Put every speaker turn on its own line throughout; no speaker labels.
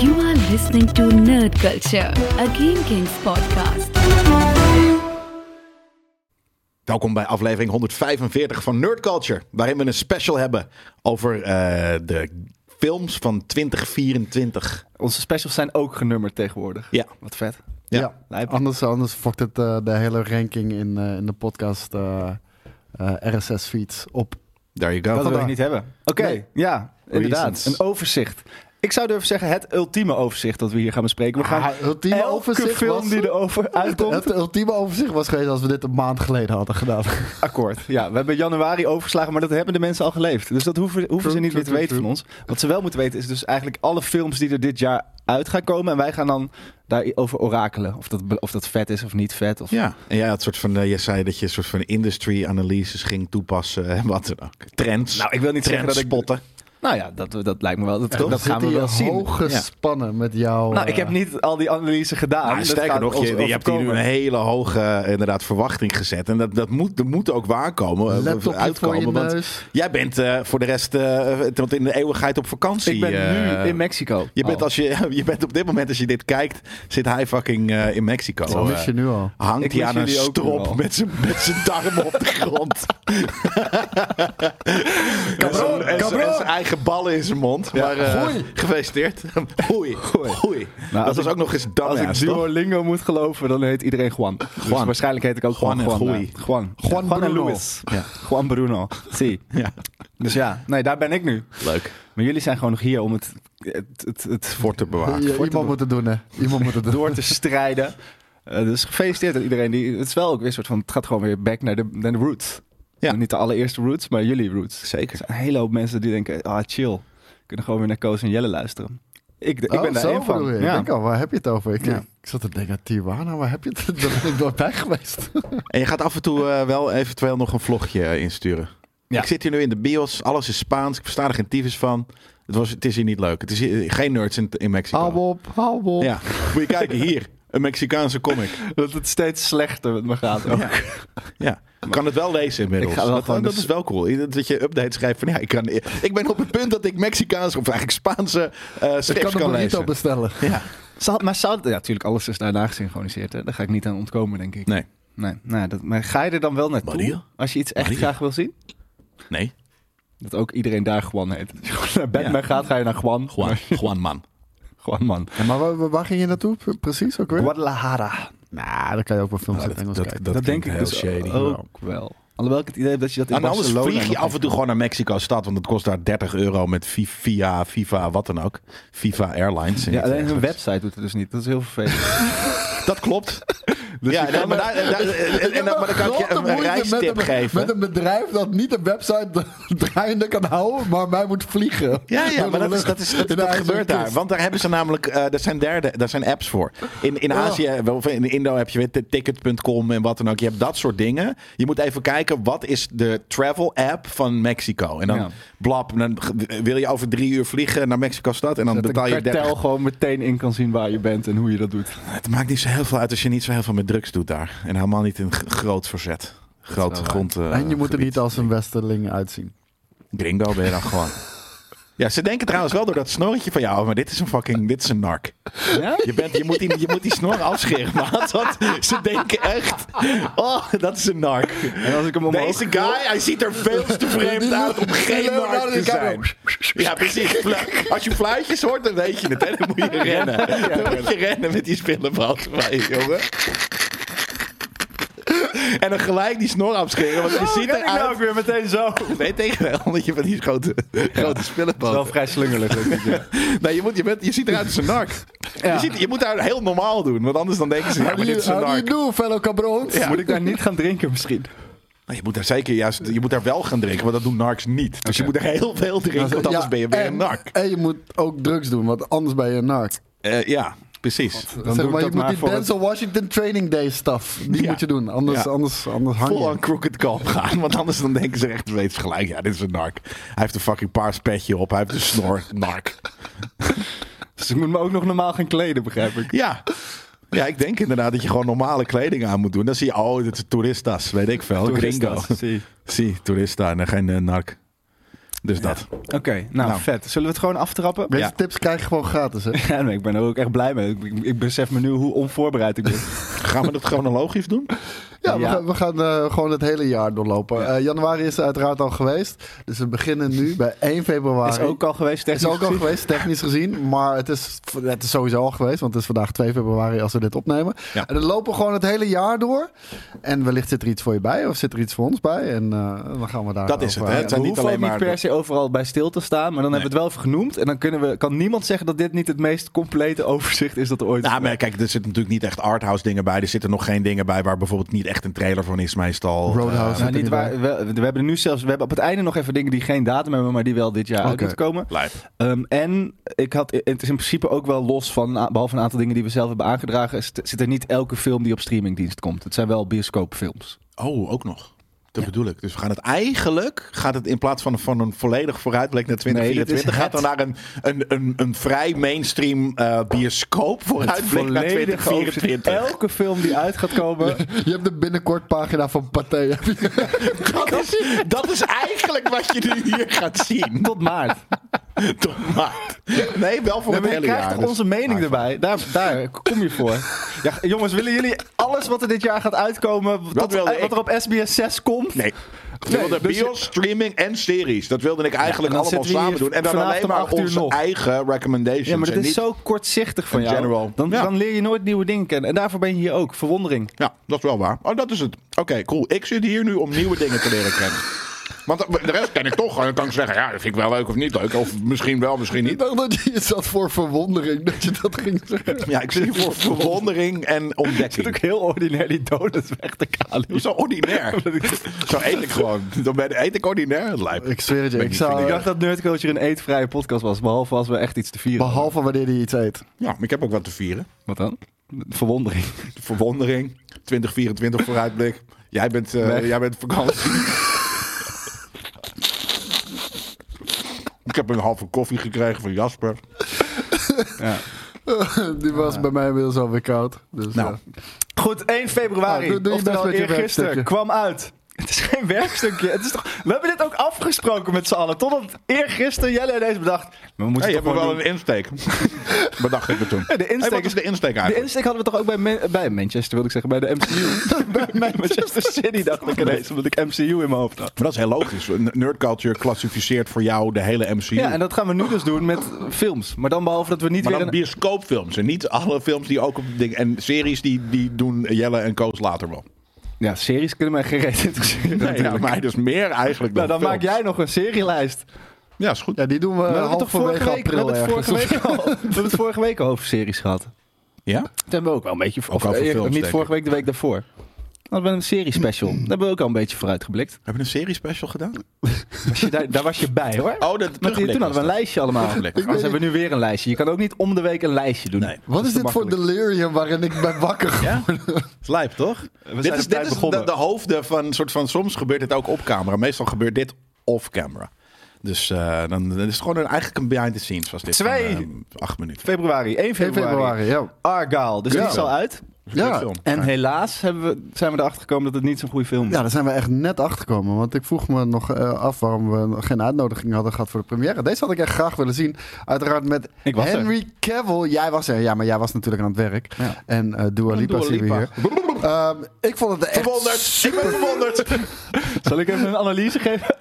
You are listening to Nerd Culture, a Game Kings podcast.
Welkom bij aflevering 145 van Nerd Culture, waarin we een special hebben over eh, de films van 2024.
Onze specials zijn ook genummerd tegenwoordig.
Ja.
Wat vet.
Ja.
Ja, Nou,
Lijp.
Anders, anders fokt het eh, de hele ranking in, eh, in de podcast eh, eh, RSS-feeds op.
There you go.
Dat wil ik
Vandaar.
niet hebben. Oké,
Nee.
ja, inderdaad.
Reasons.
Een overzicht. Ik zou durven zeggen het ultieme overzicht dat we hier gaan bespreken. We gaan
Ah, het ultieme
elke
overzicht
film
was-
die er over uitkomt.
Het ultieme overzicht was geweest als we dit een maand geleden hadden gedaan.
Akkoord. Ja, we hebben januari overgeslagen, maar dat hebben de mensen al geleefd. Dus dat hoeven, hoeven
True,
ze niet
true,
meer te
true,
weten van ons. Wat ze wel moeten weten is dus eigenlijk alle films die er dit jaar uit gaan komen. En wij gaan dan daarover orakelen. Of dat, be- of dat vet is of niet vet. Of...
Ja, en jij had soort van, eh, je zei dat je een soort van industry-analyses ging toepassen en wat dan ook. Trends.
Nou, ik wil niet zeggen
Trends
dat ik...
spotten.
Nou ja, dat, dat lijkt me wel. Dat,
Dan
dat gaan we
zit
wel
hij
zien.
hoog gespannen met jou.
Nou,
eh,
ik heb niet al die analyse gedaan.
Nou,
Dat
sterker
gaat
nog,
ons
je, je hebt hier
overkomen.
nu een hele hoge eh, inderdaad, verwachting gezet. En dat, dat, moet, dat moet ook waarkomen. eh,
laptopje voor je
uitkomen, want
neus.
jij bent eh, voor de rest eh, tot in de eeuwigheid op vakantie.
Ik ben
eh,
nu in Mexico. Oh.
Je
Oh.
bent,
al.
als je, je bent op dit moment, als je dit kijkt, zit hij fucking eh, in Mexico.
Dat mis je nu al.
Eh, hangt
Ik
hij
mis
aan een
jullie ook nu
strop
al.
met zijn, met zijn darmen op de grond.
Cabron,
en, zijn, en
cabron.
zijn eigen ballen in zijn mond. Maar eh,
Goei.
gefeliciteerd. Goei. Goei.
Nou,
dat
als
was
ik-
ook nog eens
Als ik
dumbass, toch?
Duolingo moet geloven, dan heet iedereen Juan. Dus
Juan.
waarschijnlijk heet ik ook
Juan
Juan.
en
Juan,
Goeie.
ja. Juan.
Juan
en
Bruno.
Luis.
Ja.
Juan Bruno. Zie.
Ja.
Dus ja, nee, daar ben ik nu.
Leuk.
Maar jullie zijn gewoon nog hier om het, het, het, het
Voor te bewaren.
Ja, iemand moet het doen, hè. Iemand moet het doen.
door te strijden. Eh, dus gefeliciteerd aan iedereen. Die, het is wel ook weer een soort van, het gaat gewoon weer back naar de, naar de roots.
Ja.
Niet de allereerste roots, maar jullie roots. Er
Zeker.
zijn een hele hoop mensen die denken, ah chill, kunnen gewoon weer naar Koos en Jelle luisteren. Ik, ik
Oh,
ben daar
zo
één van.
bedoel je. Ik denk al, waar heb je het over? Ik, ik zat te denken, Tijuana, waar heb je het? Daar ben ik nooit bij geweest.
En je gaat af en toe eh, wel eventueel nog een vlogje eh, insturen.
Ja.
Ik zit hier nu in de bios. Alles is Spaans. Ik versta er geen tyfus van. Het, was, het is hier niet leuk. Het is hier- geen nerds in, in Mexico.
Hou op, hou op.
Ja, moet je kijken hier. Een Mexicaanse comic.
Dat het steeds slechter met me gaat ook.
Ja. Ik kan het wel lezen inmiddels.
Ik ga wel
dat,
gewoon
dat
dus-
is wel cool. Dat je updates schrijft van ja, ik, kan, ik ben op het punt dat ik Mexicaanse of eigenlijk Spaanse eh
Ik
strips
kan
kan
een burrito
lezen.
bestellen.
Zou- maar zou... Ja, natuurlijk, alles is daarna gesynchroniseerd. Hè? Daar ga ik niet aan ontkomen, denk ik.
Nee,
Nee, nou, ja, dat, maar ga je er dan wel naartoe?
Maria?
Als je iets echt
Maria?
graag wil zien?
nee.
Dat ook iedereen daar Juan heet. Als je gewoon naar Batman
Ja.
gaat, ga je naar Juan.
Juan, Juan man.
Juan, man.
Ja, maar waar, waar ging je naartoe pre- precies ook weer? Nou,
Guadalajara.
dan Nou, kan je ook wel films in het Engels kijken.
Dat, denk ik dus ook wel. Alhoewel ik het idee heb dat je dat in
Oh, En Ah, nou, anders
Barcelona...
vlieg je
nog
af en toe gewoon naar Mexico stad, want het kost daar 30 euro met Vi- via, Viva, wat dan ook. Viva Airlines. en
Ja,
iets
alleen hun
dergelijks.
website doet het dus niet. Dat is heel vervelend.
Dat klopt. ja, nee, maar, daar, daar- en- en- en- maar dan kan ik je
Grote
een, een
moeite
reistip
met een,
geven.
Met een bedrijf dat niet een website draaiende kan houden, maar mij moet vliegen.
Ja, ja,
Door
maar
de
dat, is,
lucht
dat, is, dat,
in de
dat
ijzeren
gebeurt daar.
kist.
Want daar hebben ze namelijk, eh, daar, zijn derde, daar zijn apps voor. In, in Azië, eh, wel, of in Indo heb je weer t- ticket.com en wat dan ook. Je hebt dat soort dingen. Je moet even kijken, wat is de travel app van Mexico? En dan
Ja.
blab, en dan g- wil je over drie uur vliegen naar Mexico stad en dan
dat
betaal je
een kartel
30.
gewoon meteen in kan zien waar je bent en hoe je dat doet.
Het maakt niet zo heel veel uit als je niet zo heel veel met drugs doet daar. En helemaal niet een g- groot verzet. Groot
wel waar.
grond. eh,
En je moet er
gebied.
niet als een westerling uitzien.
Gringo ben je dan gewoon. Ja, ze denken trouwens wel door dat snorretje van jou, maar dit is een fucking, dit is een nark.
Ja?
Je, bent, je, moet die, je moet die snor afscheren, maat. Want ze denken echt... Oh, dat is een nark.
En als ik hem omhoog...
Deze guy, hij ziet er veel te vreemd uit om geen nark te zijn. Ja, precies. Fla- Als je fluitjes hoort, dan weet je het. Hè? Dan moet je rennen. Dan moet je rennen met die spillenband van je, jongen. En dan gelijk die snor afscheren, want je ziet
ken ik nou
eruit...
ook weer meteen zo.
Nee, tegenwel, omdat je van die grote, grote spillenband
Wel vrij slungerlijk. denk ik, ja.
Nee, je, moet, je, bent, je ziet eruit als een nark.
Ja.
Je, ziet, je moet daar heel normaal doen, want anders dan denken ze, ja, maar dit is een
How do you
nark.
do, fellow cabrons?
Moet ik daar niet gaan drinken misschien?
Maar Nou, je moet daar zeker juist, je moet daar wel gaan drinken, want dat doen narks niet. Dus je moet er heel veel drinken, want anders
Nou, Ja,
ben je weer een
en-
nark.
En je moet ook drugs doen, want anders ben je een narc.
Eh, ja, precies.
Dan doe
zeg
ik
maar, je
dat
moet
maar
die
voor
Denzel Washington Training Day stuff. Die
Ja.
moet je doen. Anders,
Ja.
anders, anders hang
Vol
je.
aan Crooked Kalm gaan, want anders dan denken ze echt weten gelijk, ja, dit is een nark. Hij heeft een fucking paars petje op, hij heeft een snor, nark.
Dus ik moet me ook nog normaal gaan kleden, begrijp ik.
Ja. Ja, ik denk inderdaad dat je gewoon normale kleding aan moet doen. Dan zie je, oh, dit is toeristas, weet ik veel, gringo.
Toeristas, zie.
Zie, toerista en geen eh, nark. Dus dat.
Oké, nou,
Nou.
vet. Zullen we het gewoon aftrappen?
Deze
Ja.
tips krijg je gewoon gratis, hè?
Ja, nee, ik ben er ook echt blij mee. Ik, ik, ik besef me nu hoe onvoorbereid ik ben.
Gaan we dat chronologisch doen?
Ja, we
Ja.
gaan, we gaan eh, gewoon het hele jaar doorlopen.
Ja.
Eh, januari is er uiteraard al geweest. Dus we beginnen nu bij 1 februari.
Is ook al geweest.
Is
Technisch
ook al
gezien.
geweest, technisch gezien. Maar het is, het is sowieso al geweest, want het is vandaag 2 februari als we dit opnemen.
Ja.
En dan lopen we gewoon het hele jaar door. En wellicht zit er iets voor je bij, of zit er iets voor ons bij. En eh, dan gaan we daar.
Dat is het, hè?
over-
We
Het zijn niet
hoeven
alleen
ook
maar
niet per se overal bij stil te staan, maar dan hebben we het wel even genoemd. En dan kunnen we, kan niemand zeggen dat dit niet het meest complete overzicht is dat er ooit is.
Nou, maar kijk, er zitten natuurlijk niet echt arthouse dingen bij. Er zitten nog geen dingen bij waar bijvoorbeeld niet echt een trailer van is, meestal.
Roadhouse.
Eh,
zit
Nou,
er
niet
niet
waar,
bij.
we, we hebben er nu zelfs, we hebben op het einde nog even dingen die geen datum hebben, maar die wel dit jaar uit
Oké.
moeten komen.
lijp.
Ehm, en ik had, het is in principe ook wel los van, behalve een aantal dingen die we zelf hebben aangedragen, is- zit er niet elke film die op streamingdienst komt. Het zijn wel bioscoopfilms.
Oh, ook nog. Dat bedoel ik. Dus we gaan het eigenlijk, gaat het in plaats van, van een volledig vooruitblik naar
Nee, dit
2024,
is
gaat dan naar een, een, een, een vrij mainstream eh, bioscoop vooruitblik naar
Volledige overzicht.
2024.
Elke film die uit gaat komen.
Je hebt de binnenkort pagina van Pathé. heb je?
Dat is, dat is eigenlijk wat je nu hier gaat zien.
Tot maart.
Toch maar. Nee, wel voor
Nee,
het
maar je
hele
krijgt
jaar.
toch
dus-
onze mening erbij. Daar, daar kom je voor. Ja, jongens, willen jullie alles wat er dit jaar gaat uitkomen, wat,
wilde
wat er op SBS 6 komt?
Nee. Ik
Nee,
wilde
dus-
bios, streaming en series. Dat wilde ik eigenlijk
en dan
allemaal
zitten we hier
samen doen. En dan
vanavond
alleen
om
maar
acht uur
onze
nog.
eigen recommendations.
Ja, maar dat
en
is
niet-
zo kortzichtig van
In
jou.
general.
Dan,
Ja.
dan leer je nooit nieuwe dingen kennen. En daarvoor ben je hier ook. Verwondering.
Ja, dat is wel waar. Oh, dat is het. Oké, cool. Ik zit hier nu om nieuwe dingen te leren kennen. Want de rest ken ik toch. En dan kan ik zeggen, ja, dat vind ik wel leuk of niet leuk. Of misschien wel, misschien
Ik
niet.
dacht dat je zat voor verwondering dat je dat ging zeggen.
Ja, ik zit hier voor verwondering en
Ik zit ook
ontdekking.
heel ordinair die donuts weg te kalen.
Zo ordinair. Zo eet ik gewoon. Dan ben, eet ik ordinair. Het lijkt.
Ik zweer het je,
Ben
ik
niet
zou-
van
Ik
die-
dacht dat Nerdculture een eetvrije podcast was. Behalve als we echt iets te vieren hadden.
Behalve wanneer hij iets eet.
Ja, maar ik heb ook wat te vieren.
Wat dan? Verwondering.
Verwondering. 2024 vooruitblik. Jij bent, eh,
Weg.
jij bent op vakantie. ik heb een halve koffie gekregen van Jasper.
Ja.
Die was bij mij inmiddels alweer koud. Dus,
Nou,
eh,
Goed, 1 februari.
Nou, doe- doe je
oftewel
best met je
eergisteren
werkstukje.
kwam uit. Het is geen werkstukje. Het is toch, we hebben dit ook afgesproken met z'n allen. Totdat eergisteren Jelle ineens bedacht. We moeten
Hey, je
het
hebt
toch
wel
gewoon
een insteek. Bedacht ik me toen.
de insteek
Hey, wat
is-
is de insteek
doen. De
eigenlijk?
insteek hadden we toch ook bij, Man- bij Manchester, wilde ik zeggen. Bij de MCU. bij Manchester City dacht ik ineens, omdat ik MCU in mijn hoofd had.
maar dat is heel logisch. N- Nerdculture klassificeert voor jou de hele MCU.
Ja, en dat gaan we nu dus doen met films. Maar dan behalve dat we niet
maar
weer...
dan
een-
bioscoopfilms en niet alle films die ook op ding en series die, die doen Jelle en Koos later wel.
Ja, series kunnen mij geen reet interesseren.
Nee, ja,
natuurlijk.
mij dus meer eigenlijk dan.
nou, dan
films.
maak jij nog een serielijst.
Ja, is goed.
ja, die doen we,
we hebben het toch vorige
Eh, halverwege
week, we hebben
april
het
ergens.
vorige week al, we hebben het vorige week al over series gehad.
Ja?
Dat hebben we ook wel een beetje...
Ook over
eh,
films, denk
Niet
ik.
vorige week, de week daarvoor. Dat we een serie special. Daar hebben we ook al een beetje vooruitgeblikt.
Hebben we een serie special gedaan?
Was je daar, daar was je bij hoor.
Oh, dat
Met die-
terugblik
toen hadden we een
was dat.
lijstje allemaal.
Terugblik.
Anders hebben we nu weer een lijstje. Je kan ook niet om de week een lijstje doen.
Nee.
Wat is dit voor delirium waarin ik ben wakker
Ja? Het is lijp, toch?
zijn
dit
op
is,
tijd
dit is de,
begonnen.
de hoofden van soort van. Soms gebeurt dit ook op camera. Meestal gebeurt dit off camera. Dus eh, dan, dan is het gewoon een, eigenlijk een behind the scenes. Was dit
Twee.
van, eh, acht minuten.
Februari, 1
In
februari.
februari, ja.
Argyle, dus die
Ja.
is al uit.
Ja.
Film.
En helaas hebben we, zijn we erachter gekomen dat het niet zo'n goede film is.
Ja, daar zijn we echt net achter gekomen. Want ik vroeg me nog eh, af waarom we nog geen uitnodiging hadden gehad voor de première. Deze had ik echt graag willen zien. Uiteraard met
Ik was er.
Henry Cavill. Jij was er. Ja, maar jij was natuurlijk aan het werk.
Ja.
En eh Dua Lipa
Dua
zien we
Lipa.
hier. Ehm, ik vond het echt...
Verwonderd. Ik ben verwonderd.
Zal ik even een analyse geven?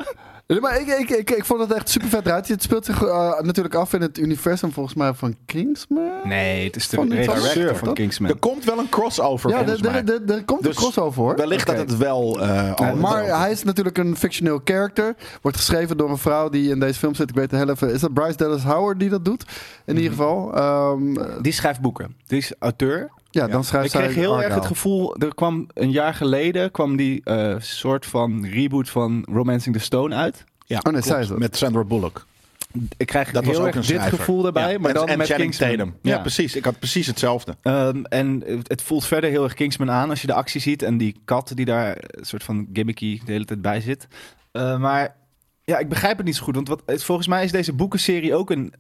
Nee, maar ik, ik, ik, ik vond het echt super vet eruit. Het speelt zich eh, natuurlijk af in het universum volgens mij van Kingsman.
Nee, het is de
Van die
regisseur
regisseur,
van
toch?
Kingsman.
Er komt wel een crossover.
Ja,
volgens
er-
mij.
er- er er komt een
Dus
crossover hoor.
Wellicht
Oké.
dat het wel. eh al-
Maar
al-
hij is natuurlijk een fictioneel karakter. Wordt geschreven door een vrouw die in deze film zit. Ik weet het heel even. Is dat Bryce Dallas Howard die dat doet? In ieder geval. ehm, eh,
Die schrijft boeken. Die is auteur.
ja, dan schrijft
ik
zij
kreeg heel erg
Argyle.
het gevoel, er kwam een jaar geleden kwam die eh, soort van reboot van Romancing the Stone uit.
Ja,
nee,
klopt.
zij is het.
Met Sandra Bullock.
Ik krijg
Dat was
heel
ook
erg
een
dit
schrijver.
gevoel daarbij,
Ja.
maar
En-
dan
en
met
Channing
Kingsman.
Tatum. Ja, precies. Ik had precies hetzelfde.
Ehm, en het- het voelt verder heel erg Kingsman aan als je de actie ziet en die kat die daar eh, een soort van gimmicky de hele tijd bij zit. Eh, maar ja, ik begrijp het niet zo goed, want wat, het- volgens mij is deze boekenserie ook een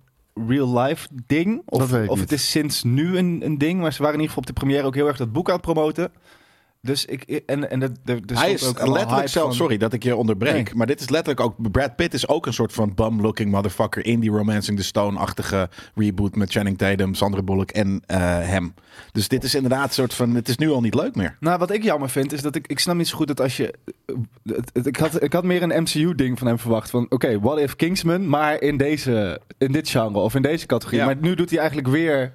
real life ding. Of,
Dat weet ik
of
niet.
het is sinds nu een, een ding, maar ze waren in ieder geval op de première ook heel erg dat boek aan het promoten. Dus ik... En, en dat, er, er
Hij
stond
is
ook allemaal
letterlijk
hype
zelf,
van-
sorry dat ik je onderbreek,
Nee.
maar dit is letterlijk ook, Brad Pitt is ook een soort van bum-looking motherfucker in die Romancing the Stone-achtige reboot met Channing Tatum, Sandra Bullock en eh, hem. Dus dit is inderdaad een soort van, het is nu al niet leuk meer.
Nou, wat ik jammer vind, is dat ik, ik snap niet zo goed dat als je... eh, het- het- ik, had, ik had meer een MCU-ding van hem verwacht. Van, oké, what if Kingsman, maar in, deze, in dit genre of in deze categorie.
Ja.
Maar nu doet hij eigenlijk weer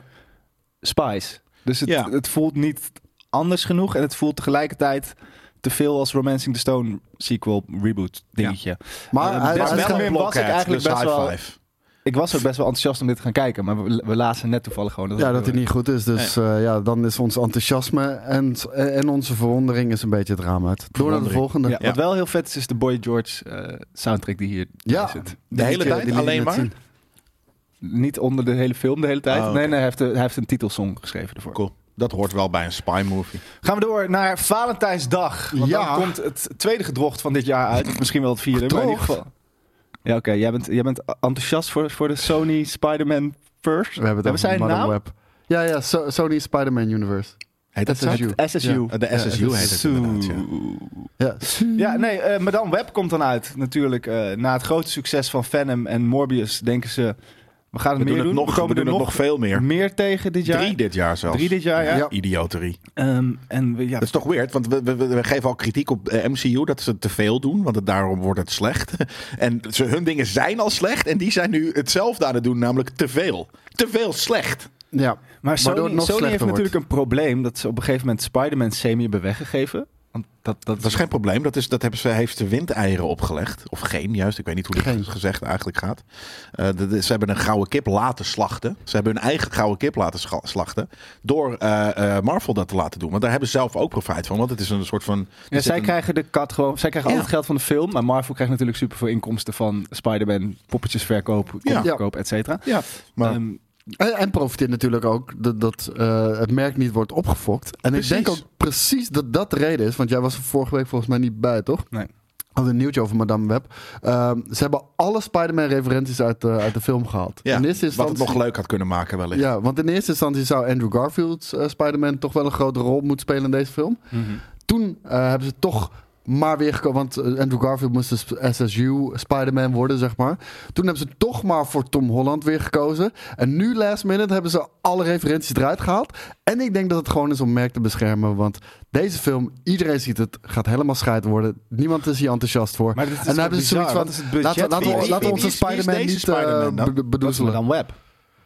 Spice. Dus het,
Ja.
het voelt niet anders genoeg. En het voelt tegelijkertijd te veel als Romancing the Stone sequel reboot dingetje.
Maar
Eh,
hij,
dat
hij
is wel
schijnt-
een was ik eigenlijk
dus
best
high
wel-
five.
Ik was ook best wel enthousiast om dit te gaan kijken. Maar we, we lazen net toevallig gewoon.
Ja,
het
dat hij niet goed is. Dus eh, ja, dan is ons enthousiasme en, en onze verwondering is een beetje het raam uit. Door naar de
Verwondering.
volgende.
Ja, Wat wel heel vet is, is de Boy George eh, soundtrack die hier
Ja.
zit.
De hele
Die-
tijd
die liet
alleen
net
maar?
zien.
Niet onder de hele film de hele tijd.
Oh, oké.
Nee, nee, hij heeft, eh, hij heeft een titelsong geschreven ervoor.
Cool. Dat hoort wel bij een spy movie.
Gaan we door naar Valentijnsdag. Want
Ja.
dan komt het tweede gedrocht van dit jaar uit. Of Misschien wel het vierde, maar in ieder
Gedrocht?
geval. Ja, oké. Jij, bent, jij bent enthousiast voor, voor de Sony Spider-Man First.
We hebben
Hebben
het
zij
over
een
Madame
naam?
Web. Ja, ja, So- Sony Spider-Man Universe.
Heet dat nou?
SSU.
zo?
SSU.
Ja, de SSU heet het inderdaad, ja.
Ja.
Ja, nee, eh Madame Web komt dan uit. Natuurlijk, eh, na het grote succes van Venom en Morbius denken ze... We gaan het
We
meer
doen het
doen.
nog, we
we komen
doen
er
het nog veel meer.
meer tegen dit jaar.
Drie dit jaar zelfs.
Drie dit jaar, ja.
Ja.
Idioterie.
Ehm, en we, ja,
Dat is toch weird, want we, we, we- we geven al kritiek op eh, MCU dat ze te veel doen, want het, daarom wordt het slecht. En ze, hun dingen zijn al slecht en die zijn nu hetzelfde aan het doen, namelijk te veel. Te veel slecht.
ja.
Maar Sony,
Waardoor het nog
Sony heeft
slechter wordt.
natuurlijk een probleem dat ze op een gegeven moment Spider-Man semi hebben weggegeven. Want dat, dat,
Dat is geen probleem, dat, is, dat hebben ze, heeft ze windeieren opgelegd. Of geen, juist, ik weet niet hoe dit
Geen.
gezegd eigenlijk gaat. Eh, de- de- ze hebben een gouden kip laten slachten. Ze hebben hun eigen gouden kip laten scha- slachten door eh, eh, Marvel dat te laten doen. Want daar hebben ze zelf ook profijt van, want het is een soort van...
ja,
er zit
zij
een-
krijgen de kat gewoon. Zij krijgen
Ja.
al het geld van de film. Maar Marvel krijgt natuurlijk super veel inkomsten van Spider-Man, poppetjesverkoop,
Ja.
verkoop, et cetera.
Ja, maar...
Ehm,
En, en profiteert natuurlijk ook dat, dat eh, het merk niet wordt opgefokt. En
Precies.
ik denk ook precies dat dat de reden is. Want jij was er vorige week volgens mij niet bij, toch?
Nee.
Hadden een nieuwtje over Madame Web. Ehm, ze hebben alle Spider-Man-referenties uit, de- uit de film gehaald.
Ja,
In eerste
wat het
instantie-
nog leuk had kunnen maken wellicht.
Ja, want in eerste instantie zou Andrew Garfield's eh, Spider-Man toch wel een grote rol moeten spelen in deze film.
Mhm.
Toen eh, hebben ze toch maar weer gekozen, want eh, Andrew Garfield moest de sp- SSU Spider-Man worden, zeg maar. Toen hebben ze toch maar voor Tom Holland weer gekozen. En nu, last minute, hebben ze alle referenties eruit gehaald. En ik denk dat het gewoon is om merk te beschermen, want deze film, iedereen ziet het, gaat helemaal scheid worden. Niemand is hier enthousiast voor.
maar dit is
en dan
wel
hebben ze zoiets
bizar,
van,
wat is het budget
laten we,
van
laten
Wie-
deze
we, laten we
wie-
onze
wie is- wie is
Spider-Man
deze
niet eh,
Spider-Man dan?
be- be- bedoezelen.
dan Web?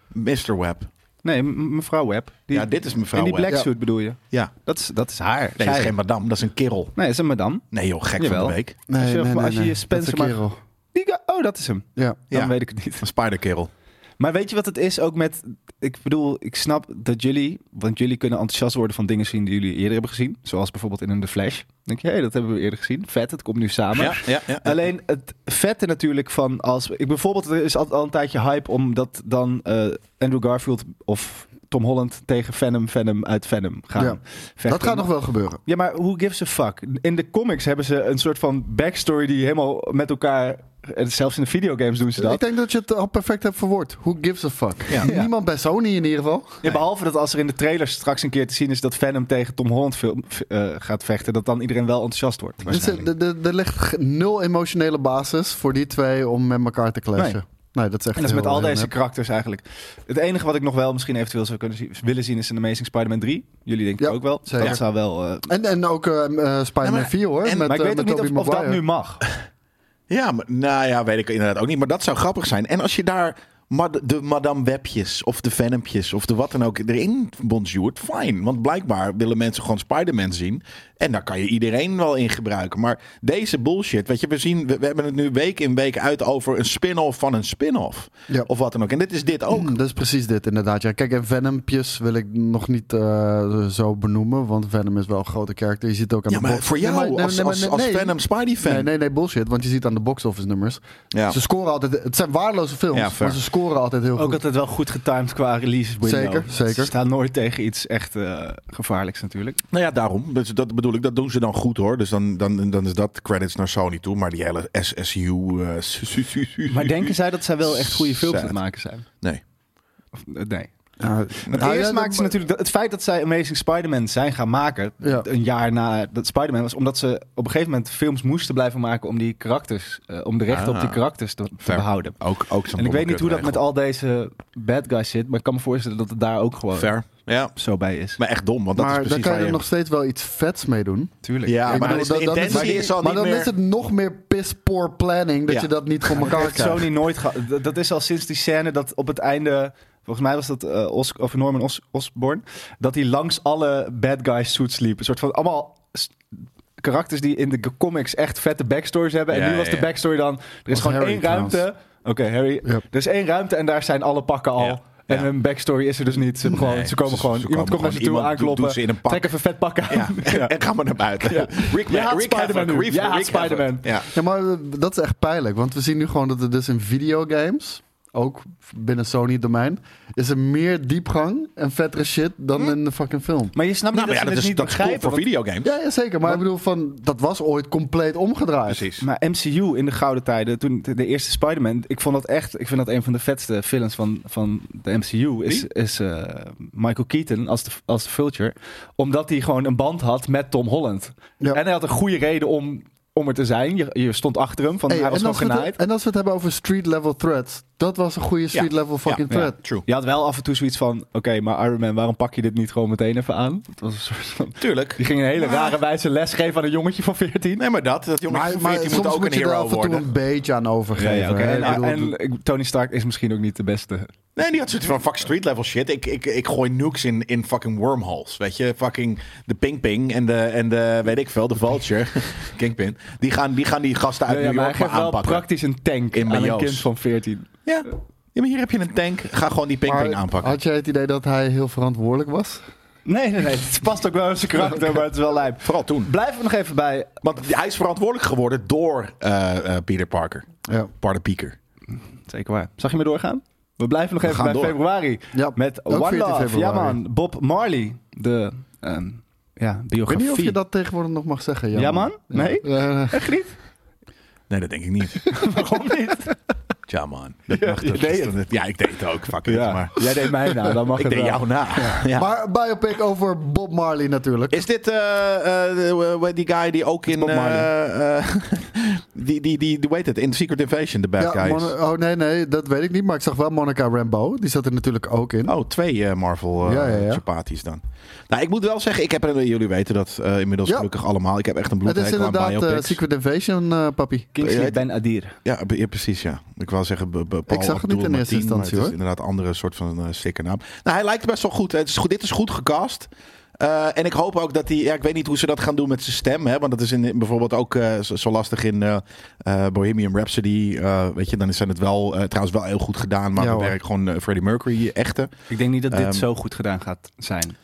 Mr. Web.
Nee, m- mevrouw Web. Die,
Ja, dit is mevrouw
in die
Web.
black
Ja.
suit bedoel je?
Ja.
Dat is, dat is haar.
Nee, dat is
Zij.
geen madame, dat is een kerel.
Nee, dat is een madame.
Nee joh, gek van
Jawel.
de week.
Nee,
Als je-
nee, nee,
als je
nee.
je Spencer
Dat is een
maar-
kerel.
Die ga- oh, dat is hem.
Ja.
Ja.
Dan weet ik het niet.
Een spiderkerel.
Maar weet je wat het is ook met. Ik bedoel, ik snap dat jullie. Want jullie kunnen enthousiast worden van dingen zien die jullie eerder hebben gezien. Zoals bijvoorbeeld in een The Flash. Dan denk je, hé, dat hebben we eerder gezien. Vet, het komt nu samen.
Ja, ja, ja.
Alleen het vette natuurlijk van als. Ik, bijvoorbeeld, er is al, al een tijdje hype omdat dan eh, Andrew Garfield of Tom Holland tegen Venom, Venom uit Venom gaan.
Ja.
vechten.
Dat gaat nog wel gebeuren.
Ja, maar who gives a fuck? In de comics hebben ze een soort van backstory die helemaal met elkaar. En zelfs in de videogames doen ze dat.
Ik denk dat je het al perfect hebt verwoord. Who gives a fuck?
Ja.
Niemand bij Sony in ieder geval. Dus, eh,
Ja, behalve dat als er in de trailer straks een keer te zien is dat Venom tegen Tom Holland film, v- eh, gaat vechten, dat dan iedereen wel enthousiast wordt.
Dus er,
Waarschijnlijk.
er- er ligt ge- nul emotionele basis voor die twee om met elkaar te clashen. Nee,
Nee.
dat is echt
En dat is met
heel-
al
heel
deze
nep.
karakters eigenlijk. Het enige wat ik nog wel misschien eventueel zou kunnen zien, willen zien is een Amazing Spider-Man 3. Jullie denken
Ja,
ook wel.
zeker.
Dat zou wel. eh,
En, en ook eh, m- eh, Spider-Man
Ja, maar-
4 hoor.
en-
met,
maar ik
eh,
weet ook
met
niet
Tobey
of, of dat
Maguire.
nu mag.
Ja, maar, nou ja, weet ik inderdaad ook niet. Maar dat zou grappig zijn. En als je daar mad- de madame Webjes of de Venompjes of de wat dan ook erin bonjourd, fijn. Want blijkbaar willen mensen gewoon Spider-Man zien. En daar kan je iedereen wel in gebruiken. Maar deze bullshit, weet je, we, zien, we, we hebben het nu week in week uit over een spin-off van een spin-off.
Ja.
Of wat dan ook. En dit is dit ook.
Mm, dat is precies dit inderdaad. Ja, kijk, en Venompjes wil ik nog niet eh, zo benoemen. Want Venom is wel een grote karakter. Je ziet ook aan
Ja,
de
maar
box-
voor
Nee,
jou
maar- nee,
als,
nee, maar-
als,
nee,
als
nee.
Venom Spidey-fan.
Nee, nee, nee, bullshit. Want je ziet aan de box-office nummers.
Ja.
Ze scoren altijd... Het zijn waardeloze films,
Ja, fair.
maar ze scoren altijd heel
Ook
goed.
dat het wel goed getimed qua release window.
Zeker, zeker.
Ze staan nooit tegen iets echt eh, gevaarlijks natuurlijk.
Nou ja, daarom. Dus dat bedoel ik, dat doen ze dan goed hoor. Dus dan, dan, dan is dat credits naar Sony toe. Maar die hele SSU. eh, su- su- su- su-
Maar denken zij dat zij wel echt goede films aan
Sad.
het maken zijn?
Nee.
Of, eh, nee.
Ja,
Want
nou ja,
eerst
dat-
maakten ze natuurlijk dat- het feit dat zij Amazing Spider-Man zijn gaan maken.
Ja.
Een jaar na dat Spider-Man was. Omdat ze op een gegeven moment films moesten blijven maken. om die karakters. eh, om de rechten op die
Ah.
karakters te, te
Fair.
behouden.
Ook, ook zo'n
En ik weet niet hoe dat met
kutregel.
al deze bad guys zit. maar ik kan me voorstellen dat het daar ook gewoon
Fair. Ja,
zo bij is.
maar echt dom, want dat is
Maar
precies
dan kan je
waar
er nog steeds wel iets vets mee doen.
Tuurlijk.
Ja,
Ik
maar dan
bedoel,
is de
dan- dan is-
intentie
maar-
is al
Maar
niet
dan
meer...
is het nog meer piss-poor planning dat
Ja.
je dat niet voor elkaar
heeft
krijgt.
Sony nooit gehad. Dat- Dat is al sinds die scène dat op het einde. Volgens mij was dat eh, Os of Norman Os Osborn. Dat hij langs alle bad guys suits liep. Een soort van allemaal s- karakters die in de g- comics echt vette backstories hebben.
Ja,
en nu was
ja,
de
ja.
backstory dan. Er is
Was
gewoon
Oh, Harry
één ruimte. Oké, Harry.
Ja.
Er is één ruimte en daar zijn alle pakken al.
Ja,
En
ja.
hun backstory is er dus niet. Ze, hebben gewoon,
Nee,
ze komen
ze-
gewoon.
ze komen
iemand komt naar ze toe
gewoon. Iemand doet-
aankloppen.
doet ze in een pak.
Trek even vet pakken aan.
Ja, en ga maar naar buiten.
Ja.
Rick,
Je haat
Rick Havoc,
Spider-Man nu.
Rick-
Je haat
Rick Havoc.
Spider-Man.
Ja.
Ja, maar eh, dat is echt pijnlijk. Want we zien nu gewoon dat er dus in videogames, ook binnen Sony-domein, is er meer diepgang en vettere shit dan in de fucking film.
Maar je snapt
Nou, maar
niet
Hm? ja, dat
dat,
is,
ze het niet
dat is cool
begrijpen.
voor
want-
videogames.
Ja, ja, zeker. Maar ik bedoel, van, dat was ooit compleet omgedraaid.
Precies.
Maar MCU in de gouden tijden, toen de de eerste Spider-Man, ik vond dat echt, ik vind dat een van de vetste villains van, van de MCU is, is eh, Michael Keaton als de, als de Vulture, omdat hij gewoon een band had met Tom Holland.
Ja.
En hij had een goede reden om, om er te zijn. Je, je stond achter hem, van
Hey,
hij was
en,
gewoon
als we het-
genaaid.
en als we het hebben over street-level threats, dat was een goede street-level fucking
Ja.
threat.
True.
Je had wel af en toe zoiets van, oké, maar Iron Man, waarom pak je dit niet gewoon meteen even aan? Dat was een soort van,
Tuurlijk.
die ging een hele
Maar-
rare wijze les geven aan een jongetje van 14.
Nee, maar dat. Dat jongetje
Maar,
van
maar
14
soms
moet ook
moet
een
je er
hero
af en toe
worden.
een beetje aan
Ja,
overgeven.
ja, oké.
hè?
En,
Ik bedoel,
en, en Tony Stark is misschien ook niet de beste.
Nee, die had zoiets van fuck street level shit. Ik, ik, ik gooi nukes in, in fucking wormholes. Weet je, fucking de Ping Ping en de, en de weet ik veel, de Vulture, Kingpin. Die gaan die, gaan die gasten uit
Ja, ja,
New
maar
York
hij
maar
geeft wel
aanpakken.
praktisch een tank
In
aan een
miljo's.
kind van 14.
Ja. ja, maar hier heb je een tank. Ga gewoon die Ping
maar
Ping aanpakken.
Had jij het idee dat hij heel verantwoordelijk was?
Nee, nee, nee. Het past ook wel in zijn karakter, maar het is wel lijp.
Vooral toen.
Blijven we nog even bij.
Want hij is verantwoordelijk geworden door eh, eh, Peter Parker.
Ja.
Parker Pieker.
Zeker waar. Zag je me doorgaan? We blijven nog
We
even
gaan
bij
door.
februari.
Ja,
Met
ook
One
14
Love. Ja
februari.
man, Bob Marley. De ehm, ja,
Ik weet
biografie.
niet of je dat tegenwoordig nog mag zeggen.
Ja, man? Nee?
Ja.
Echt niet?
Nee, dat denk ik niet.
Waarom niet?
Ja, man. Dat
Ja,
mag
je
toch-
deed
ja, ik deed het ook. Fuck it,
Ja.
maar.
Jij deed mij nou, dan mag
Ik
het
deed
wel.
jou na. Ja.
Maar een biopic over Bob Marley natuurlijk.
Is dit eh eh, eh, hoe heet die guy die ook in.
Bob Marley.
eh, eh, die, die, die, die, weet het, in Secret Invasion, de bad
Ja,
guy is.
Mona- oh nee, nee, dat weet ik niet. Maar ik zag wel Monica Rambeau. Die zat er natuurlijk ook in.
Oh, twee eh, Marvel eh
Ja, ja, ja.
chapatis dan. Nou, ik moet wel zeggen, ik heb, eh, jullie weten dat eh, inmiddels
Ja.
gelukkig allemaal. Ik heb echt een
het is
bloedhekel aan
inderdaad eh,
biopics.
Secret Invasion, eh, papi.
Kingsley Ben Adir.
Ja, be- ja, precies, ja. Ik wou zeggen, be, be- Paul
Ik zag het niet
Abdul
in eerste
Mateen, maar
instantie,
het
hoor.
is inderdaad een andere soort van eh sikke naam. Nou, hij lijkt best wel goed. Het is goed dit is goed gecast. Eh, en ik hoop ook dat hij... Ja, ik weet niet hoe ze dat gaan doen met zijn stem. Hè, want dat is in, in bijvoorbeeld ook eh, zo, zo lastig in eh, eh, Bohemian Rhapsody. eh, weet je, dan is het wel... eh, trouwens wel heel goed gedaan. Maar
Ja,
we
hoor.
werken gewoon eh, Freddie Mercury echte.
Ik denk niet dat dit
Ehm.
zo goed gedaan gaat zijn.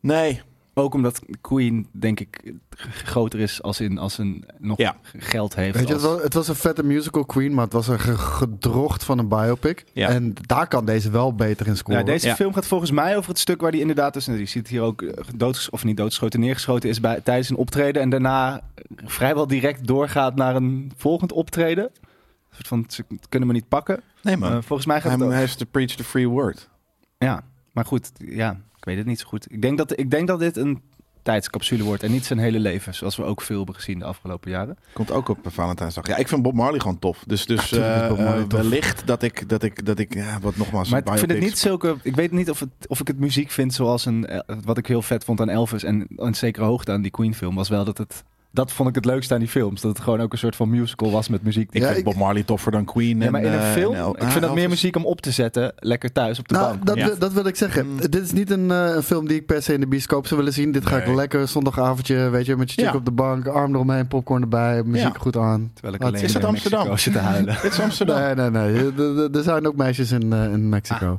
Nee.
Ook omdat Queen, denk ik, g- groter is als in als een nog
Ja.
g- geld heeft.
Weet je,
als-
het was, het was een vette musical queen, maar het was een ge- gedrocht van een biopic.
Ja.
En daar kan deze wel beter in
Ja,
scoren.
Nou, deze
Ja.
film gaat volgens mij over het stuk waar hij inderdaad is. Je ziet hier ook eh, doods, of niet doodgeschoten, neergeschoten is bij, tijdens een optreden. En daarna eh, vrijwel direct doorgaat naar een volgend optreden. Een soort van, ze kunnen me niet pakken.
Nee, man.
Eh, volgens mij gaat
hij
het ook.
heeft to preach the free word.
Ja, maar goed, ja, ik weet het niet zo goed. Ik denk dat, ik denk dat dit een tijdscapsule wordt en niet zijn hele leven. Zoals we ook veel hebben gezien de afgelopen jaren.
Komt ook op Valentijnsdag. Ja, ik vind Bob Marley gewoon tof. Dus, dus
tuurlijk is
eh,
Bob Marley
eh,
tof.
wellicht dat ik... Dat ik, dat ik ja, wat nogmaals...
Maar ik vind het
biopics-
niet zulke. Ik weet niet of, het, of ik het muziek vind zoals een. eh, Wat ik heel vet vond aan Elvis. En een zekere hoogte aan die Queen-film. Was wel dat het. Dat vond ik het leukste aan die films. Dat het gewoon ook een soort van musical was met muziek.
Ik
Ja,
vind
ik-
Bob Marley toffer dan Queen.
ja, maar in
en,
een
eh,
film.
en El-
ik vind dat
Ah,
meer
Elvis.
muziek om op te zetten. Lekker thuis op de
Nou,
bank.
dat,
ja.
wil- dat wil ik zeggen.
Mm.
Dit is niet een eh, een film die ik per se in de bioscoop zou willen zien. Dit ga
Nee.
ik lekker zondagavondje, weet je, met je chick
Ja.
op de bank, arm eromheen, popcorn erbij, muziek
Ja.
goed aan.
Terwijl ik
Wat?
alleen
Is dat
in
Amsterdam?
Mexico zit te huilen.
Dit is Amsterdam.
Nee, nee, nee. Er- er- Er zijn ook meisjes in, eh, in
Ah,
Mexico.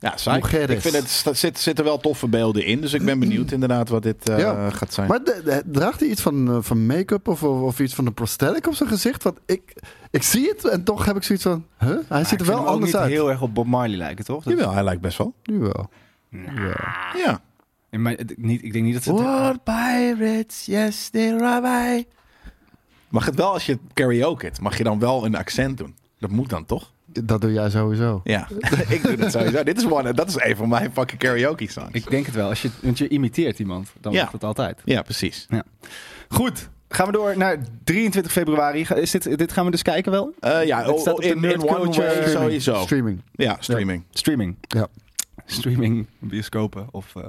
Ja, saai.
Mujeres.
Ik vind het, dat zit, zitten wel toffe beelden in. Dus ik ben benieuwd inderdaad wat dit eh,
Ja.
gaat zijn.
Maar de- de- draagt hij iets van, eh, van make-up of, of, of iets van een prosthetic op zijn gezicht? Want ik, ik zie het en toch heb ik zoiets van... Huh? Hij ziet er wel anders uit.
heel erg op Bob Marley lijken, toch?
Jawel, hij lijkt best wel.
Nu wel.
Ah.
Ja.
In mijn- het- niet, ik denk niet dat ze.
What pirates, yes, there are I. Mag het wel als je karaoke het, mag je dan wel een accent doen? Dat moet dan toch?
Dat doe jij sowieso.
Ja, ik doe dat sowieso. Dit is, one, dat is een van mijn fucking karaoke songs.
Ik denk het wel. Als je, want je imiteert iemand, dan
Ja.
wordt het altijd.
Ja, precies.
Goed, gaan we door naar 23 februari. Ga- Is dit, dit gaan we dus kijken wel?
Eh, ja,
Het staat op de
in, in
nerd
one
culture
way
streaming.
sowieso.
Streaming.
Ja, streaming.
Streaming.
Ja.
Streaming, bioscopen of... eh,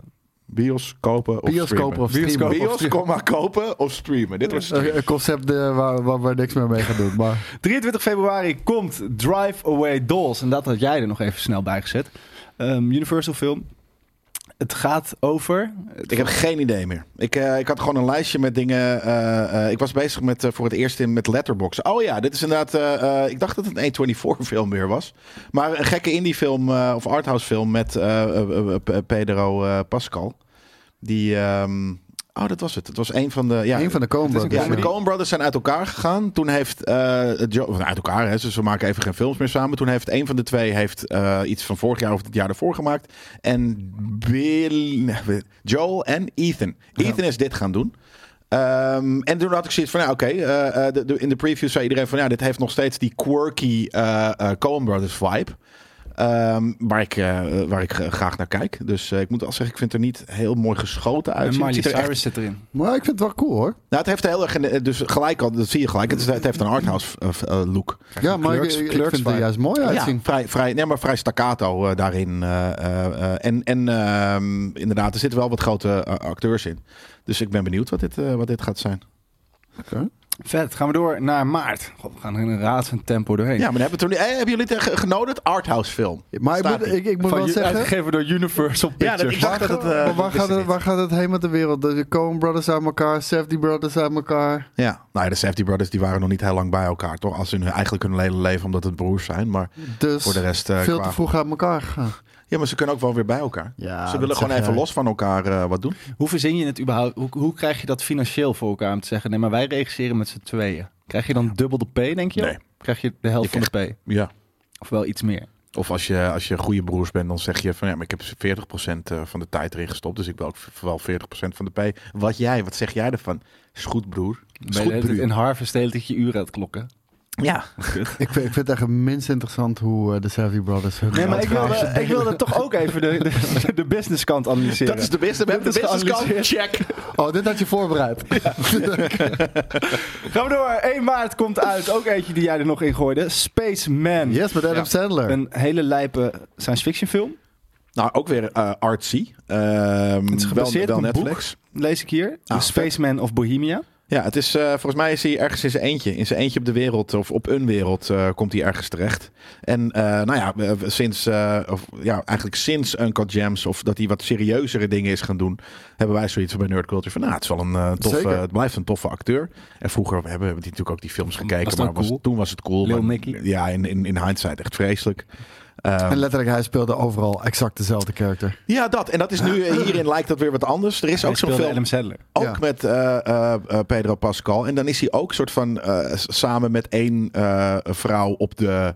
Bios kopen of
Bios kopen of
Bios
streamen.
kopen.
Bios, komma, kopen of streamen. Dit was
Een een concept eh, waar, waar, waar niks meer mee gaat doen. Maar
23 februari komt Drive Away Dolls. En dat had jij er nog even snel bij gezet. Ehm, Universal film. Het gaat over... Eh,
Ik heb geen idee meer. Ik, eh, ik had gewoon een lijstje met dingen. eh, eh, ik was bezig met eh, voor het eerst in met Letterboxd. Oh ja, dit is inderdaad. eh, eh, ik dacht dat het een A24 film weer was. Maar een gekke indie film eh, of arthouse film met eh, eh, eh, P- Pedro eh, Pascal. Die. ehm, oh, dat was het. Het was een van de. Ja,
een van de Coen
het is een
Brothers,
ja, de
ja.
Coen Brothers zijn uit elkaar gegaan. Toen heeft eh, Joe, of uit elkaar, hè, dus we maken even geen films meer samen. Toen heeft een van de twee heeft, eh, iets van vorig jaar of het jaar ervoor gemaakt. En Bill, nee, Joel en Ethan. Ethan is dit gaan doen. Ehm, en toen had ik zoiets van, nou oké, eh, eh, de- de- in de preview zei iedereen van, ja, dit heeft nog steeds die quirky eh eh, Coen Brothers vibe. Ehm, waar, ik, eh, waar ik eh, graag naar kijk. Dus eh, ik moet wel zeggen, ik vind het er niet heel mooi geschoten uit.
En
Het
Miley
ziet er echt
Cyrus zit erin.
Maar ik vind het wel cool hoor.
nou, het heeft heel erg. een- Dus gelijk al, dat zie je gelijk. Het, is, het heeft een arthouse eh, eh, look.
Ja, maar ik-
Clerks-
ik, ik
Clerks
vind het er
vibe.
juist mooi uitzien.
Ja, vrij, vrij, nee, maar vrij staccato eh, daarin. eh, eh, eh, en en ehm, inderdaad, er zitten wel wat grote eh, acteurs in. Dus ik ben benieuwd wat dit, eh, wat dit gaat zijn.
Vet, gaan we door naar maart. God, we gaan er in een raad van tempo doorheen.
Ja, maar dan hebben, we toen, eh, hebben jullie het eh, genoten? Arthouse film.
Maar ik
Staat
moet,
niet.
ik, ik moet
Van
wel
ju-
zeggen...
Uitgegeven door Universal
Ja,
Pictures.
dat, ik dacht dat het. eh,
maar waar
wist ik
gaat, het,
niet.
waar gaat het heen met de wereld? De Coen Brothers uit elkaar, Safety Brothers uit elkaar.
Ja, nou ja, de Safety Brothers die waren nog niet heel lang bij elkaar, toch? Als ze hun, eigenlijk hun hele leven omdat het broers zijn. Maar
Dus
voor de rest. eh,
veel
qua-
te vroeg uit elkaar gegaan.
Ja, maar ze kunnen ook wel weer bij elkaar.
Ja,
ze willen
dat
gewoon
zeg
even
jij.
los van elkaar eh, wat doen.
Hoe verzin je het überhaupt? Hoe, hoe krijg je dat financieel voor elkaar om te zeggen... Nee, maar wij regisseren met z'n tweeën. Krijg je dan dubbel de P, denk je?
Nee.
Krijg je de helft
Je
van de P?
Ja.
Of wel iets meer?
Of als je, als je goede broers bent, dan zeg je van ja, maar ik heb 40% eh, van de tijd erin gestopt. Dus ik wil ook v- wel 40% van de P. Wat jij, wat zeg jij ervan? Is goed, broer. Is
Ben je de
goed,
hele tijd
broer.
in Harvest de hele tijd je uren aan het klokken?
Ja.
Ik vind, ik vind het echt het minst interessant hoe eh, de Savvy Brothers hun
Nee, maar
geld
ik wilde,
gaan
ik wilde toch ook even de, de, de businesskant analyseren.
Dat is de beste. We hebben de
Dit is
beste kant.
geanalyseerd.
Check.
verdienen. Oh, dit had je voorbereid.
Gaan we door. 1 maart komt uit. Ook eentje die jij er nog in gooide. Spaceman.
Yes, met Adam
Ja.
Sandler.
Een hele lijpe science fiction film.
Nou, ook weer eh, artsy. Ehm,
Het is gebaseerd
wel,
op
wel
een boek.
Netflix.
Lees ik hier.
Ah,
Spaceman of Bohemia.
Ja, het is, eh, volgens mij is hij ergens in zijn eentje. In zijn eentje op de wereld of op een wereld eh, komt hij ergens terecht. En eh, nou ja, eh, sinds, eh, of, ja, eigenlijk sinds Uncle Jams of dat hij wat serieuzere dingen is gaan doen, hebben wij zoiets bij Nerd Culture van, nou, het, is wel een, eh, toffe,
Zeker.
het blijft een toffe acteur. En vroeger hebben we die natuurlijk ook die films gekeken,
het
maar
ook cool?
toen was het cool.
Lil
maar,
Nicky.
Ja, in, in, in hindsight echt vreselijk. Ehm,
En letterlijk, hij speelde overal exact dezelfde karakter.
ja, dat. En dat is nu, eh, hierin lijkt dat weer wat anders. Er is
Hij
ook zo'n
speelde
film.
Adam Sandler.
Ook
Ja.
met eh, eh, eh, Pedro Pascal. En dan is hij ook soort van eh, s- samen met één eh, vrouw op, de,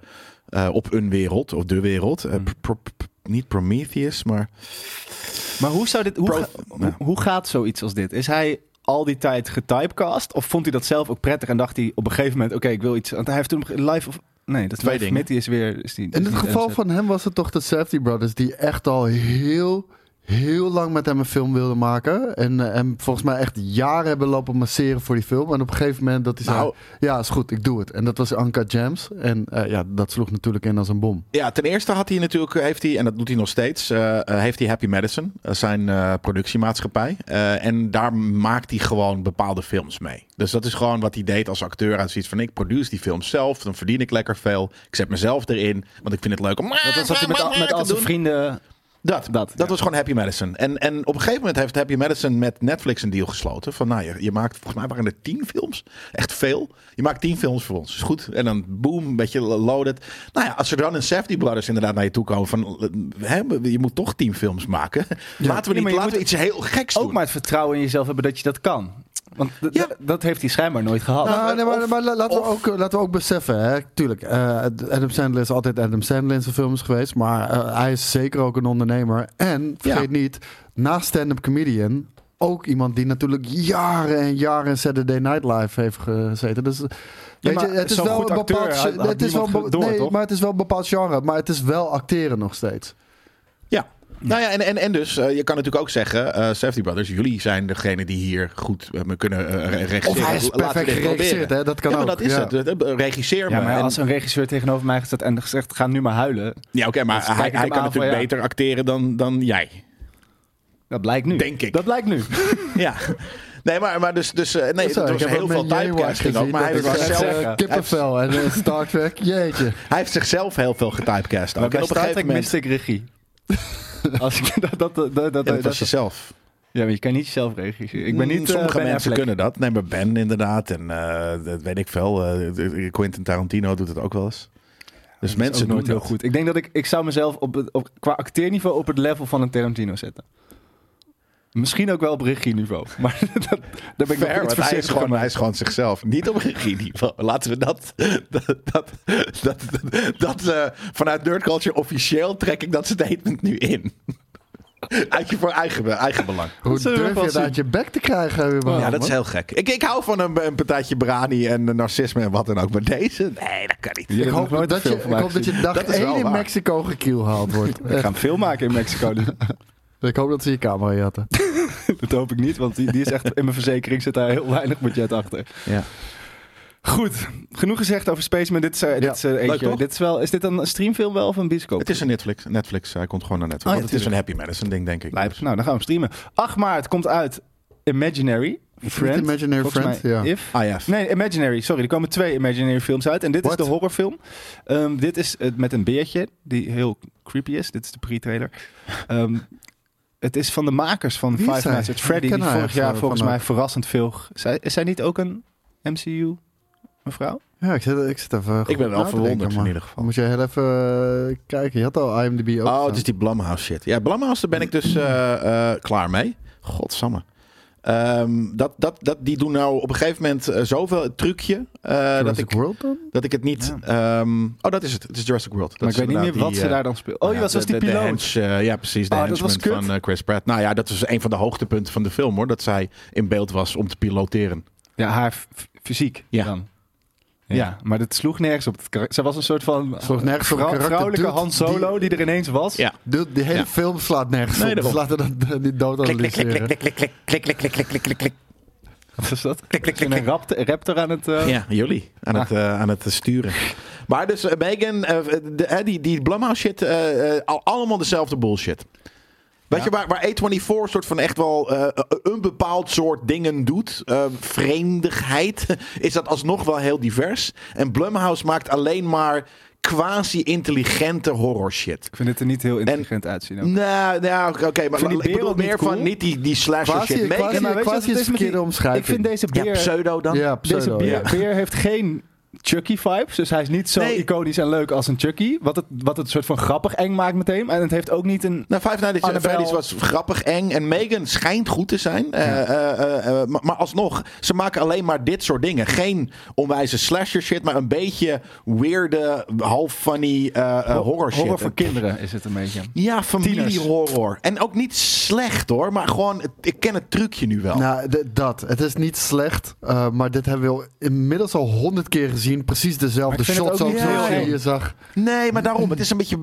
eh, op een wereld, of de wereld. Eh,
Mm.
pr- pr- pr- niet Prometheus, maar.
Maar hoe, zou dit, hoe,
Pro-
ga-
Ja.
hoe, hoe gaat zoiets als dit? Is hij al die tijd getypecast? Of vond hij dat zelf ook prettig en dacht hij op een gegeven moment... Oké, ik wil iets... Want hij heeft toen live... Of, nee, dat
Twee
Live
dingen.
Met die is weer... Is die, is
In het
niet
geval
Adam
van hem was het toch de Safety Brothers die echt al heel, heel lang met hem een film wilden maken. En eh, hem volgens mij echt jaren hebben lopen masseren voor die film. En op een gegeven moment dat hij zei,
Nou.
ja is goed, ik doe het. En dat was Anka Jams. En eh, ja, dat sloeg natuurlijk in als een bom.
Ja, ten eerste had hij natuurlijk, heeft hij, en dat doet hij nog steeds, eh, eh, heeft hij Happy Madison, eh, zijn eh, productiemaatschappij. Eh, en daar maakt hij gewoon bepaalde films mee. Dus dat is gewoon wat hij deed als acteur. Hij zoiets van, ik produce die films zelf, dan verdien ik lekker veel. Ik zet mezelf erin, want ik vind het leuk om...
Sandler? Dat was wat hij met, al- met al zijn vrienden...
Dat, dat,
Dat, ja.
was gewoon Happy Madison. En, en op een gegeven moment heeft Happy Madison met Netflix een deal gesloten. Van nou, je, je maakt, volgens mij waren er tien films. Echt veel. Je maakt tien films voor ons. Is goed. En dan boom, een beetje loaded. Nou ja, als er dan een Safety Brothers inderdaad naar je toe komen. Van eh, hè, je moet toch tien films maken. Laten we, niet,
Ja, maar je
laten we
moet
iets heel geks
ook
doen.
maar het vertrouwen in jezelf hebben dat je dat kan. Want d- d-
Ja.
dat heeft hij schijnbaar nooit gehad.
Nou, nee, maar,
of-
maar la- laten, we ook, eh, laten we ook beseffen, hè. tuurlijk. eh, Adam Sandler is altijd Adam Sandler in zijn films geweest. Maar eh, hij is zeker ook een ondernemer. En vergeet niet, naast stand-up comedian. ook iemand die natuurlijk jaren en jaren in Saturday Night Live heeft gezeten. Dus weet
maar
je, het is
zo'n
wel
goed
een
acteur
bepaald.
had- had
het is wel
niemand
be-
door,
nee,
toch?
maar het is wel een bepaald genre. Maar het is wel acteren nog steeds.
Ja. Nou ja, en, en, en dus, eh, je kan natuurlijk ook zeggen, eh Safety Brothers, jullie zijn degene die hier goed eh, me kunnen eh, re- regisseren.
Of hij is
Laten we
perfect
dit proberen.
geregisseerd, hè? Dat kan
ja, maar
ook,
dat is
ja.
het. Eh, eh, Regisseer
Ja,
me.
maar
En-
als een regisseur tegenover mij staat en gezegd, ga nu maar huilen.
ja oké,
Dus
maar
kijk
hij,
het
hij
hem
kan
aan van,
natuurlijk
ja.
beter acteren dan, dan jij.
Dat blijkt nu.
Denk ik.
Dat blijkt nu.
Ja. Nee, maar, maar dus, dus eh, nee,
Zo,
dat
ik
was
heb
heel
ook
veel
met Jaywalk
typecasting ook,
gezien,
maar hij
dat
heeft,
is,
wou
zichzelf,
eh,
zeggen.
Kippenvel en eh, Star Trek, jeetje.
hij heeft zichzelf heel veel getypecast ook.
Maar
En
bij
op een
Star
gegeven
Trek
moment...
miste ik regie. Als ik dat, dat, dat, dat,
Ja,
dat,
dat was jezelf.
ja, maar je kan niet zelf regisseren. Ik ben niet
Mm,
eh,
Sommige
Ben
mensen
Affleck.
kunnen dat. Nee, maar Ben inderdaad. En eh, dat weet ik veel. eh, Quentin Tarantino doet het ook wel eens. Dus
Dat is
mensen
ook nooit
doen
heel
dat.
goed. Ik denk dat ik, ik zou mezelf op het, op, qua acteerniveau op het level van een Tarantino zetten. Misschien ook wel op regieniveau. Maar dat, daar ben ik
Fair,
nog
want hij
iets
is,
voorzichtig
gewoon,
van.
hij is gewoon zichzelf. Niet op regieniveau. Laten we dat... Dat, dat, dat, dat eh, vanuit Nerd Culture officieel trek ik dat statement nu in. Uit je voor eigen, eigen belang.
Hoe
zullen we
durf
wel
je dat
zien.
uit je bek te krijgen? überhaupt,
Ja, dat
man?
is heel gek. Ik, ik hou van een, een partijtje brani en een narcisme en wat dan ook. Maar deze? Nee, dat kan niet.
Ik hoop, dat je, ik hoop dat je dag
Dat is wel
1 in
waar.
Mexico gekielhaald wordt.
We
Echt.
gaan film maken in Mexico. nu.
Ik hoop dat ze je camera jatten.
dat hoop ik niet, want die, die is echt in mijn verzekering zit daar heel weinig budget achter.
Ja.
Goed, genoeg gezegd over Spaceman. Dit is, eh,
Ja,
dit is, eh, eentje-
toch?
dit is, wel, is dit een streamfilm wel of een bioscoop?
Het is een Netflix. Netflix, hij komt gewoon naar Netflix.
Oh, ja,
want het is een Happy Madison ding, denk ik.
Lijp. Nou, dan gaan we hem streamen. 8 maart komt uit Imaginary. Friend.
Imaginary
Volgens
Friend,
mij
ja.
If.
Ah ja.
Nee, Imaginary. Sorry, er komen twee Imaginary films uit. En dit
What?
is de horrorfilm. Ehm, dit is het met een beertje, die heel creepy is. Dit is de pre-trailer. Ehm, het is van de makers van
Wie is
Five
hij?
Nights at
Ik
Freddy.
ken
Die
haar
vorig jaar
van-
volgens
van
mij verrassend veel... ge- Zij, is zij niet ook een MCU mevrouw?
Ja, ik zit, ik zit even.
Ik ben wel verwonderd in ieder geval.
Moet je heel even eh, kijken. Je had al IMDb ook.
Oh, het is die Blumhouse shit. Ja, Blumhouse, daar ben ik dus eh, eh, klaar mee. Godsamme. Ehm, dat, dat, dat, die doen nou op een gegeven moment eh, zoveel het trucje eh, dat, ik,
World dan?
dat ik het niet... ehm, oh, dat is het. Het is Jurassic World. Dat
maar
is
ik weet niet meer
inderdaad
wat
die,
ze
eh,
daar dan speelt. Oh,
ja,
ja, dat was
de-
die
de- de
piloot.
hench, eh, ja, precies. De
Oh, dat
henchman
was kut.
van eh, Chris Pratt. Nou ja, dat was een van de hoogtepunten van de film hoor. Dat zij in beeld was om te piloteren.
Ja, haar f- fysiek
Ja.
dan. Ja.
Ja.
maar dat sloeg nergens op. Het kar- Zij was een soort van
Sloeg nergens op het karakter.
vrouwelijke
Dude,
Han Solo die... er ineens was.
Ja.
De, die hele
Ja.
film slaat nergens
Nee,
op. Dus
daarom.
laten we dat niet dood analyseren.
Wat is dat? Is er een rapt- raptor aan het... eh,
Ja, jullie. Aan, het, eh, aan het eh, sturen. Maar dus eh, Megan, eh, de- eh, die, die Blumhouse shit, eh, eh, al- allemaal dezelfde bullshit. Weet
Ja.
je, waar, waar A24 soort van echt wel eh, een bepaald soort dingen doet, eh, vreemdigheid, is dat alsnog wel heel divers. En Blumhouse maakt alleen maar quasi-intelligente horror shit.
Ik vind het er niet heel intelligent uitzien. ook.
Nou, nou oké, oké,
Vind
maar
die
ik bedoel
wereld niet
meer
cool?
van niet die, die slasher
Quasi-
shit. Megan-
quasi-
maar weet je wat
quasi
het
is
is met die-
verkeerde omschrijving.
Ik vind deze beer...
ja, pseudo dan.
Ja,
deze
pseudo.
beer,
ja.
beer heeft geen Chucky vibes. Dus hij is niet zo
Nee.
iconisch en leuk als een Chucky. Wat het, wat het soort van grappig eng maakt meteen. En het heeft ook niet een...
Nou, Five Nights at
Annabelle.
Freddy's was grappig, eng. En Megan schijnt goed te zijn. Eh, eh, eh, eh, maar, maar alsnog, ze maken alleen maar dit soort dingen. Geen onwijze slasher shit, maar een beetje weirde, half funny eh, eh, horror shit.
Horror voor kinderen is het een beetje.
ja,
Tieners.
familiehorror. En ook niet slecht hoor, maar gewoon, het- ik ken het trucje nu wel.
Nou, d- dat. Het is niet slecht, eh, maar dit hebben we al inmiddels al honderd keer gezien. Precies
Maar
dezelfde
ik vind het
shots
ook
ook
niet
zoals
heel
je hier zag.
Nee, maar daarom, het is een beetje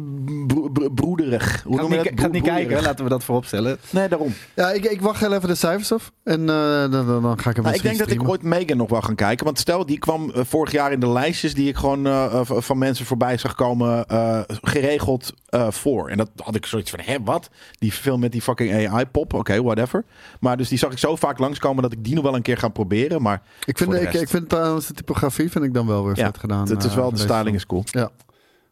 bro- bro- broederig. Hoe
Gaat
noem je
niet,
dat?
gaat niet
Broederig.
kijken, laten we dat vooropstellen.
Nee, daarom.
Ja, ik, ik wacht heel even de cijfers af en eh, dan, dan- dan ga ik hem
Nou, ik
misschien
denk dat ik
streamen.
ooit Megan nog wel gaan kijken. Want stel, die kwam eh, vorig jaar in de lijstjes die ik gewoon eh, eh, van mensen voorbij zag komen. eh, geregeld eh, voor. En dat had ik zoiets van: hè, wat? Die film met die fucking AI-pop. Oké, whatever. Maar dus die zag ik zo vaak langskomen dat ik die nog wel een keer ga proberen. Maar
Ik vind,
voor de
ik,
rest.
ik vind trouwens de typografie vind ik dan wel weer
Ja,
vet gedaan.
het is
eh,
wel,
van
de
deze
styling
film.
is cool.
Ja.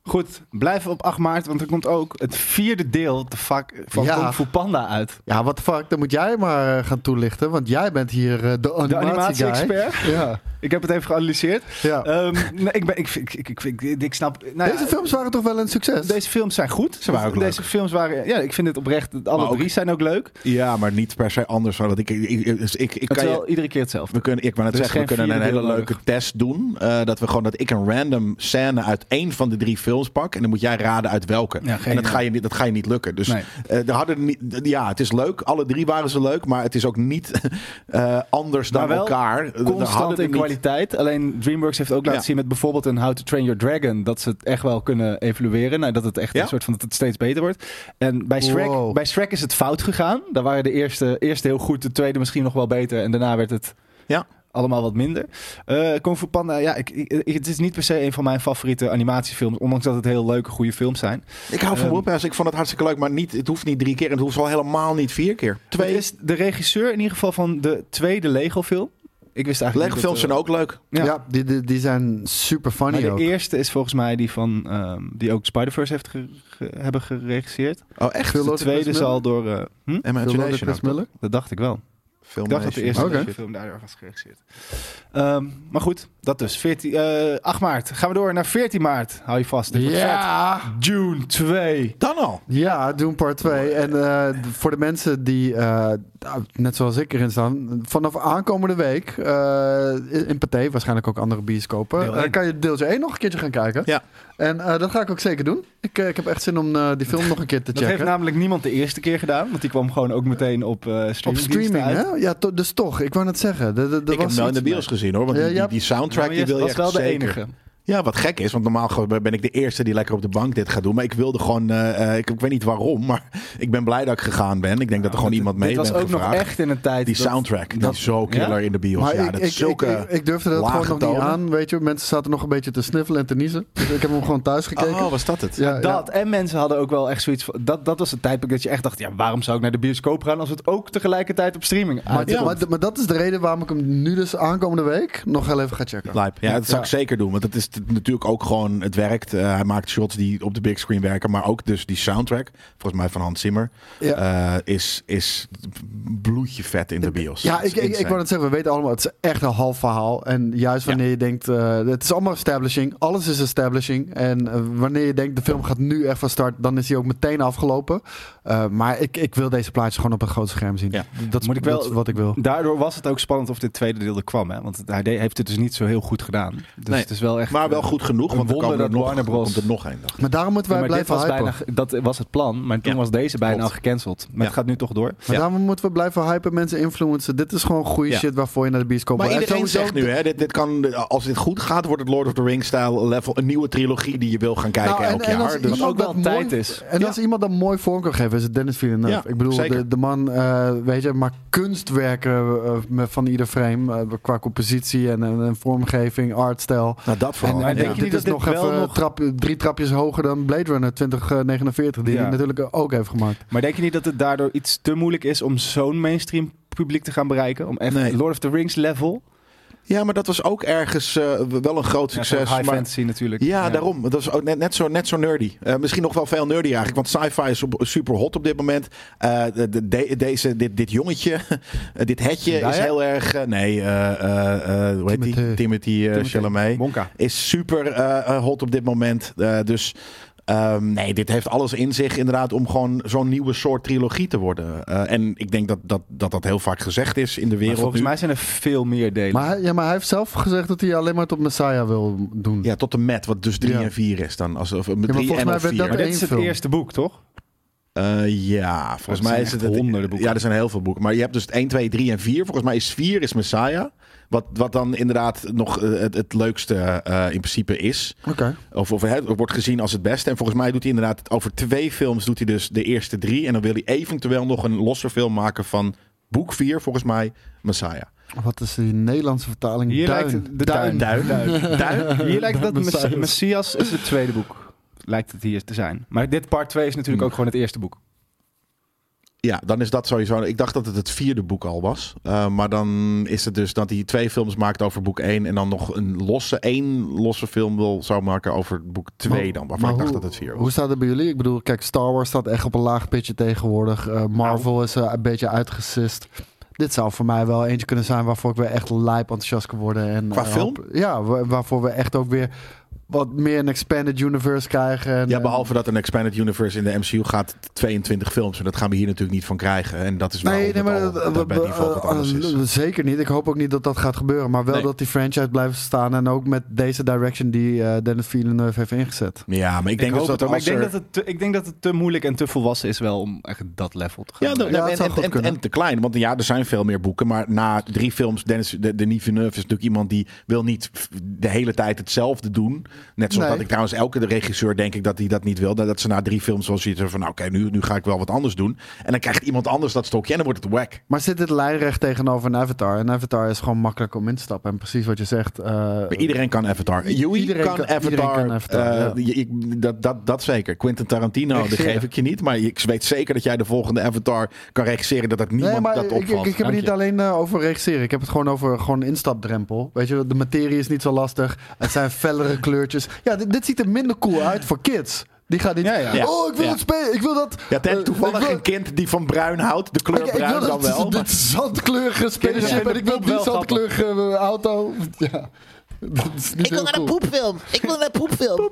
Goed, blijf op 8 maart, want er komt ook het vierde deel the fuck, van
Ja.
Kung Fu Panda uit.
ja, wat fuck, dan moet jij maar eh, gaan toelichten, want jij bent hier eh, de
De
animatie guy.
animatie-expert.
Ja,
Ik heb het even geanalyseerd.
ja.
Ehm, nee, ik, ben, ik, ik, ik, ik, ik, ik snap... nou ja,
deze films waren toch wel een succes?
deze films zijn goed. Ze
waren ook leuk.
Deze films waren... Ja, ik vind het oprecht... Alle
Maar ook-
drie zijn ook leuk.
Ja, maar niet per se anders. Want ik, ik, ik, ik- ik
Het
kan
is
je-
wel iedere keer hetzelfde.
We kunnen, ik wou net
Er is
zeggen, we
geen
kunnen een
vierde
hele
deel
leuke test doen. Eh, dat we gewoon dat ik een random scène uit één van de drie films films pak. En dan moet jij raden uit welke.
Ja, geen
en dat
idee.
ga, je, niet- dat ga je niet lukken. Dus
Nee.
eh, er hadden niet, ja, het is leuk. Alle drie waren ze leuk. Maar het is ook niet eh, anders dan
Maar wel
elkaar. Er hadden
constant
er
in
niet-
kwaliteit. Alleen DreamWorks heeft ook laten
Ja.
zien met bijvoorbeeld een How to Train Your Dragon dat ze het echt wel kunnen evalueren. Nou, dat het echt
Ja.
een soort van dat het steeds beter wordt. En bij Shrek,
Wow.
bij Shrek is het fout gegaan. Daar waren de eerste, eerste heel goed, de tweede misschien nog wel beter en daarna werd het
Ja.
allemaal wat minder. Eh Kung Fu Panda, ja, ik, ik- het is niet per se een van mijn favoriete animatiefilms, ondanks dat het heel leuke, goede films zijn.
Ik hou van
Ehm,
Woodhouse. Ik vond het hartstikke leuk. Maar niet, het hoeft niet drie keer. En het hoeft al helemaal niet vier keer.
Het
Twee
is de regisseur in ieder geval van de tweede Lego-film. Ik wist eigenlijk niet dat,
Lego-films
eh,
zijn ook leuk.
Ja.
Ja, die, die, die zijn super
Maar
funny
de
ook.
eerste is volgens mij die van ehm, die ook Spider-Verse heeft ge- ge- hebben geregisseerd. Dus
Oh, echt?
Veel
de
Lord of
tweede
Chris
zal door. eh, hm?
Veel Lord of
Imagination.
Chris
ook.
Miller.
Dat dacht ik wel. Ik dacht dat de
Filmation.
eerste
Oké.
film daardoor was geregisseerd. Ehm, maar goed, dat dus. 14, eh, 8 maart. Gaan we door naar 14 maart. Hou je vast. dit wordt
Ja!
vet. June 2.
Oh, Dan al.
Ja, Doom Part 2. En eh, voor de mensen die, eh, net zoals ik erin staan, vanaf aankomende week eh, in Pathé, waarschijnlijk ook andere bioscopen,
Deel
eh,
één.
kan je deeltje 1 nog een keertje gaan kijken.
Ja.
En eh, dat ga ik ook zeker doen. Ik, eh, ik heb echt zin om eh, die film nog een keer te
Dat heeft
nou
checken.
namelijk niemand de eerste keer gedaan. Want die kwam gewoon ook meteen op eh Nou,
Op
streaming.
streaming, hè? Ja, to- dus toch. Ik wou net zeggen. De, de, de
Ik heb hem wel in de bios gezien hoor. Want die,
Ja, ja.
die, die soundtrack die wil je
was
echt
wel de
zeker.
enige.
Ja, wat gek is. Want normaal gewoon ben ik de eerste die lekker op de bank dit gaat doen. Maar ik wilde gewoon... eh, eh, ik, ik weet niet waarom, maar ik ben blij dat ik gegaan ben. Ik denk dat er gewoon
Want
iemand mee
Dit was
bent
ook
gevraagd.
nog echt in een tijd.
Die
dat-
soundtrack, die
dat-
is zo killer
Ja?
in de bios.
Maar
ja,
ik,
dat
ik,
is zulke...
ik, ik, ik durfde dat gewoon
lage
nog niet
tonen.
aan. Weet je, mensen zaten nog een beetje te sniffelen en te niezen. Dus ik heb hem gewoon thuis gekeken.
oh, was dat het?
ja, ja.
Dat. En mensen hadden ook wel echt zoiets van... Dat, dat was het tijdperk dat je echt dacht... Ja, waarom zou ik naar de bioscoop gaan als het ook tegelijkertijd op streaming
Maar,
uitkomt?
maar, maar Ah, dat is de reden waarom ik hem nu dus aankomende week nog heel even ga checken.
Lijp. Ja, dat zou ik zeker doen. Want het is t- natuurlijk ook gewoon, het werkt. Eh, hij maakt shots die op de big screen werken. Maar ook dus die soundtrack, volgens mij van Hans Zimmer,
Ja.
eh, is, is bloedje vet in de bios.
Ja,
Dat is
ik, ik, ik
insane.
wou het zeggen, we weten allemaal, het is echt een half verhaal. En juist wanneer je denkt, eh, het is allemaal establishing, alles is establishing. En eh, wanneer je denkt, de film gaat nu echt van start, dan is hij ook meteen afgelopen. Eh, maar ik, ik wil deze plaatjes gewoon op een groot scherm zien.
Ja.
Dat, is-
Moet ik wel-
dat is wat ik wil.
Daardoor was het ook spannend of dit tweede deel er kwam. Hè? Want hij deed- heeft het dus niet zo heel goed gedaan. Dus
Nee.
het is wel echt...
Maar wel
eh,
goed genoeg,
een
want er
wonder
komen er
dat
nog,
Warner Bros.
komt er nog één. dacht ik.
Maar daarom moeten wij
maar dit
blijven
was
hypen.
bijna, dat was het plan, maar toen
Ja.
was deze bijna
Klopt.
al gecanceld. Maar het
Ja.
gaat nu toch door.
Maar
Ja.
daarom moeten we blijven hypen, mensen influencen. Dit is gewoon goede
Ja.
shit waarvoor je naar de bioscoop
Maar
wil. En
iedereen
sowieso-
zegt nu, hè, dit, dit kan, als dit goed gaat, wordt het Lord of the Rings-stijl level. Een nieuwe trilogie die je wil gaan kijken
Nou, en-
elk
en als
jaar. Dus
iemand
ook wel
dat
tijd
mooi-
is.
En
Ja.
als iemand dat mooi vorm kan geven, is het Dennis Villeneuve.
Ja,
ik bedoel, de,
zeker.
de man, eh, weet je, maar kunstwerken eh, met- van ieder frame. eh, qua compositie en, en, en vormgeving, artstijl.
nou, dat
En,
vooral.
en
Ja.
dit,
je niet
dit
dat
is
dit
nog
wel
even
nog-
trap- drie trapjes hoger dan Blade Runner 2049, die
Ja.
hij natuurlijk ook heeft gemaakt.
Maar denk je niet dat het daardoor iets te moeilijk is om zo'n mainstream publiek te gaan bereiken? Om echt
Nee.
Lord of the Rings level?
ja, maar dat was ook ergens eh, wel een groot succes.
high
maar
fantasy natuurlijk.
Ja, daarom. Dat is ook net, net, zo, net zo nerdy. Eh, misschien nog wel veel nerdy eigenlijk. Want sci-fi is op, super hot op dit moment. Eh, de, de- de- deze, dit, dit jongetje, eh, dit hetje
Zendaya?
is heel erg... eh, nee, eh, eh, eh, hoe heet die?
Timothée.
Timothy eh,
Timothée.
Chalamet.
Monka.
Is super eh, eh, hot op dit moment. Eh, dus ehm, nee, dit heeft alles in zich inderdaad om gewoon zo'n nieuwe soort trilogie te worden. Eh, en ik denk dat dat, dat dat heel vaak gezegd is in de wereld
volgens
nu.
mij zijn er veel meer delen.
Maar hij, ja, maar hij heeft zelf gezegd dat hij alleen maar tot Messiah wil doen.
Ja, tot de met, wat dus drie
Ja.
en vier is dan. Alsof, ja,
volgens
drie en
mij
of
werd dat
vier.
Maar dit
één
is het
film.
eerste boek, toch?
Eh, ja, volgens
zijn
mij is
echt
het,
honderden boeken.
Ja, er zijn heel veel boeken. Maar je hebt dus het 1, 2, 3 en 4. Volgens mij is 4 is Messiah. Wat, wat dan inderdaad nog eh, het, het leukste eh, in principe is.
Oké.
Of, of het wordt gezien als het beste. En volgens mij doet hij inderdaad over twee films doet hij dus de eerste drie. En dan wil hij eventueel nog een losse film maken van boek 4, volgens mij Messiah.
Wat is die Nederlandse vertaling?
Hier
Duin.
lijkt het- de
Duin.
duin. Duin. Hier lijkt het dat
Messias.
Messias. Messias is het tweede boek. Lijkt het hier te zijn. Maar dit part 2 is
Hmm.
natuurlijk ook gewoon het eerste boek.
Ja, dan is dat sowieso. Ik dacht dat het het vierde boek al was. Eh, maar dan is het dus dat hij twee films maakt over boek 1. En dan nog een losse, één losse film wil, zou maken over boek 2 dan. Waarvan
maar
ik dacht
hoe,
dat het vier was.
Hoe staat het bij jullie? Ik bedoel, kijk, Star Wars staat echt op een laag pitje tegenwoordig. Eh, Marvel is eh, een beetje uitgesist. Dit zou voor mij wel eentje kunnen zijn waarvoor ik weer echt lijp enthousiast kan worden. En,
Qua
eh,
film?
hoop- ja, wa- waarvoor we echt ook weer wat meer een expanded universe krijgen. En,
Ja,
eh,
behalve dat een Expanded Universe in de MCU gaat 22 films. En dat gaan we hier natuurlijk niet van krijgen. En dat is waarom
Nee,
nee,
nee, maar
al,
dat-
dat
dat-
bij default wat
eh,
anders is.
eh, zeker niet. Ik hoop ook niet dat dat gaat gebeuren. Maar wel
Nee.
dat die franchise blijft staan. En ook met deze direction die eh, Dennis Villeneuve heeft ingezet.
Ja, maar ik
Ik
denk
hoop
dat
het
dat
ook, maar
als
ik denk
er-
dat het te- ik denk dat het te moeilijk en te volwassen is wel om echt dat level te gaan.
Ja, dat,
Ja,
en,
het zou
en-
goed
en-
kunnen.
en te klein. Want ja, er zijn veel meer boeken. Maar na drie films, Dennis, de, de Nieuwe Villeneuve is natuurlijk iemand die wil niet f- de hele tijd hetzelfde doen. Net zoals
Nee.
dat ik trouwens elke regisseur denk ik dat die dat niet wil. Dat- Dat ze na drie films wel zitten van nou, oké, nu, nu ga ik wel wat anders doen. En dan krijgt iemand anders dat stokje en dan wordt het whack.
Maar zit dit lijnrecht tegenover een Avatar? En Avatar is gewoon makkelijk om in te stappen. En precies wat je zegt. eh,
Maar iedereen kan Avatar. Joey
Iedereen
kan,
kan- iedereen
Avatar.
kan Avatar,
Eh, je- ik- dat, dat, dat zeker. Quentin Tarantino, dat
Regisseren.
geef ik je niet. Maar ik weet zeker dat jij de volgende Avatar kan regisseren. Dat dat niemand
Nee, maar
dat
ik-
opvalt.
ik, ik, heb
Dank
het
je.
niet alleen eh, over regisseren. Ik heb het gewoon over gewoon instapdrempel. Weet je, de materie is niet zo lastig. Het zijn fellere kleurtjes. Ja, dit, dit ziet er minder cool uit voor kids. Die gaan niet...
Ja, ja.
Oh, ik wil
Ja.
het spelen. Ik wil dat...
Ja, ten
eh,
toevallig
ik wil-
een kind die van bruin houdt. De kleur
Ik- ik
bruin
wil
dan
dat-
wel. maar-
Dit zandkleurige spaceship
vinden
en ik wil
poep
die
wel
zandkleurige eh, auto. Ja. Dat is niet
Ik wil
heel
naar
cool.
een poepfilm. Ik wil naar een poepfilm.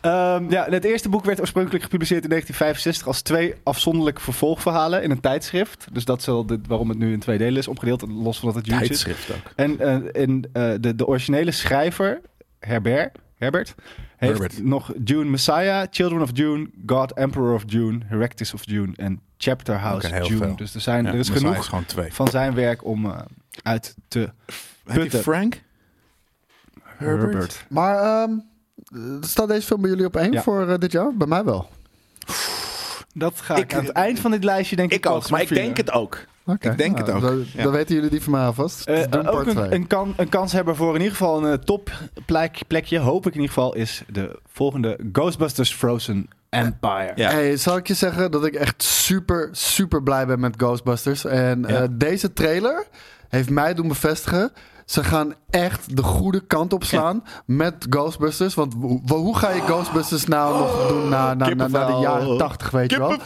Ehm, ja, het eerste boek werd oorspronkelijk gepubliceerd in 1965 als twee afzonderlijke vervolgverhalen in een tijdschrift. Dus dat is wel de- waarom het nu in twee delen is opgedeeld, los van dat het juist is.
Tijdschrift ook.
En eh, in, eh, de, de originele schrijver, Herbert, Herbert heeft
Herbert.
nog June Messiah, Children of June, God Emperor of June, Heractus of June en Chapter House
Oké, heel
June.
veel.
Dus er, zijn,
Ja,
er is
maar zij
genoeg
is gewoon twee.
van zijn werk om eh, uit te
Heb je
putten.
Frank? Herbert?
Maar ehm, eh, staat deze film bij jullie op één
Ja.
voor eh, dit jaar? Bij mij wel.
Dat ga ik,
Ik-
aan het eind van dit lijstje denk ik
Ik ook,
pas
maar ik
vieren.
denk het ook.
Oké.
Ik denk het
Nou,
ook.
Dan,
Ja.
dan weten jullie die van mij alvast.
Eh,
Dus doen
ook
part
een,
twee.
een, kan, een kans hebben voor in ieder geval een topplekje, plekje, hoop ik in ieder geval, is de volgende Ghostbusters Frozen Empire.
Ja.
Hey, zal ik je zeggen dat ik echt super, super blij ben met Ghostbusters. En eh, deze trailer heeft mij doen bevestigen. Ze gaan echt de goede kant op slaan met Ghostbusters. Want hoe, hoe ga je Ghostbusters nou nog doen na, na, na, na de
kippenvel.
jaren tachtig, weet je wel?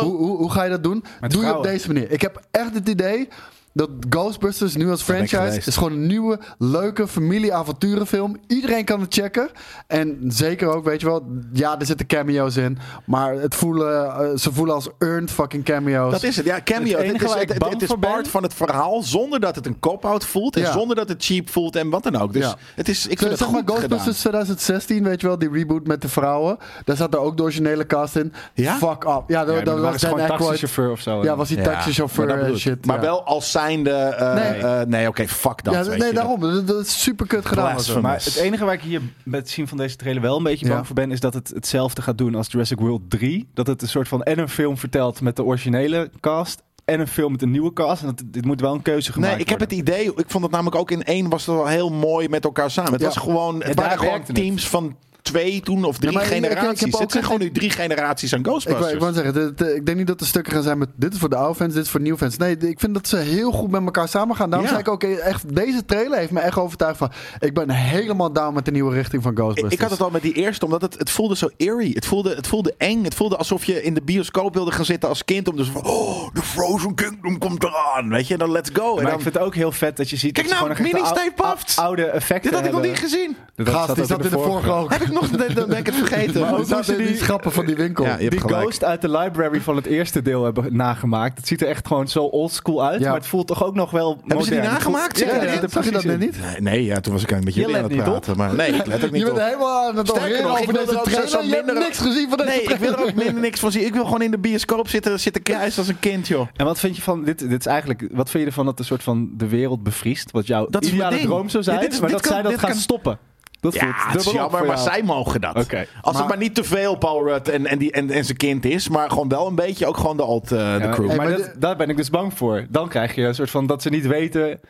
Hoe, hoe, hoe ga je dat doen? Doe je op
vrouwen.
deze manier. Ik heb echt het idee dat Ghostbusters nu als
ik
franchise
geweest.
is gewoon een nieuwe, leuke familieavonturenfilm. Iedereen kan het checken. En zeker ook, weet je wel, ja, er zitten cameo's in. Maar het voelen, eh, ze voelen als earned fucking cameo's.
Dat is het. Ja, cameo.
Het
Het,
enige
is,
waar
het,
ik
het-
bang
het is
voor ben-
part van het verhaal zonder dat het een cop-out voelt. En
Ja.
zonder dat het cheap voelt en wat dan ook. Dus
Ja.
het is, ik
Zeg-
vind het
Eh, zeg maar
goed gedaan.
Ghostbusters 2016, weet je wel, die reboot met de vrouwen. Daar zat er ook de originele cast in.
Ja?
Fuck up. Ja,
Ja, maar
dat dat
dan
was
waren ze
Dan
gewoon
Aykroyd.
taxichauffeur of zo.
Ja, was die
Ja, maar dat
taxichauffeur en
bedoel ik.
shit.
Maar
ja.
wel als zijnde... eh,
Nee.
eh, nee, oké, fuck dat.
Ja,
weet
nee,
je.
daarom. Dat, dat is super kut gedaan. was het.
Blasphemous.
Maar het enige waar ik hier met het zien van deze trailer wel een beetje
Ja.
bang voor ben, is dat het hetzelfde gaat doen als Jurassic World 3. Dat het een soort van en een film vertelt met de originele cast en een film met een nieuwe cast. En dat, dit moet wel een keuze gemaakt
Nee, ik heb het idee. Ik vond het namelijk ook in één was het wel heel mooi met elkaar samen. Het
Ja.
was gewoon, het
daar
waren gewoon
werkte het.
teams van twee toen of drie
Ja, maar ik- ik- ik heb
generaties.
ook
het zijn
een-
gewoon nu drie generaties aan
Ik,
Ghostbusters.
wou- ik wou zeggen, dit- eh, ik denk niet dat er stukken gaan zijn met dit is voor de oude fans, dit is voor de nieuwe fans. Nee, d- ik vind dat ze heel goed met elkaar samen gaan. Daarom
Ja.
zei ik ook, eh, echt, deze trailer heeft me echt overtuigd van, ik ben helemaal down met de nieuwe richting van
Ik-
Ghostbusters.
Ik had het al met die eerste, omdat het, het voelde zo eerie. Het voelde, het voelde eng. Het voelde alsof je in de bioscoop wilde gaan zitten als kind. Om dus van, oh, The Frozen Kingdom komt eraan. Weet je, en dan let's go. En
Maar
dan-
ik vind het ook heel vet dat je ziet
Kijk
dat ze
nou,
gewoon nog echt de
Mini Stay
ou-
Puft.
ou- oude effecten
dit had ik nog
hebben.
niet gezien.
Dat
Gast,
zat
die
ook
zat in de vorige ook.
Heb ik nog, dan ben ik het vergeten.
Maar ook hoe
Er
ze
zaten die
die-
schappen van die winkel.
Ja, je hebt
die
gelijk.
ghost uit de library van het eerste deel hebben nagemaakt. Het ziet er echt gewoon zo oldschool uit,
Ja.
maar het voelt toch ook nog wel modern.
Hebben ze die nagemaakt?
Het
Zit
voelt-
je
Ja,
erin?
ja,
Zag je dat
precies.
net niet?
Nee, nee, ja, toen was ik met jullie
Je
aan
let
het
niet
praten. Maar nee, ik let ook
Je
niet
bent
op.
helemaal aan het
Sterker
oreren
nog, ik
over
wil er
deze
ook zelfs
trailer.
al
Je hebt
minder-
niks gezien van deze
Nee, ik
trailer.
wil er ook minder niks van zien. Ik wil gewoon in de bioscoop zitten, zitten kruisen als een kind, joh.
En wat vind je van dit? Dit is eigenlijk. Wat vind je ervan dat een soort van de wereld bevriest? Wat jouw
Dat is
ideale
mijn ding.
droom zou zijn,
Ja, dit is-
maar
dit
dat
kan-
zij dat
dit
gaan
kan-
stoppen. Dat
Ja, het is jammer, maar zij mogen dat.
Oké.
Als
Maar-
het maar niet te veel Paul Rudd en, en, die, en, en zijn kind is, maar gewoon wel een beetje ook gewoon de alt eh, de crew.
maar
maar
dat-
dit-
daar ben ik dus bang voor. Dan krijg je een soort van dat ze niet weten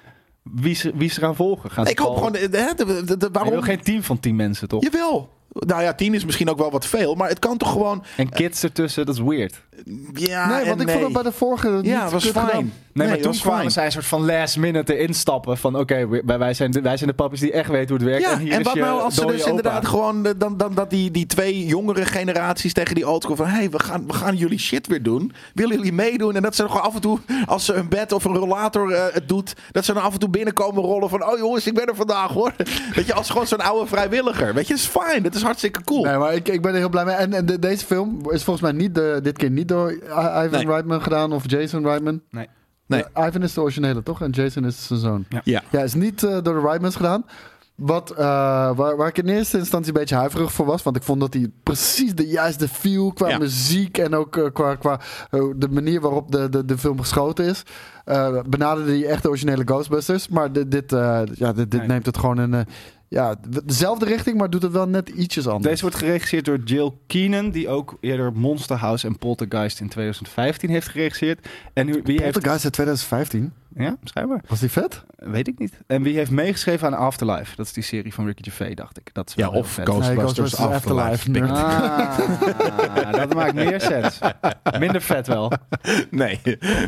wie ze, wie ze gaan volgen. Gaan ze
ik hoop
al-
gewoon, eh, hè, de- de- de-
Je
waarom?
wil geen team van tien mensen toch?
Jawel. Nou ja, tien is misschien ook wel wat veel, maar het kan toch gewoon...
En kids ertussen, dat is weird.
Ja,
nee,
en
want ik vond dat bij de vorige niet
Ja, het was
kut
fijn.
gedaan.
Nee, maar
het
toen
was
kwamen
fijn.
zij een soort van last minute instappen. Van oké, we- wij, wij zijn de, wij zijn de pappies die echt weten hoe het werkt.
Ja,
en, hier
en
is
wat
je
nou als ze
dode
dus
opa.
inderdaad gewoon... eh, Dan, dan, dat die, die twee jongere generaties tegen die old school van... hey, we, gaan, we gaan jullie shit weer doen. Willen jullie meedoen? En dat ze gewoon af en toe, als ze een bed of een rollator eh, het doet... dat ze dan af en toe binnenkomen rollen van... oh jongens, ik ben er vandaag hoor. Weet je, als gewoon zo'n oude vrijwilliger. Weet je, dat is fijn. Dat is hartstikke cool.
Nee, maar ik, ik ben er heel blij mee. En, en de- deze film is volgens mij niet de, dit keer niet door I- Ivan
Nee.
Reitman gedaan of Jason Reitman.
Nee.
Nee.
Eh, Ivan is de originele, toch? En Jason is zijn zoon.
Ja.
Ja.
Ja, is niet eh, door de Reitmans gedaan. Wat, eh, waar, waar ik in eerste instantie een beetje huiverig voor was. Want ik vond dat hij precies de juiste feel qua
Ja.
muziek en ook eh, qua, qua eh, de manier waarop de, de, de film geschoten is. eh, benaderde hij echt de originele Ghostbusters. Maar dit, dit, eh, ja, dit, dit
Nee.
neemt het gewoon in eh, ja, dezelfde richting, maar doet het wel net ietsjes anders.
Deze wordt geregisseerd door Jill Keenan, die ook eerder Monster House en Poltergeist in 2015 heeft geregisseerd. En nu- wie heeft...
Poltergeist uit 2015.
Ja, schijnbaar.
Was die vet?
Weet ik niet. En wie heeft meegeschreven aan Afterlife? Dat is die serie van Ricky Gervais, dacht ik. Dat is wel
Ja,
heel
of
vet.
Ghostbusters,
Nee, Ghostbusters Afterlife.
Afterlife. Pik-
Ah, dat maakt meer sens. Minder vet wel.
Nee,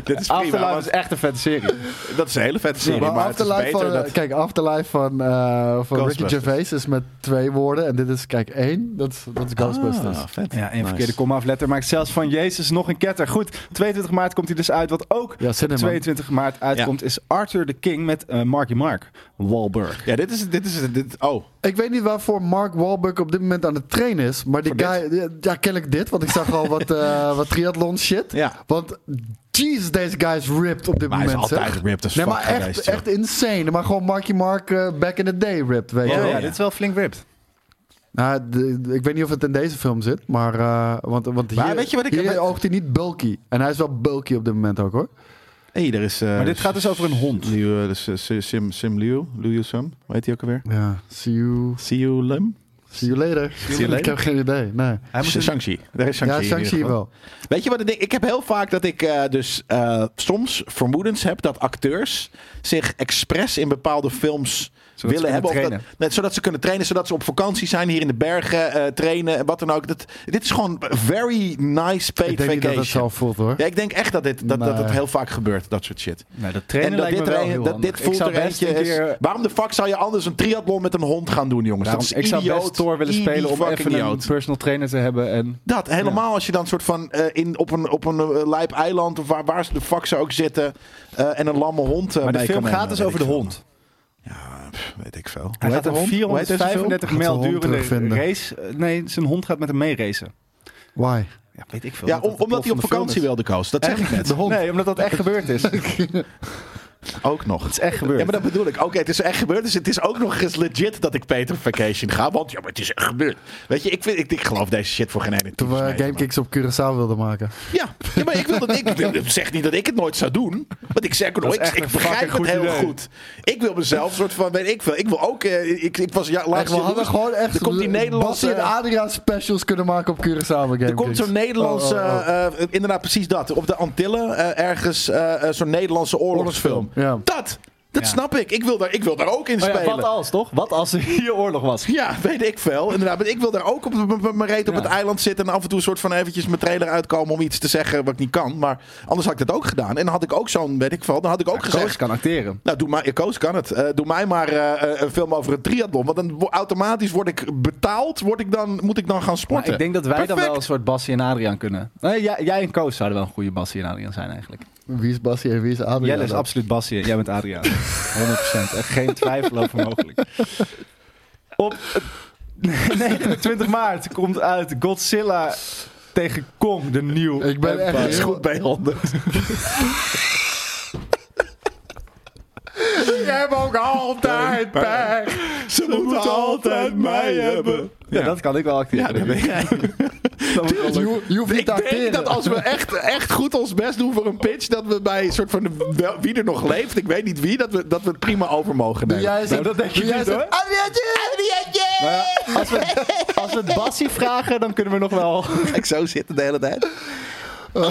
dat is prima.
Afterlife
maar
is echt een vette serie.
Dat is een hele vette serie,
Maar
maar het is
Afterlife eh,
beter
van,
dat...
Kijk, Afterlife van, eh van Ricky
Ghostbusters.
Gervais is met twee woorden. En dit is, kijk, één. Dat is, dat is Ghostbusters.
Ah, vet.
Ja, een
Nice.
verkeerde komma of letter maakt zelfs van Jezus nog een ketter. Goed, 22 maart komt hij dus uit. Wat ook
Ja, cinema.
22 maart uitkomt is Arthur the King met eh, Marky Mark Wahlberg.
Ja, dit is... Dit is dit, oh,
Ik weet niet waarvoor Mark Wahlberg op dit moment aan het trainen is. Maar die
Voor
guy... Ja, kennelijk dit. Want ik zag al wat, eh wat triathlon shit.
ja.
Want jeez, deze guy is ripped op dit
Maar hij is
moment. zeg.
altijd ripped as
Nee,
fuck
maar echt,
geweest, joh.
echt insane. Maar gewoon Marky Mark eh, back in the day ripped, weet
Ja,
je
ja,
wel.
ja.
dit is wel flink ripped.
Nou, de- de- ik weet niet of het in deze film zit, maar. eh, want want
Maar
hier,
weet je wat ik-
hier
maar-
oogt hij niet bulky. En hij is wel bulky op dit moment ook hoor.
Hé, hey, er is... eh,
Maar dit gaat dus over een hond.
Liu, eh, dus, eh, Sim- Sim, Sim Liu, Liu Sim, hoe heet hij ook alweer?
Ja. See you,
See you Lim?
see you later.
you later.
Ik heb geen idee. Nee.
Hij moet een-
Shang-Chi. Daar is Shang-Chi.
ja,
in ieder
Shang-Chi
geval.
wel.
Weet je wat ik ding? Ik heb heel vaak dat ik eh, dus eh, soms vermoedens heb dat acteurs zich expres in bepaalde films
ze kunnen
willen hebben. of dat-
trainen.
net, zodat ze kunnen trainen, zodat ze op vakantie zijn, hier in de bergen eh, trainen en wat dan ook. Dat, dit is gewoon very nice paid
Ik denk niet dat het
vacation.
zo voelt hoor.
ja, ik denk echt dat dit, dat, dat het
Nee.
heel vaak gebeurt, dat soort shit.
Nou, dat trainen
en dat
lijkt
dit,
me wel
er een-
heel
dat
handig.
dit voelt
ik zou
er
best een
eentje is.
keer...
Waarom de fuck zou je anders een triathlon met een hond gaan doen, jongens?
Daarom,
dat is
ik zou
idioot.
best Thor willen
Idiot
spelen om
fucking
even een
idioot.
personal trainer te hebben. En...
Dat, helemaal als je dan soort van eh, in, op een, op een eh, lijp eiland of waar, waar ze de fuck ze ook zitten eh, en een lamme hond. eh,
Maar de
mee
film
kan
gaat
nemen,
dus over de
weet ik veel.
hond.
Ja, pff, weet ik veel.
Hij
Hoe heet
gaat
de
een
hond? Hoe heet deze film?
435
Gaat de
mijl
hond
durende
terugvinden.
race. Eh, Nee, zijn hond gaat met hem mee racen.
Why?
Ja, weet ik veel.
Ja,
Dat dat
om-
de
omdat hij
plot
op
van de film
vakantie
is.
wilde, Koos. Dat zeg ik net.
De hond.
Nee, omdat dat echt gebeurd is. Het
Ook nog.
is echt gebeurd.
Ja, maar dat bedoel ik. Oké, het is echt gebeurd. Dus het is ook nog eens legit dat ik Peter op vacation ga. Want ja, maar het is echt gebeurd. Weet je, ik, vind, ik, ik geloof deze shit voor geen ene
Toen we
tyfus, nee,
Gamekicks op Curaçao wilden maken.
maar- Ja, ja, maar ik, wil dat, ik, ik zeg niet dat ik het nooit zou doen. Want ik zeg
is
nooit, ik,
echt
ik
een
begrijp
fucking
het
goed
heel
idee.
goed. Ik wil mezelf soort van, weet ik veel. Ik wil ook, eh, ik, ik was ja,
Echt,
laatst
we
in
hadden
Roes-
gewoon echt
Er komt die Nederlandse-
Bassie en Adria specials kunnen maken op Curaçao met
Er komt zo'n Nederlandse,
Oh, oh, oh.
eh, eh, inderdaad precies dat. Op de Antillen eh, ergens eh, eh, zo'n Nederlandse oorlogsfilm.
Ja.
Dat, dat
Ja.
snap ik. Ik wil, daar, ik wil daar ook in
Oh ja,
spelen.
wat als, toch? Wat als er hier oorlog was?
Ja, weet ik veel. Inderdaad, maar ik wil daar ook op m- m- mijn reet op
Ja.
het eiland zitten. En af en toe een soort van eventjes mijn trailer uitkomen om iets te zeggen wat ik niet kan. Maar anders had ik dat ook gedaan. En dan had ik ook zo'n, weet ik veel, dan had ik ook gezegd...
Koos kan acteren.
Nou, doe mij, Koos kan het. Eh, doe mij maar eh, eh, een film over een triathlon. Want dan wo- automatisch word ik betaald. Word ik dan, moet ik dan gaan sporten.
Maar Nou, ik denk dat wij dan
Perfect.
wel een soort Bassie en Adriaan kunnen. Nee, jij, jij en Koos zouden wel een goede Bassie en Adriaan zijn eigenlijk.
Wie is Bassie en wie is Adria?
Jelle is absoluut Bassie en jij bent Adriaan. 100%. Echt geen twijfel over mogelijk. Op eh, 29 maart komt uit Godzilla tegen Kong, de nieuw.
Ik ben echt
Dat is
heel-
goed bij 100.
Ik heb ook altijd pijn.
Ze moeten altijd mij hebben.
Ja, dat kan ik wel acteren.
Ja, dat ben jij.
Dat moet wel lukken.
Je, je hoeft niet
Ik
te
denk
acteren.
dat als we echt, echt goed ons best doen voor een pitch, dat we bij een soort van de- wel- wie er nog leeft, ik weet niet wie, dat we, dat we het prima over mogen
Doe
nemen.
jij zo-
Nou, dat denk je
doe jij
niet,
zo-
hoor.
Adriaatje! Adriaatje!
Nou ja, als, we, als we het Bassie vragen, dan kunnen we nog wel...
Ik zo zitten de hele tijd.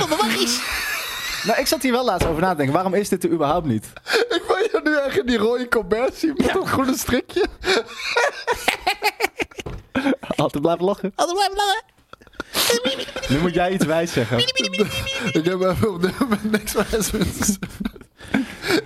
Nou, ik zat hier wel laatst over na te denken. Waarom is dit er überhaupt niet?
Ik wil je nu echt in die rode commercie met dat groene strikje.
Altijd blijven lachen.
Altijd blijven lachen.
Nu moet jij iets wijs zeggen.
Ik heb eh, op dit moment niks van Essence.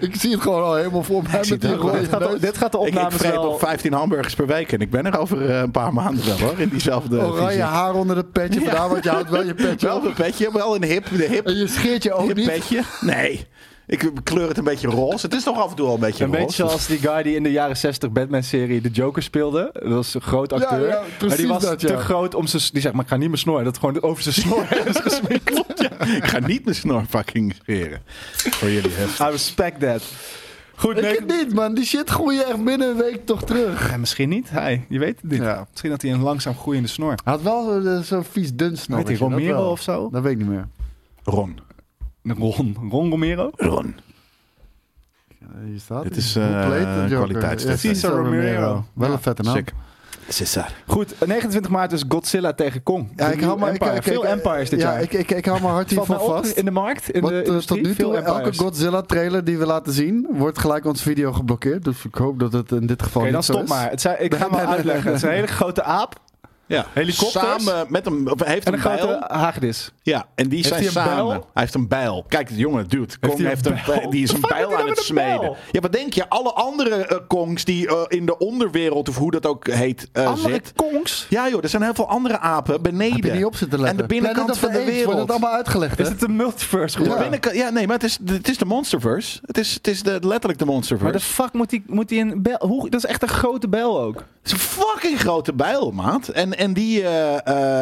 Ik zie het gewoon al helemaal voor mij
zie
met die
het ook wel.
rode
Dit gaat, de-
neus.
dit gaat de
Ik, ik
opname
vreet
wel...
nog 15 hamburgers per week en ik ben er over eh, een paar maanden wel hoor. In diezelfde
Oranje
visie.
haar onder het petje.
Ja.
Vandaar, want je houdt wel je petje
Wel
op.
een petje, wel een hip, de hip,
En je scheert je ook
hip
niet.
petje. Nee, ik kleur het een beetje roze. Het is toch af en toe al een beetje
Een
roze.
beetje zoals die guy die in de jaren 60 Batman-serie de Joker speelde. Dat was een groot acteur.
Ja, ja,
maar die
precies
was
dat, ja.
te groot om zijn... Die zegt, maar ik ga niet meer snoren. Dat gewoon over zijn snor is gesmeerd.
Klopt, ja. Ik ga niet mijn snor fucking scheren. Voor jullie heft.
I respect that. Goed,
Ik
nee,
het niet, man. Die shit groei je echt binnen een week toch terug.
Ja, misschien niet. Hij, je weet het niet.
Ja.
Misschien dat hij een langzaam groeiende snor.
Hij had wel eh, zo'n vies dun snor.
Weet hij Romero of zo?
Dat weet ik niet meer.
Ron.
Ron, Ron Romero?
Ron.
Eh, Hier staat
Dit
hij.
is,
Hoe
eh,
played the Joker?
kwaliteitstest.
Ja,
Cesar Romero.
Wel
Ja,
een vette naam.
Sick. César.
Goed, 29 maart is Godzilla tegen Kong.
Ja,
De
ik
nieuwe
hou maar, ik-
Empire.
ik- ik-
Veel Empires dit
ja,
jaar.
Ik, ik, ik hou mijn hart
Valt mij
hiervoor
op
vast.
in de markt, in
Want
de
eh,
industrie,
tot nu
veel
toe, elke
Empires.
Godzilla-trailer die we laten zien, wordt gelijk ons video geblokkeerd. Dus ik hoop dat het in dit geval
Oké, dan
niet zo
stop
is.
maar. Het zijn, ik ga hem
Nee, nee, nee.
uitleggen. Het is een hele grote aap
Ja.
Helikopters?
Samen met hem. Of hij heeft
en
een,
een
bijl.
grote hagedis.
Ja, en die zijn
hij een
samen.
bijl?
Hij heeft een bijl. Kijk, de jongen, dude. Kong
hij een
heeft een
bijl?
bijl. Die is
Wat
een
fuck
bijl
doet hij
aan
nou
het
met een
smeden.
bijl?
Ja, wat denk je? Alle andere eh, kongs die eh, in de onderwereld, of hoe dat ook heet, eh,
Andere
zit.
kongs?
Ja, joh, er zijn heel veel andere apen beneden.
Heb je niet op zitten
En
letten.
de binnenkant
Planet
van
of the
de
Apes, Wordt het
wereld.
allemaal uitgelegd, hè?
Is het een multiverse geworden?
Ja. Binnenkant, ja, nee, maar het is, het is de Monsterverse. Het is, het is de, letterlijk de Monsterverse.
Maar de fuck moet hij moet die een bel... Hoe, dat is echt een grote bel ook.
Het is een fucking grote bijl, maat. En, en die eh,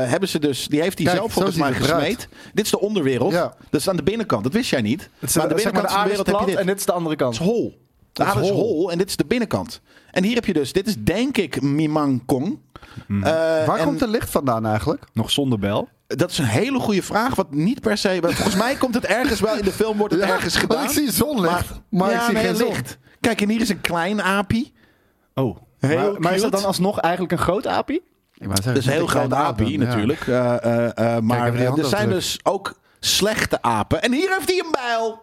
eh, hebben ze dus, die heeft hij
Kijk,
zelf
zo
volgens
ziet
mij
het eruit.
gesmeed. Dit is de onderwereld.
Ja.
Dat is aan de binnenkant. Dat wist jij niet.
Het is,
maar aan de
eh, zeg maar,
binnenkant
de aarde
van
is
de wereld heb je
plat
dit.
en dit is de andere kant.
Het is hol. De
is
aarde is
hol.
hol en dit is de binnenkant. En hier heb je dus, dit is denk ik Mimang Kong. Eh,
Waar
en
komt het licht vandaan eigenlijk?
Nog zonder bel.
Dat is een hele goede vraag, wat niet per se... want Volgens mij komt het ergens wel, in de film wordt het
Ja,
ergens
want
gedaan.
ik zie zonlicht, maar, ik
Ja,
zie
nee,
geen zon.
licht. Kijk, en hier is een klein apie.
Oh.
Heel
maar, maar is dat
cute.
dan alsnog eigenlijk een groot apie?
Ik wou zeggen,
Dat is een heel
ik zie
groot
geen
apie
apen, ja.
natuurlijk. Eh, eh, eh, maar
even die
eh, er
handafdruk.
zijn dus ook slechte apen. En hier heeft hij een bijl.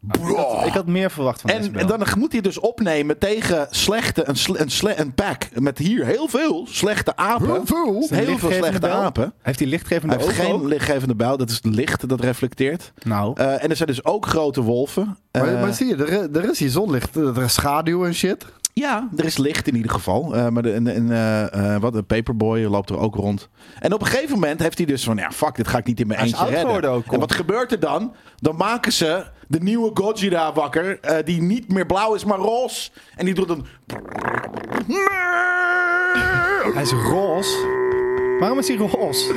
Bro.
Ik had meer verwacht van deze
Oh. en,
bel.
en dan moet hij dus opnemen tegen slechte, een, sle, een, sle- een pack met hier heel veel slechte apen.
Heel veel?
Een
Heel veel
lichtgevende
slechte
bel.
apen.
Heeft hij lichtgevende
Hij heeft
ogen
geen
ook?
lichtgevende bijl, dat is het licht dat reflecteert.
Nou.
Eh, en er zijn dus ook grote wolven.
Maar,
Eh,
maar zie je, er, er is hier zonlicht. Er is schaduw en shit.
Ja, er is licht in ieder geval. Eh, maar de, en, en, eh, eh, wat, een paperboy loopt er ook rond. En op een gegeven moment heeft hij dus van... Ja, fuck, dit ga ik niet in mijn
Hij is
eentje
oud
redden.
geworden ook, kom.
en wat gebeurt er dan? Dan maken ze de nieuwe Godzilla wakker... eh, die niet meer blauw is, maar roze. En die doet een...
Hij is roze. Waarom is hij roze?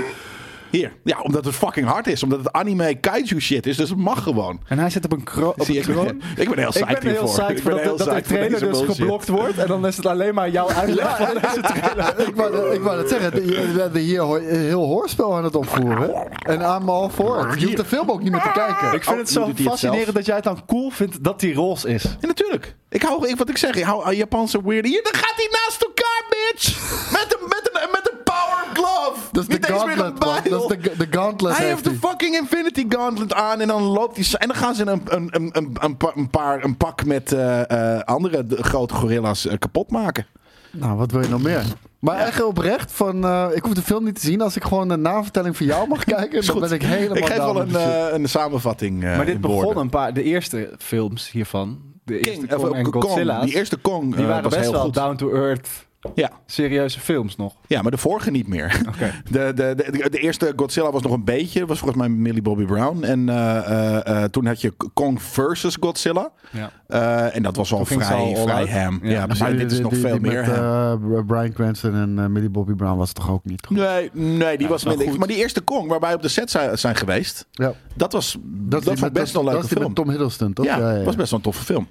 Hier. Ja, omdat het fucking hard is. Omdat het anime kaiju shit is. Dus het mag gewoon.
En hij zit op een, kro op
Zie
een
je, ik, ben,
kroon.
ik ben heel
Ik
psyched
ben heel
hiervoor.
psyched
ik
voor
ben
dat, dat de
psyched voor
trainer
deze
dus
bullshit.
geblokt wordt. En dan is het alleen maar jouw uitleg van deze trailer.
Ik wou, ik wou dat zeggen. We werden hier ho- heel hoorspel aan het opvoeren. En aan al voor. Je hoeft de film ook niet meer te kijken.
Ik vind het zo
Oh, doet hij het
fascinerend
zelf?
dat jij het dan cool vindt dat die roze is.
Ja, natuurlijk. Ik hou, ik, wat ik zeg, ik hou aan Japanse weird. Hier, dan gaat hij naast elkaar, bitch! Met een, met een, met een power glove!
Dat is
Niet
de
eens meer
gauntlet,
een
man.
bijl.
Dat is de, de gauntlet.
hij heeft de fucking Infinity Gauntlet aan en dan loopt hij. En dan gaan ze een, een, een, een, een, pa- een paar, een pak met eh, eh, andere d- grote gorilla's eh, kapot maken.
Nou, wat wil je nog meer? Maar echt oprecht, van, eh, ik hoef de film niet te zien. Als ik gewoon een navertelling van jou mag kijken, dan ben ik helemaal
Ik geef
down
wel
met
een,
die shit.
eh, een samenvatting. eh,
Maar dit
in
begon
woorden.
een paar, de eerste films hiervan. De eerste
King,
Kong
of,
en
Kong.
Godzilla's.
Die eerste Kong
die
eh,
waren
was
best
heel
wel
goed.
down-to-earth,
Ja.
serieuze films nog.
Ja, maar de vorige niet meer.
Oké.
De, de, de, de- de eerste Godzilla was nog een beetje. Was volgens mij Millie Bobby Brown. En eh, eh, eh, toen had je Kong versus Godzilla.
Ja.
Eh, en dat was al
ging ze
vrij,
al all
vrij
out.
ham. Ja,
Ja.
precies.
Maar
En dit is
die-
nog
die-
veel
die
meer
Met,
ham.
eh, Brian Cranston en eh, Millie Bobby Brown was toch ook niet goed?
Nee, nee, die was
wel
minder.
goed.
Maar die eerste Kong, waarbij op de set zijn, zijn geweest,
Ja.
dat was, dat
die
was
met-
best wel een
dat
leuke
is die
film.
met Tom Hiddleston, toch?
ja, was best wel een toffe film.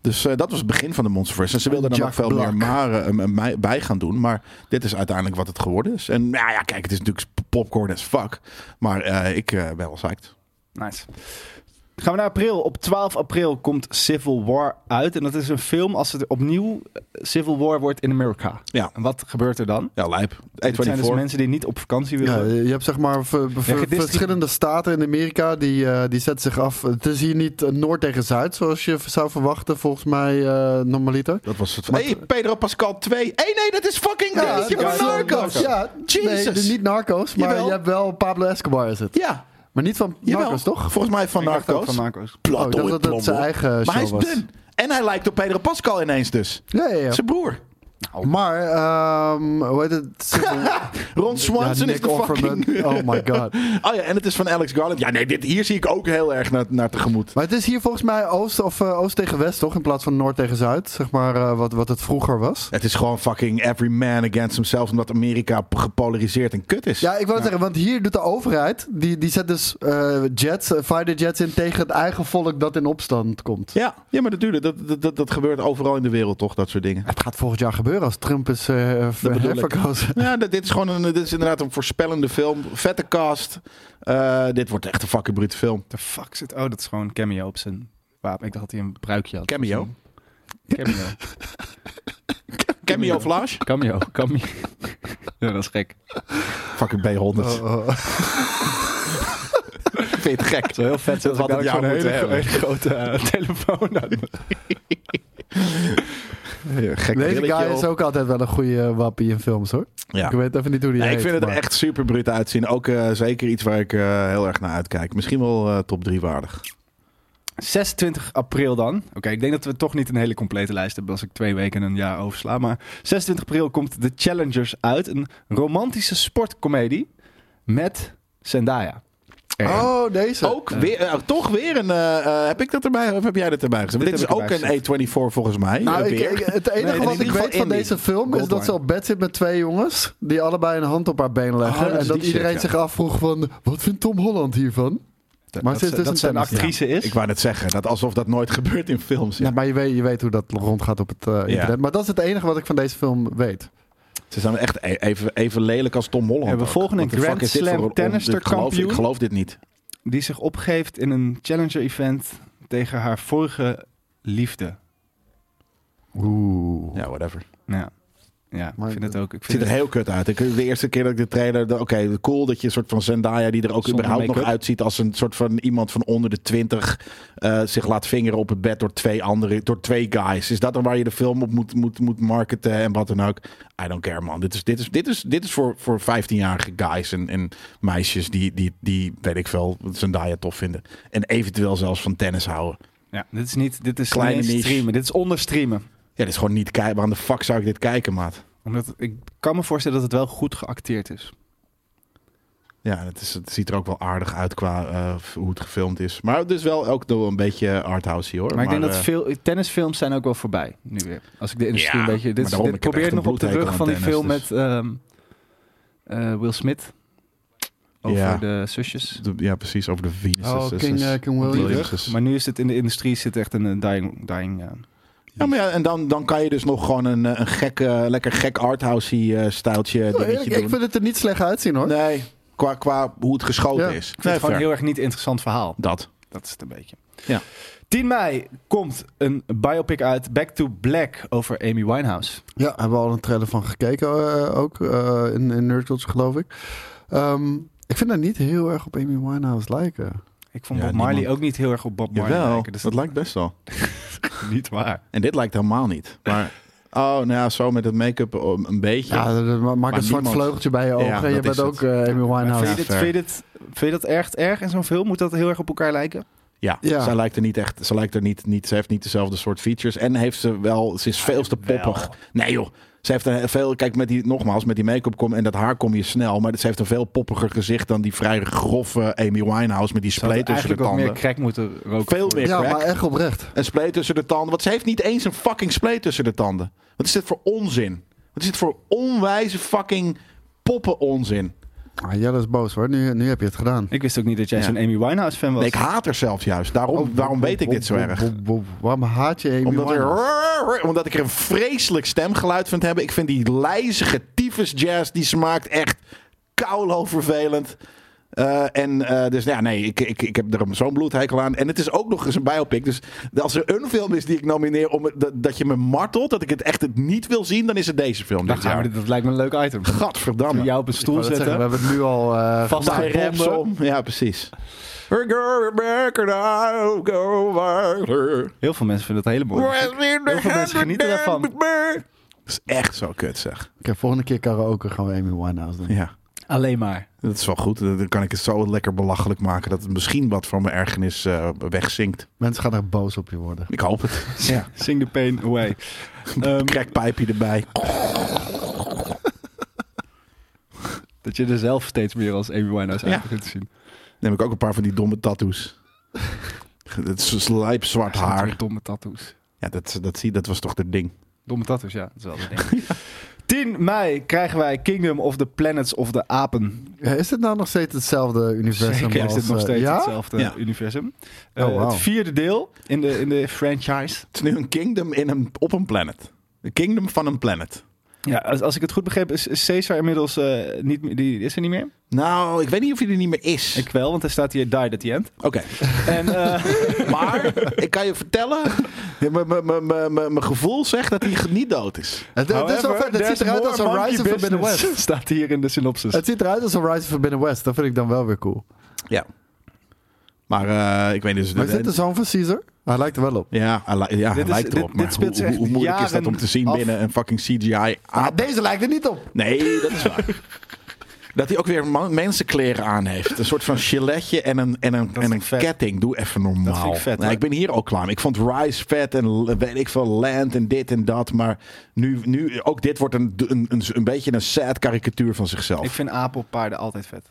Dus eh, dat was het begin van de Monsterverse. En ze wilden er nog
Jack
veel meer
Black.
maren eh, mij- bij gaan doen. Maar dit is uiteindelijk wat het geworden is. En nou ja, kijk, het is natuurlijk popcorn as fuck. Maar eh, ik eh, ben wel psyched.
Nice. Gaan we naar april. Op 12 april komt Civil War uit. En dat is een film als het opnieuw eh, Civil War wordt in Amerika.
Ja.
En wat gebeurt er dan?
Ja, lijp.
Het zijn dus
824.
mensen die niet op vakantie
Ja,
willen.
je hebt zeg maar ver- ver-
Ja, gedistri-
verschillende staten in Amerika die, eh, die zetten zich af. Het is hier niet eh, Noord tegen Zuid, zoals je zou verwachten, volgens mij eh, normaliter.
Dat was het.
Maar-
hey, Pedro Pascal 2. Hé, hey, nee, dat is fucking dingetje
ja,
van
zo-
Narcos. Ja.
Ja,
Jesus.
Nee, dus niet Narcos, maar
Jawel.
je hebt wel Pablo Escobar is het. Maar niet van
Jawel.
Narcos, toch?
Volgens mij van
Ik dacht ook
Narcos.
Van Narcos.
Plat
Oh, ik dacht
door
dat dat
het
zijn
plombel.
eigen
Maar hij is
show was.
dun. En hij lijkt op Pedro Pascal ineens dus.
Ja, ja, ja.
Zijn broer.
Maar, ehm hoe heet het?
Ron Swanson
Ja,
is
Nick
de
Offerman.
fucking...
Oh my god.
Oh ja, en het is van Alex Garland. Ja, nee, dit, hier zie ik ook heel erg naar, naar tegemoet.
Maar het is hier volgens mij oost, of, eh, oost tegen west, toch? In plaats van noord tegen zuid, zeg maar, eh, wat, wat het vroeger was.
Het is gewoon fucking every man against himself... omdat Amerika p- gepolariseerd en kut is.
Ja, ik wou het zeggen, want hier doet de overheid, die, die zet dus eh, jets, eh, fighter jets in tegen het eigen volk dat in opstand komt.
ja, ja maar natuurlijk, dat, dat, dat, dat gebeurt overal in de wereld toch, dat soort dingen.
Het gaat volgend jaar gebeuren als Trump is eh, ver-
bedoel ik.
herverkozen.
Ja, dit, dit is gewoon een, dit is inderdaad een voorspellende film. Vette cast. Eh, dit wordt echt een fucking brute film.
The fuck zit... Oh, dat is gewoon een cameo op zijn wapen. Ik dacht dat hij een bruikje had.
Cameo?
Cameo.
Cameo Flash?
Cameo. Cameo. ja, dat is gek.
Fucking B100.
Oh, oh.
Vind je het gek?
Zo heel vet
Dat
dat
we
ik
dat jou
dadelijk zo'n hele,
moeten hebben.
hele grote eh, telefoon aan me.
Ja, gek
Deze
brilletje
guy
op.
is ook altijd wel een goede wappie in films, hoor.
Ja.
Ik weet even niet hoe die
Nee, ik
heet,
vind het er
maar-
echt super brut uitzien. Ook eh, zeker iets waar ik eh, heel erg naar uitkijk. Misschien wel eh, top 3 waardig.
26 april dan. Oké, ik denk dat we toch niet een hele complete lijst hebben als ik twee weken en een jaar oversla. Maar 26 april komt The Challengers uit. Een romantische sportcomedie met Zendaya. Erin.
Oh, deze.
Ook weer, eh, toch weer een. eh, eh, heb ik dat erbij of heb jij dat erbij gezet? Maar
Dit
Dit, is
heb ik
ook
erbij
een A24 volgens mij.
Nou,
eh,
ik-
weer.
ik- het enige
Nee, in
wat
ieder
ik
geval
weet van
indie.
deze film is dat
Goldline.
ze op bed zit met twee jongens. die allebei een hand op haar been leggen.
Oh, dat is
en dat
die
iedereen
shit, ja.
zich afvroeg: van, wat vindt Tom Holland hiervan? Maar
dat
ze is
ze-
dus
dat
een
ze een
tennis-
actrice is.
Ik wou net zeggen, dat alsof dat nooit gebeurt in films. Ja.
Ja, maar je weet, je weet hoe dat rondgaat op het eh, internet. Maar dat is het enige wat ik van deze film weet.
Ze zijn echt e- even, even lelijk als Tom Holland.
Ja, we
ook.
volgen een
What the fuck
Grand
is dit
Slam
voor een on-
tennister
dit geloof-
kampioen.
Ik geloof dit niet.
die zich opgeeft in een Challenger-event tegen haar vorige liefde.
Oeh.
Ja, whatever.
Ja, Nou ja
Maar
ik vind het ook. Ik
Het ziet
vind
er
het,
heel kut uit. Ik, de eerste keer dat ik de trailer... de- Oké, cool dat je een soort van Zendaya... die er ook
Zonder
überhaupt nog
make-up.
uitziet... als een soort van iemand van onder de twintig... eh, zich laat vingeren op het bed door twee andere... door twee guys. Is dat dan waar je de film op moet, moet, moet marketen en wat dan ook? I don't care, man. Dit is, dit is, dit is, dit is voor, voor 15-jarige guys en, en meisjes... Die, die, die, weet ik veel, Zendaya tof vinden. En eventueel zelfs van tennis houden.
ja, dit is niet. Dit is
Kleine
Kleine
niche.
streamen. Dit is onderstreamen.
Ja, dit is gewoon niet kijken. Waarom de fuck zou ik dit kijken, maat?
Omdat ik kan me voorstellen dat het wel goed geacteerd is.
Ja, het, is, het ziet er ook wel aardig uit qua eh, f- hoe het gefilmd is. Maar het is wel ook nog wel een beetje arthouse hoor.
Maar, ik denk dat
eh,
veel tennisfilms zijn ook wel voorbij nu weer. Als ik de industrie
Ja,
een beetje
maar
dit,
daarom,
dit
ik heb echt
probeert nog
een
op de
bloedhekel
rug van die
aan
film
tennis, dus-
met ehm, eh, Will Smith over
Ja.
de zusjes.
de- ja, precies. Over de Venus. Dus-
Oh, King, eh, King William.
Maar nu is het in de industrie zit echt een eh, dying, dying eh,
Ja, maar ja, en dan, dan kan je dus nog gewoon een, eh, een gek, eh, lekker gek arthouse eh stijltje
Nou,
dingetje
eerlijk, ik
doen.
vind het er niet slecht uitzien hoor.
Nee, qua, qua hoe het geschoten
Ja.
is. Nee,
Ik vind het gewoon
fair.
een heel erg niet interessant verhaal.
Dat.
Dat is het een beetje.
Ja.
10 mei komt een biopic uit Back to Black over Amy Winehouse.
Ja, hebben we al een trailer van gekeken eh, ook. eh, in, in Nerd Culture, geloof ik. Ehm, ik vind dat niet heel erg op Amy Winehouse lijken.
Ik vond
Ja,
Bob Marley
niemand-
ook niet heel erg op Bob Marley
Jawel,
lijken. Dus
dat lijkt best wel.
is niet waar.
En dit lijkt helemaal niet. Maar, oh, nou ja, zo met het make-up eh, een beetje.
Ja, dat- dat maakt een zwart
niemand-
vleugeltje bij je ogen. en je
dat is
bent ook
het.
eh, Amy
Maar
Winehouse.
vind, je dit,
Nou, fair.
vind, je dit, vind je dat echt erg in zo'n film? Moet dat heel erg op elkaar lijken?
Ja,
Ja.
zij lijkt er niet echt. Ze lijkt er niet, niet. Ze heeft niet dezelfde soort features. En heeft ze wel. Ze is veel te poppig. Nee, joh. Ze heeft een veel. Kijk, met die, nogmaals, met die make-up kom en dat haar kom je snel. Maar ze heeft een veel poppiger gezicht dan die vrij grove Amy Winehouse met die
Zou
spleet
het
tussen de
eigenlijk wat meer
tanden.
crack moeten roken?
Veel meer
Ja,
crack.
maar echt oprecht.
Een spleet tussen de tanden. Want ze heeft niet eens een fucking spleet tussen de tanden. Wat is dit voor onzin? Wat is dit voor onwijze fucking poppen onzin?
Ah, Jelle is boos hoor. Nu, nu heb je het gedaan.
Ik wist ook niet dat jij
Ja.
zo'n Amy Winehouse fan was.
Nee, ik haat haar zelfs juist. Daarom,
Oh,
daarom Oh, weet ik dit zo erg.
Bob, bob, bob. Waarom haat je Amy
Omdat, er,
Winehouse?
omdat ik er een vreselijk stemgeluid vind hebben. Ik vind die lijzige tyfus jazz die smaakt echt kauwlo vervelend. Eh, en eh, dus ja, nee, ik, ik, ik heb er zo'n bloedhekel aan. En het is ook nog eens een biopic. Dus als er een film is die ik nomineer om het- dat, dat je me martelt, dat ik het echt het niet wil zien, dan is het deze film.
Dan
dit
gaan we
jaar.
dit- dat lijkt me een leuk item.
Gadverdamme.
Jou op een
Ik
stoel
wou net zeggen, we
zetten.
hebben het nu al... eh,
Vast
gemaakt.
Daar rems om. Ja, precies. We go back and I'll go wilder.
Heel veel mensen vinden dat hele mooi. Heel veel mensen genieten daarvan.
Dat is echt zo kut, zeg.
Oké, volgende keer karaoke gaan we Amy Winehouse doen.
Ja.
Alleen maar.
Dat is wel goed. Dan kan ik het zo lekker belachelijk maken dat het misschien wat van mijn ergernis eh, wegzinkt.
Mensen gaan er boos op je worden.
Ik hoop het. Ja.
Sing the pain away. Ehm,
Crackpijpje erbij.
dat je er zelf steeds meer als Amy Winehouse uit
Ja.
begint te zien.
Neem ik ook een paar van die domme tattoos. Het is lijpzwart haar.
Domme tattoos.
Ja, dat, dat, zie, dat was toch het ding.
Domme tattoos, ja. Dat is wel het ding. 10 mei krijgen wij Kingdom of the Planets of the Apen.
Ja, is het nou nog steeds hetzelfde universum?
Zeker is
als,
dit nog
eh,
steeds
ja?
hetzelfde
Ja.
universum.
Oh,
Eh,
wauw.
Het vierde deel in de, in de franchise.
Het is nu een kingdom in een, op een planet. Een kingdom van een planet.
Ja, als, als ik het goed begreep is, is Caesar inmiddels eh, niet, meer- die is er niet meer.
Nou, ik weet niet of hij er niet meer is.
Ik wel, want er staat hier died at the end.
Oké.
En eh,
Maar ik kan je vertellen, m- m- m- m- m- mijn gevoel zegt dat hij ge- niet dood is.
Het, het is wel
however,
vet. Het
there's
ziet eruit
more
als een
monkey
Rise of Forbidden
business,
West.
Staat hier in de synopsis.
Het ziet eruit als een Rise of Forbidden West. Dat vind ik dan wel weer cool.
Ja. Maar eh, ik weet dus...
Maar is dit de zoon van Caesar? Ah, Hij lijkt er wel op.
Ja, hij li- ja
Dit
hij
is-
lijkt
dit-
erop.
dit
Maar
speelt zich
hoe,
echt
hoe moeilijk is dat
jaren
om te zien
af.
binnen een fucking CGI?
Ah,
aap?
deze lijkt er niet op.
Nee, dat is waar. dat hij ook weer man- mensenkleren aan heeft. Een soort van giletje en een, en een,
Dat
en
vind
een
ik vet.
ketting. Doe even normaal.
Dat vind ik vet,
Nou,
maar-
ik ben hier ook klaar mee. Ik vond Rise vet en l- weet ik veel, Land en dit en dat. Maar nu, nu ook dit wordt een, een, een, een beetje een sad karikatuur van zichzelf.
Ik vind apen op paarden altijd vet.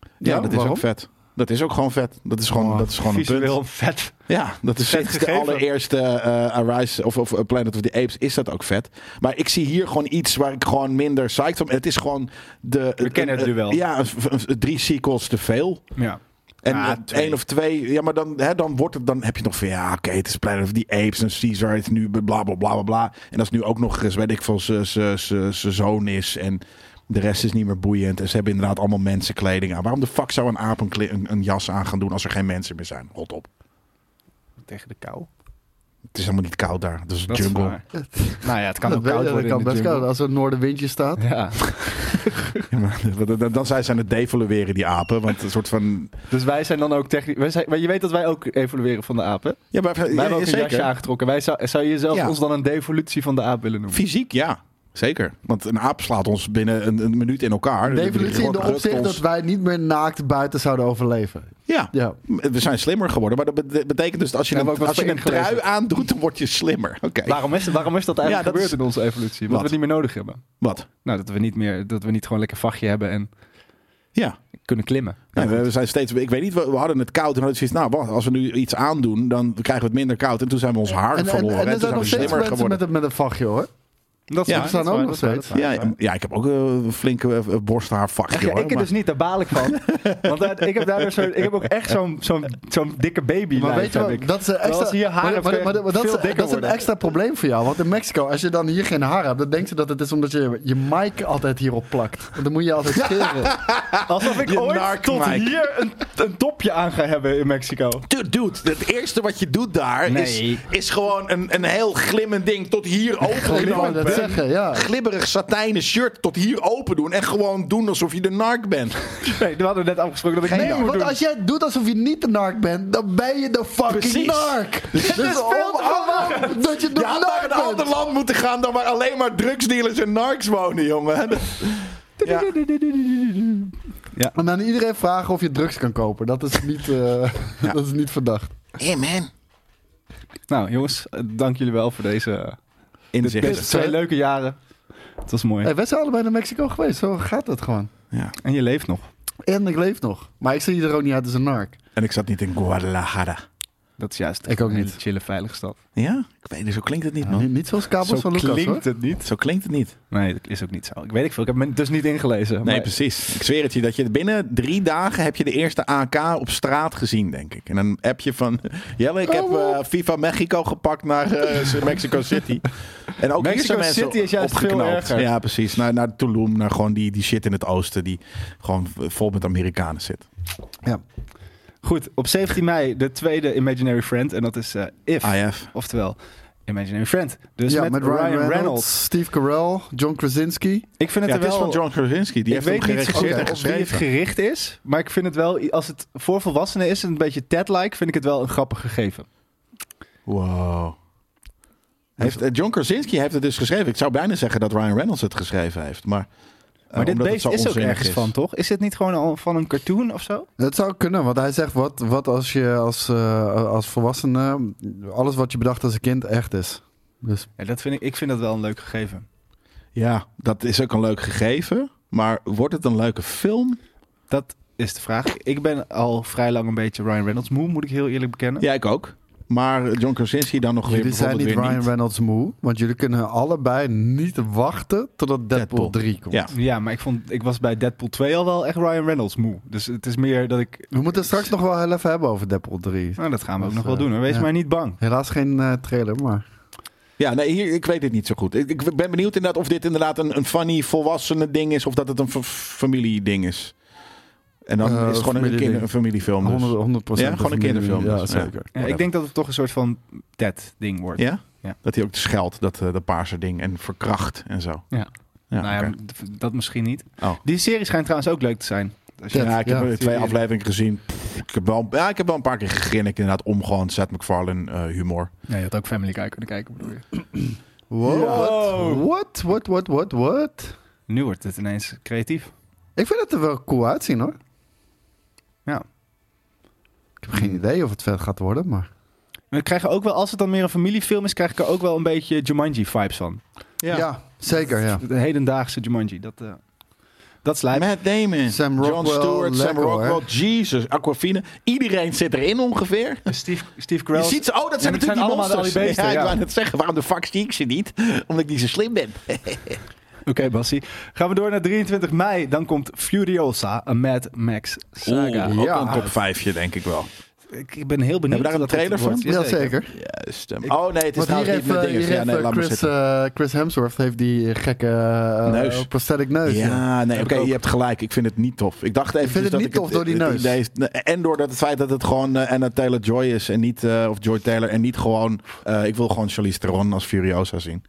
ja,
Ja,
dat is
waarom?
ook vet. Dat is ook gewoon vet. Dat is gewoon,
Oh,
dat is gewoon een punt.
Visueel vet.
Ja, dat is
Vet
sinds de
gegeven.
allereerste eh, Arise of, of Planet of the Apes is dat ook vet. Maar ik zie hier gewoon iets waar ik gewoon minder psyched van ben. Het is gewoon de...
We kennen het
eh,
nu wel.
Ja, een- een- een- drie sequels te veel.
Ja.
En
Ah,
eh,
twee.
één of twee. Ja, maar dan, hè, dan, wordt het, dan heb je nog van... Ja, oké, het is Planet of the Apes en Caesar is nu bla, bla, bla, bla, bla. En dat is nu ook nog eens, weet ik veel, zijn zoon is. En de rest is niet meer boeiend. En ze hebben inderdaad allemaal mensenkleding aan. Waarom de fuck zou een aap een, kle- een, een jas aan gaan doen als er geen mensen meer zijn? Rot op.
Tegen de kou.
Het is helemaal niet koud daar. Het is een
Dat is
jungle.
waar. nou ja, het kan
Dat
ook koud
weet ik,
worden
kan
in de
best koud.
jungle.
Als er een noordenwindje staat.
Ja.
Ja, maar dan- dan- Dan zijn ze aan het devalueren, die apen. Want een soort van...
Dus wij zijn dan ook technisch... Wij zijn, maar je weet dat wij ook evolueren van de apen.
Ja, maar,
Wij hebben ook een jasje aangetrokken. Wij zou, zou je zelf
Ja.
ons dan een devolutie van de aap willen noemen?
Fysiek, ja. Zeker. Want een aap slaat ons binnen een, een minuut in elkaar.
De evolutie in de
Rukt
opzicht
ons.
dat wij niet meer naakt buiten zouden overleven.
Ja.
Ja.
We zijn slimmer geworden. Maar dat bete- betekent dus dat als je
Ja, maar ook
een,
wat
als je een
voor
trui
ingelezen.
aandoet, dan word je slimmer. Oké.
Waarom is, waarom is dat
Ja,
eigenlijk
dat
gebeurd
is-
in onze evolutie? Omdat
Wat?
we het niet meer nodig hebben.
Wat?
Nou, dat we niet meer, dat we niet gewoon lekker vachtje hebben en
Ja.
kunnen klimmen. Nou,
Nee, we- we zijn steeds, ik weet niet, we, we hadden het koud en hadden zoiets, nou, wacht, als we nu iets aandoen, dan krijgen we het minder koud. En toen zijn we ons haar
En, en,
verloren.
en er
toen
zijn nog
we
steeds
slimmer
mensen
geworden.
met een, met een vachtje hoor.
Dat
Ja,
waar,
we
staan
dat
ook
waar,
nog
dat waar,
steeds.
dat waar,
ja,
dat waar.
ja, ik heb ook eh, een flinke eh, borsthaarvachtje.
Ja,
hoor,
ik er
maar-
dus niet daar baal ik van. Want eh, ik heb daar dus zo, ik heb ook echt zo'n zo'n zo'n dikke baby
Maar weet je
heb
wel,
ik.
dat is een
Terwijl
extra,
als je hier haar
maar-
hebt,
maar-
kan je
maar- maar dat is-
veel dikker
dat is een
worden.
extra probleem voor jou. Want in Mexico, als je dan hier geen haar hebt, dan denkt ze dat het is omdat je je mic altijd hierop plakt. Want dan moet je altijd scheren.
Alsof ik
Je
ooit
nark,
tot
Mike.
hier een, een dopje aan ga hebben in Mexico.
Dude, dude, het eerste wat je doet daar
Nee.
is, is gewoon een, een heel glimmend ding tot hier open
Ik wou
doen.
dat zeggen, ja.
Glibberig satijnen shirt tot hier open doen. En gewoon doen alsof je de narc bent.
Nee, we hadden net afgesproken dat ik
Nee,
nee moet
want
doen.
als jij doet alsof je niet de nark bent, dan ben je de fucking
Precies.
nark. Dus
is veel te
omarm dat je de
Je had naar een
nark
ander
bent.
land moeten gaan dan waar alleen maar drugsdealers en narcs wonen, jongen. Ja,
En aan iedereen vragen of je drugs kan kopen. Dat is niet, eh, dat is niet verdacht.
hey man.
Nou jongens, eh, dank jullie wel voor deze eh, deze
Inzichten.
twee
hè?
leuke jaren. Het was mooi.
Hey, wij zijn allebei naar Mexico geweest, zo gaat dat gewoon.
Ja.
En je leeft nog.
En ik leef nog. Maar ik zie er ook niet uit als een nark.
En ik zat niet in Guadalajara.
Dat is juist
Ik ook
een hele
niet.
chille, veilige stad.
Ja? Ik weet niet, zo klinkt het niet,
Niet,
man.
niet zoals kabels
Zo
van Lucas,
klinkt
hoor.
het niet.
Zo klinkt het niet.
Nee, dat is ook niet zo. Ik weet ik veel. Ik heb me dus niet ingelezen.
Nee,
maar-
precies. Ik zweer het je dat je binnen drie dagen heb je de eerste AK op straat gezien, denk ik. En een appje van Jelle, ik heb eh FIFA Mexico gepakt naar eh, Mexico City. En ook hier
Mexico
zijn mensen
City is juist
opgeknapt.
veel erger.
Ja, precies. Naar, naar Tulum, naar gewoon die, die shit in het oosten die gewoon vol met Amerikanen zit.
Goed, op 17 mei de tweede Imaginary Friend. En dat is eh, If.
AF.
Oftewel, Imaginary Friend. Dus
Ja,
met, Ryan, Reynolds.
Steve Carell, John Krasinski.
Ik vind
Ja,
het
het
er
is
wel...
van John Krasinski. Die
ik
heeft hem
weet niet zo
geregisseerd
goed
en
op wie het
geschreven.
gericht is. Maar ik vind het wel, als het voor volwassenen is en een beetje Ted-like, vind ik het wel een grappig gegeven.
Wow. Heeft, eh, John Krasinski heeft het dus geschreven. Ik zou bijna zeggen dat Ryan Reynolds het geschreven heeft. Maar, eh,
Maar dit
omdat het
beest
zo
is ook
onzinnig
ergens
is.
van, toch? Is dit niet gewoon al van een cartoon of zo?
Dat zou kunnen, want hij zegt wat, wat als je als, eh, als volwassene alles wat je bedacht als een kind echt is. Dus
Ja, dat vind ik, ik vind dat wel een leuk gegeven.
Ja, dat is ook een leuk gegeven. Maar wordt het een leuke film?
Dat is de vraag. Ik ben al vrij lang een beetje Ryan Reynolds moe, moet ik heel eerlijk bekennen.
Ja, ik ook. Maar John Krasinski dan nog weer
jullie zijn
bijvoorbeeld
niet
weer
Ryan Reynolds moe, want jullie kunnen allebei niet wachten totdat Deadpool,
Deadpool.
3 komt.
Ja.
Ja, maar ik, vond, ik was bij Deadpool 2 al wel echt Ryan Reynolds moe. Dus het is meer dat ik...
We moeten het straks nog wel heel even hebben over Deadpool 3.
Nou, dat gaan we
Dat
ook
is,
nog wel
eh,
doen. hoor. Wees
ja.
maar niet bang.
Helaas geen eh, trailer, maar...
Ja, nee, hier, ik weet het niet zo goed. Ik, ik ben benieuwd inderdaad of dit inderdaad een, een funny volwassenen ding is. Of dat het een fa- familieding is. En dan
Eh,
is het gewoon een,
familieding.
kinder, een familiefilm. Dus.
100%, 100
Ja, gewoon een kinderfilm.
Ja,
dus,
zeker.
Ja, ik denk dat het toch een soort van Ted-ding wordt.
Ja?
Ja.
Dat hij ook scheldt, dat eh, de paarse ding. En verkracht en zo.
Ja.
Ja,
nou ja,
oké.
d- dat misschien niet.
Oh.
Die serie schijnt trouwens ook leuk te zijn. Als je-
Ja.
Ja, ik heb
Ja.
er twee afleveringen gezien. Pff, ik, heb wel, ja, ik heb wel een paar keer gegrinnikt inderdaad om gewoon Seth MacFarlane eh, humor.
Nee, je had ook Family Guy kunnen kijken, bedoel je.
Wow.
Oh.
Wow.
What? What, what, what, what?
Nu wordt het ineens creatief.
Ik vind het er wel cool uitzien, hoor.
Ja.
Ik heb geen idee of het vet gaat worden, maar...
Maar ik krijg er ook wel, als het dan meer een familiefilm is, krijg ik er ook wel een beetje Jumanji-vibes van.
Ja, zeker, ja.
De hedendaagse Jumanji. Dat, eh dat is lijp.
Matt Damon,
Sam
John
Rockwell,
Stewart, Sam
lekker,
Rockwell, Jesus, Aquafina. Iedereen zit erin ongeveer.
Steve, Steve
Je
Carell.
ziet ze, oh, dat zijn
dat zijn
natuurlijk die
allemaal
monsters.
al die beesten,
ja, ik
ja.
wou net zeggen, waarom de fuck zie ik ze niet? Omdat ik niet zo slim ben.
Oké, Bassie. Gaan we door naar 23 mei. Dan komt Furiosa, een Mad Max saga.
ook
ja.
een top 5 denk ik wel.
Ik ik ben heel benieuwd.
Hebben we daar
wat
een
dat
trailer
wordt.
van?
Ja, zeker.
Juist. hem. oh nee, het is
Want hier
trouwens niet
heeft,
met
eh,
dingen.
hier
Ja,
heeft,
nee,
eh,
laat maar
Chris,
zitten.
eh, Chris Hemsworth heeft die gekke eh,
Neus.
prosthetic neus. ja.
Ja, nee,
Heb
oké,
ik ook.
je hebt gelijk. Ik vind het niet tof. Ik dacht even
vindt het
dat
niet
ik
tof door die neus?
idee is- en door dat het feit dat het gewoon eh, Anna Taylor Joy is en niet eh, of Joy Taylor en niet gewoon. eh, ik wil gewoon Charlize Theron als Furiosa zien.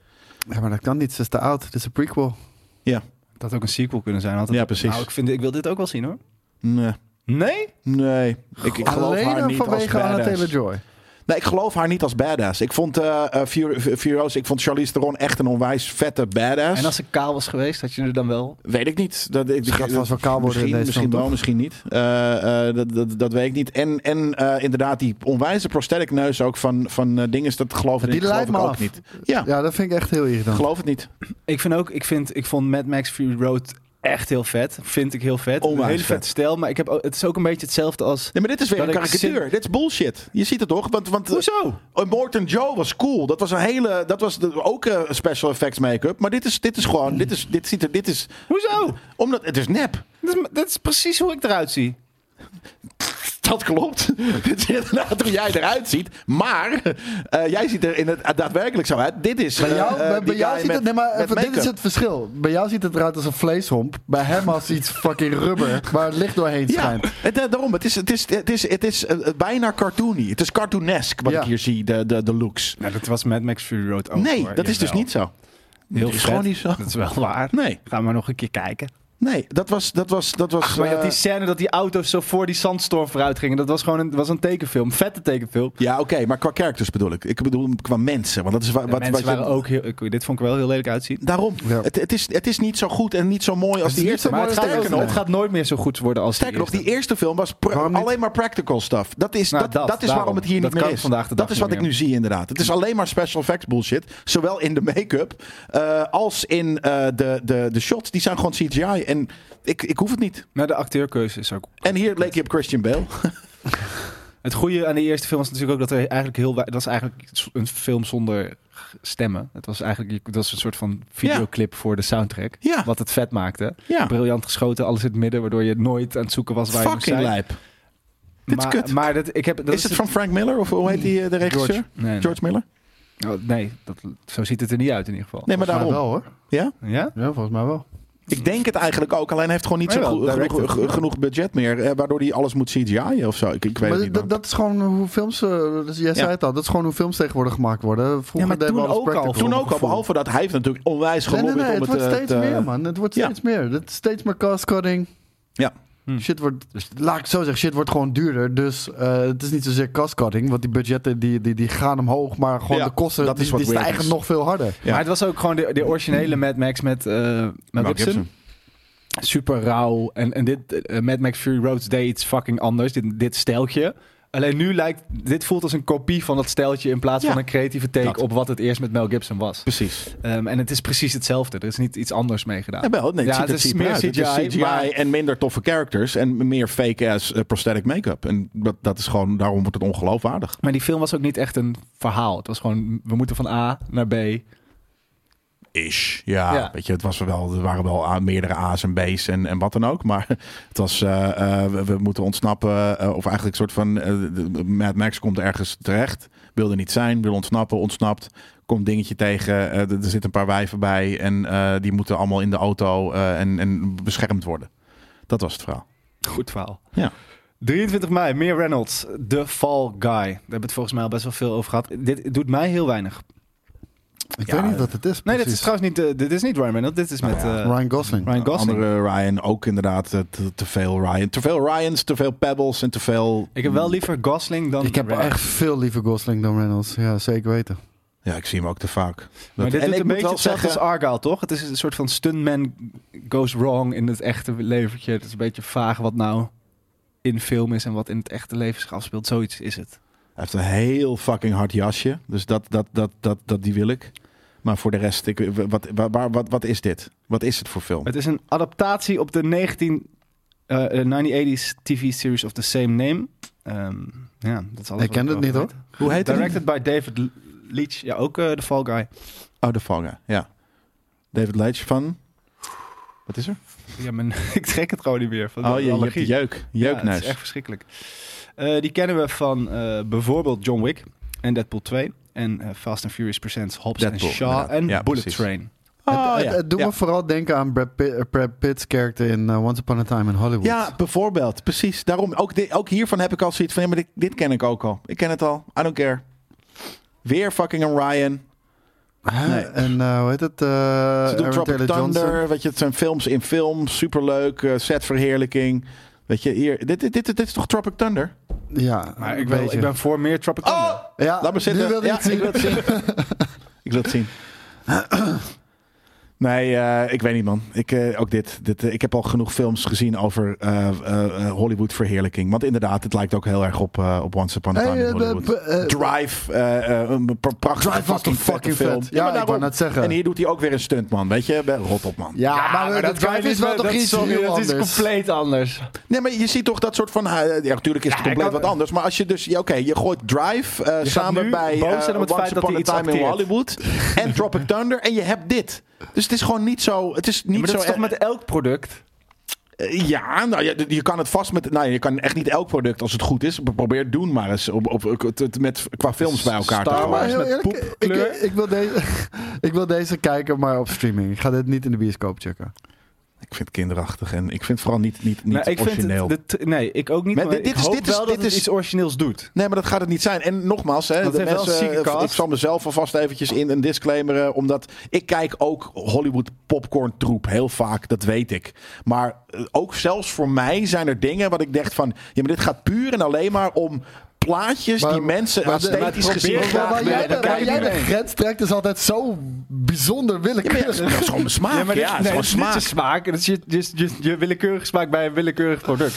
Ja, maar dat kan niet. Ze is te oud. Het is een prequel.
Dat had ook een sequel kunnen zijn. Had het-
Ja, precies.
Nou, ik, vind, ik wil dit ook wel zien hoor.
Nee.
Nee?
Nee, ik, ik geloof
Alleen
haar
maar
niet als
vanwege Anna
badass.
Taylor-Joy.
Nee, ik geloof haar niet als badass. Ik vond eh eh, Fur- F- Furiosa, ik vond Charlize Theron echt een onwijs vette badass.
En als ze kaal was geweest, had je er dan wel...
Weet ik niet. Dat, ik,
Ze gaat
ik-
vast wel kaal worden
misschien,
in deze
Misschien
film,
wel,
toch?
misschien niet. Eh, eh, dat, dat, dat weet ik niet. En, en eh, inderdaad, die onwijze prosthetic neus ook van, van eh, dingen, dat geloof,
Die
ik, geloof
leidt
ik
me
ook
af.
niet. Ja,
Ja, dat vind ik echt heel irritant.
geloof het niet.
Ik vind ook, ik, vind, ik vond Mad Max Fury Road echt heel vet. Vind ik heel vet.
Onwijs
een hele
vet.
vette stijl, maar ik heb, ook- het is ook een beetje hetzelfde als...
Nee, maar dit is weer
Dat
een
ik
karikatuur. Dit is bullshit. Je ziet het toch? Want, want eh,
Hoezo?
Oh, Morton Joe was cool. Dat was een hele. Dat was de- ook eh, special effects make-up. Maar dit is, dit is gewoon. Dit is, dit ziet er, dit is.
Hoezo?
Omdat het is nep.
Dat is, dat is precies hoe ik eruit zie.
Dat klopt. dit is inderdaad hoe jij eruit ziet. Maar eh, jij ziet er in het, daadwerkelijk zo uit. Dit is.
Bij jou,
eh, eh,
bij,
die
bij jou
guy
ziet
met-
het, nee, maar
met
even, dit
make-up.
is het verschil. Bij jou ziet het eruit als een vleeshomp. Bij hem als iets fucking rubber waar het licht doorheen
Ja,
schijnt.
het, eh, daarom. Het is, het is, het is, het is eh, bijna cartoony. Het is cartoonesk wat
Ja. Oh,
ik hier zie, de, de, de looks.
Nou, dat was Mad Max Fury Road ook
nee,
hoor.
dat is dus
Jawel.
niet zo.
Heel
dat is
vet.
gewoon niet zo.
Dat is wel waar.
Nee,
Ga maar nog een keer kijken.
nee, dat was. Dat was, dat was
Ach, maar je had
eh,
die scène dat die auto's zo voor die zandstorm vooruit gingen. Dat was gewoon een, was een tekenfilm. Vette tekenfilm.
Ja, oké, maar qua characters bedoel ik. Ik bedoel qua mensen. Want dat is wa-
De
wat,
mensen
wat je-
waren ook heel... ik- dit vond ik wel heel lelijk uitzien.
Daarom.
Ja.
Het, het, is, het is niet zo goed en niet zo mooi als
is
die
niet
eerste.
zo
Maar
Maar
mooi
het
als
gaat,
die
ook,
eerste.
het gaat nooit meer zo goed worden als
Sterker nog,
die
die eerste film was pra-
Waarom niet?
alleen maar practical stuff. Dat is,
Nou,
dat,
dat,
dat, is
daarom.
waarom het hier
Dat
niet meer
kan
is.
vandaag de dag
dat is
niet
wat ik
meer.
nu zie inderdaad. Het is alleen maar special effects bullshit. Zowel in de make-up eh, als in eh, de, de, de shots. Die zijn gewoon CGI. En ik, ik hoef het niet.
Maar de Nou, acteurkeuze is ook...
En hier leek je op Christian Bale.
Het goede aan de eerste film was natuurlijk ook dat er eigenlijk heel... wei- Het was eigenlijk een film zonder stemmen. Het was eigenlijk dat was een soort van videoclip voor de soundtrack.
Ja.
Wat het vet maakte.
Ja.
Briljant geschoten, alles in het midden. Waardoor je nooit aan het zoeken was waar je
Fucking
moest zijn.
lijp. Dit is
maar,
kut.
Maar dat, ik heb, dat
Is, het van Frank Miller of hoe heet die eh, de regisseur?
George,
George,
nee, nee.
Miller?
Oh, nee dat, zo ziet het er niet uit in ieder geval.
Nee, maar
Volgens mij
daarom.
wel hoor.
Ja?
Ja?
Ja, volgens mij wel.
Ik denk het eigenlijk ook. Alleen hij heeft gewoon niet zo
Ja,
goed-
directed,
genoeg,
ja.
ge- genoeg budget meer. eh, waardoor hij alles moet CGI'en of zo. Ik, ik weet
Maar
het
dat,
niet.
dat- dat is gewoon hoe films... eh, dus jij zei het al, dat is gewoon hoe films tegenwoordig gemaakt worden. Vroeger
Ja, maar
deden we
toen
alles
ook al.
practical.
Toen ook al, behalve dat hij heeft natuurlijk onwijs
Nee, nee,
gelobbyd
nee,
om
het,
het,
wordt
eh,
steeds
te-
meer, man. Het wordt
Ja.
steeds meer. Het is steeds meer cost-cutting.
Ja.
Hmm.
Shit wordt, laat ik het zo zeggen, shit wordt gewoon duurder. Dus eh, het is niet zozeer cost-cutting, want die budgetten die, die, die gaan omhoog. Maar gewoon
Ja,
de kosten,
dat is
die,
wat
die
weird
stijgen
is.
nog veel harder.
Ja.
Maar het was ook gewoon de, de originele Mad Max met eh Mel
Mel
Gibson.
Gibson.
Super rauw. En, en dit eh, Mad Max Fury Road deed iets fucking anders. Dit, dit stijltje. Alleen nu lijkt... Dit voelt als een kopie van dat stijltje... in plaats
Ja.
van een creatieve take
Dat.
op wat het eerst met Mel Gibson was.
Precies.
Ehm, en het is precies hetzelfde. Er is niet iets anders mee gedaan.
Ja, wel, nee, het
Ja,
ziet
het
er
is
cheap
meer
uit. Het is
CGI,
CGI
maar-
en minder toffe characters. En meer fake-ass eh, prosthetic make-up. En dat, dat is gewoon, daarom wordt het ongeloofwaardig.
Maar die film was ook niet echt een verhaal. Het was gewoon... We moeten van A naar B.
Ish. Ja,
Ja.
weet je, het was wel, er waren wel a- meerdere A's en B's en, en wat dan ook. Maar het was, eh, eh, we, we moeten ontsnappen. eh, of eigenlijk een soort van, eh, de- de- Mad Max komt ergens terecht. Wil er niet zijn, wil ontsnappen, ontsnapt. Komt dingetje tegen, eh, er er zitten een paar wijven bij. En eh, die moeten allemaal in de auto eh, en, en beschermd worden. Dat was het verhaal.
Goed verhaal.
Ja.
23 mei, meer Reynolds, The Fall Guy. Daar hebben we het volgens mij al best wel veel over gehad. Dit doet mij heel weinig.
Ik
Ja,
weet niet wat het
Nee,
is
dit
precies.
is trouwens niet, eh, dit is niet Ryan Reynolds. Dit is met eh,
Ryan Gosling.
Ryan Gosling.
Andere Ryan, ook inderdaad eh, te, te veel Ryan. Te veel Ryans, te veel Pebbles en te veel...
Ik heb wel liever Gosling dan
Ik heb
Reynolds.
echt veel liever Gosling dan Reynolds. Ja, zeker weten.
Ja, ik zie hem ook te vaak. Dat,
Maar dit
en
doet
ik
een
moet
beetje
wel
hetzelfde
zeggen-
als Argyle, toch? Het is een soort van stuntman goes wrong in het echte leventje. Het is een beetje vaag wat nou in film is en wat in het echte leven zich afspeelt. Zoiets is het.
Hij heeft een heel fucking hard jasje. Dus dat, dat, dat, dat, dat, die wil ik. Maar voor de rest, ik, wat, waar- waar, wat, wat is dit? Wat is het voor film?
Het is een adaptatie op de 19, eh, eh, 1980s TV-series of the same name. Ehm, ja, dat is alles
Ik
wat
ken het
erover
niet, hoor.
weet.
Hoe heet het?
Directed by David L- Leitch. Ja, ook eh The Fall Guy.
Oh, de vangen. Ja. David Leitch van... Wat is er?
Ja, mijn, ik trek het gewoon niet meer. Van de
Oh, je, je hebt
allergie.
die jeuk.
Ja, dat
Jeukneus.
is echt verschrikkelijk. Eh, die kennen we van eh, bijvoorbeeld John Wick en Deadpool 2. En eh, Fast and Furious presents Hobbs en
Deadpool,
Shaw
inderdaad.
en
Ja,
Bullet
precies.
Train.
Oh,
het,
ja.
het- het doet
Ja.
me vooral denken aan Brad, Pitt, eh, Brad Pitt's character in eh, Once Upon a Time in Hollywood.
Ja, bijvoorbeeld. Precies. Daarom, ook, dit, ook hiervan heb ik al zoiets van... Ja, maar dit, dit ken ik ook al. Ik ken het al. I don't care. Weer fucking een Ryan.
Hè?
Nee.
En eh, hoe heet het? eh,
Ze doen
Aaron
Tropic
Taylor
Thunder,
Johnson.
weet je, het zijn films in film, superleuk, eh, setverheerlijking. Weet je, hier, dit, dit, dit, dit is toch Tropic Thunder?
Ja,
Maar ik,
een
wil,
beetje.
ik ben voor meer Tropic Thunder.
Ja,
Laat me zitten.
Nu wilde
ja,
ik het zien.
ik wil het zien. ik wil het zien. Nee, eh, ik weet niet, man. Ik, eh, ook dit, dit eh, ik heb al genoeg films gezien over eh, eh, eh, Hollywood-verheerlijking. Want inderdaad, het lijkt ook heel erg op, eh, op Once Upon a
Hey,
Time in
eh,
Hollywood.
b- eh,
Drive, eh, eh, een pra- prachtige
Drive was
fucking,
toch fucking
vette film.
vet? Ja, ik wou
daarom.
net zeggen.
En hier doet hij ook weer een stunt, man. Weet je, rot op, man.
Ja, maar,
dat
de
kan je
drive
niet
is wel
met-
toch
dat-
iets
sorry,
heel
dat is
anders.
compleet anders.
Nee, maar je ziet toch dat soort van... eh, Ja, natuurlijk is het
Ja,
compleet
ik had-
wat anders. Maar als je dus... Ja, Oké, je gooit Drive eh, samen
nu
bij
boos
eh,
zijn om het
Once
feit dat
Upon
hij
a
iets
Time in
acteert.
Hollywood. en Tropic Thunder. En je hebt dit. Dus het is gewoon niet zo... Het is niet
maar
zo... e-
dat is toch met elk product?
eh, ja, nou, je, je kan het vast met... Nou, je kan echt niet elk product, als het goed is... Probeer het doen maar eens op, op, het- met, qua films bij elkaar
Star
te gooien.
Maar
Wars
heel
met
eerlijk, ik,
poepkleur.
ik, ik wil deze, ik wil deze kijken, maar op streaming. Ik ga dit niet in de bioscoop checken.
Ik vind het kinderachtig. En ik vind het vooral niet, niet, niet
Nou, ik vind
origineel.
het, de- nee, ik ook niet.
Maar
Maar,
dit-
dit,
dit
ik
is-
hoop
dit is-
wel dat
dit
het
is-
iets origineels doet.
Nee, maar dat gaat het niet zijn. En nogmaals, hè,
Want
de
het heeft wel
mensen,
een zieke
eh,
cast.
ik zal mezelf alvast eventjes in een disclaimer, eh, omdat ik kijk ook Hollywood popcorn troep heel vaak, dat weet ik. Maar eh, ook zelfs voor mij zijn er dingen wat ik dacht van, ja, maar dit gaat puur en alleen maar om plaatjes
Maar-
die mensen
maar de- maar
esthetisch
probeer-
gezien
maar-
graag
waar
maar-
willen
jij, de,
daar
waar
kijk
bekijken.
jij
ik
de
mee.
grens trekt is altijd zo bijzonder
Ja, maar ja,
willekeurig.
dat is gewoon mijn smaak. Ja,
dit-
het is
nee,
gewoon
dit is niet
smaak.
je smaak. Het is je, je, je, je willekeurige smaak bij een willekeurig product.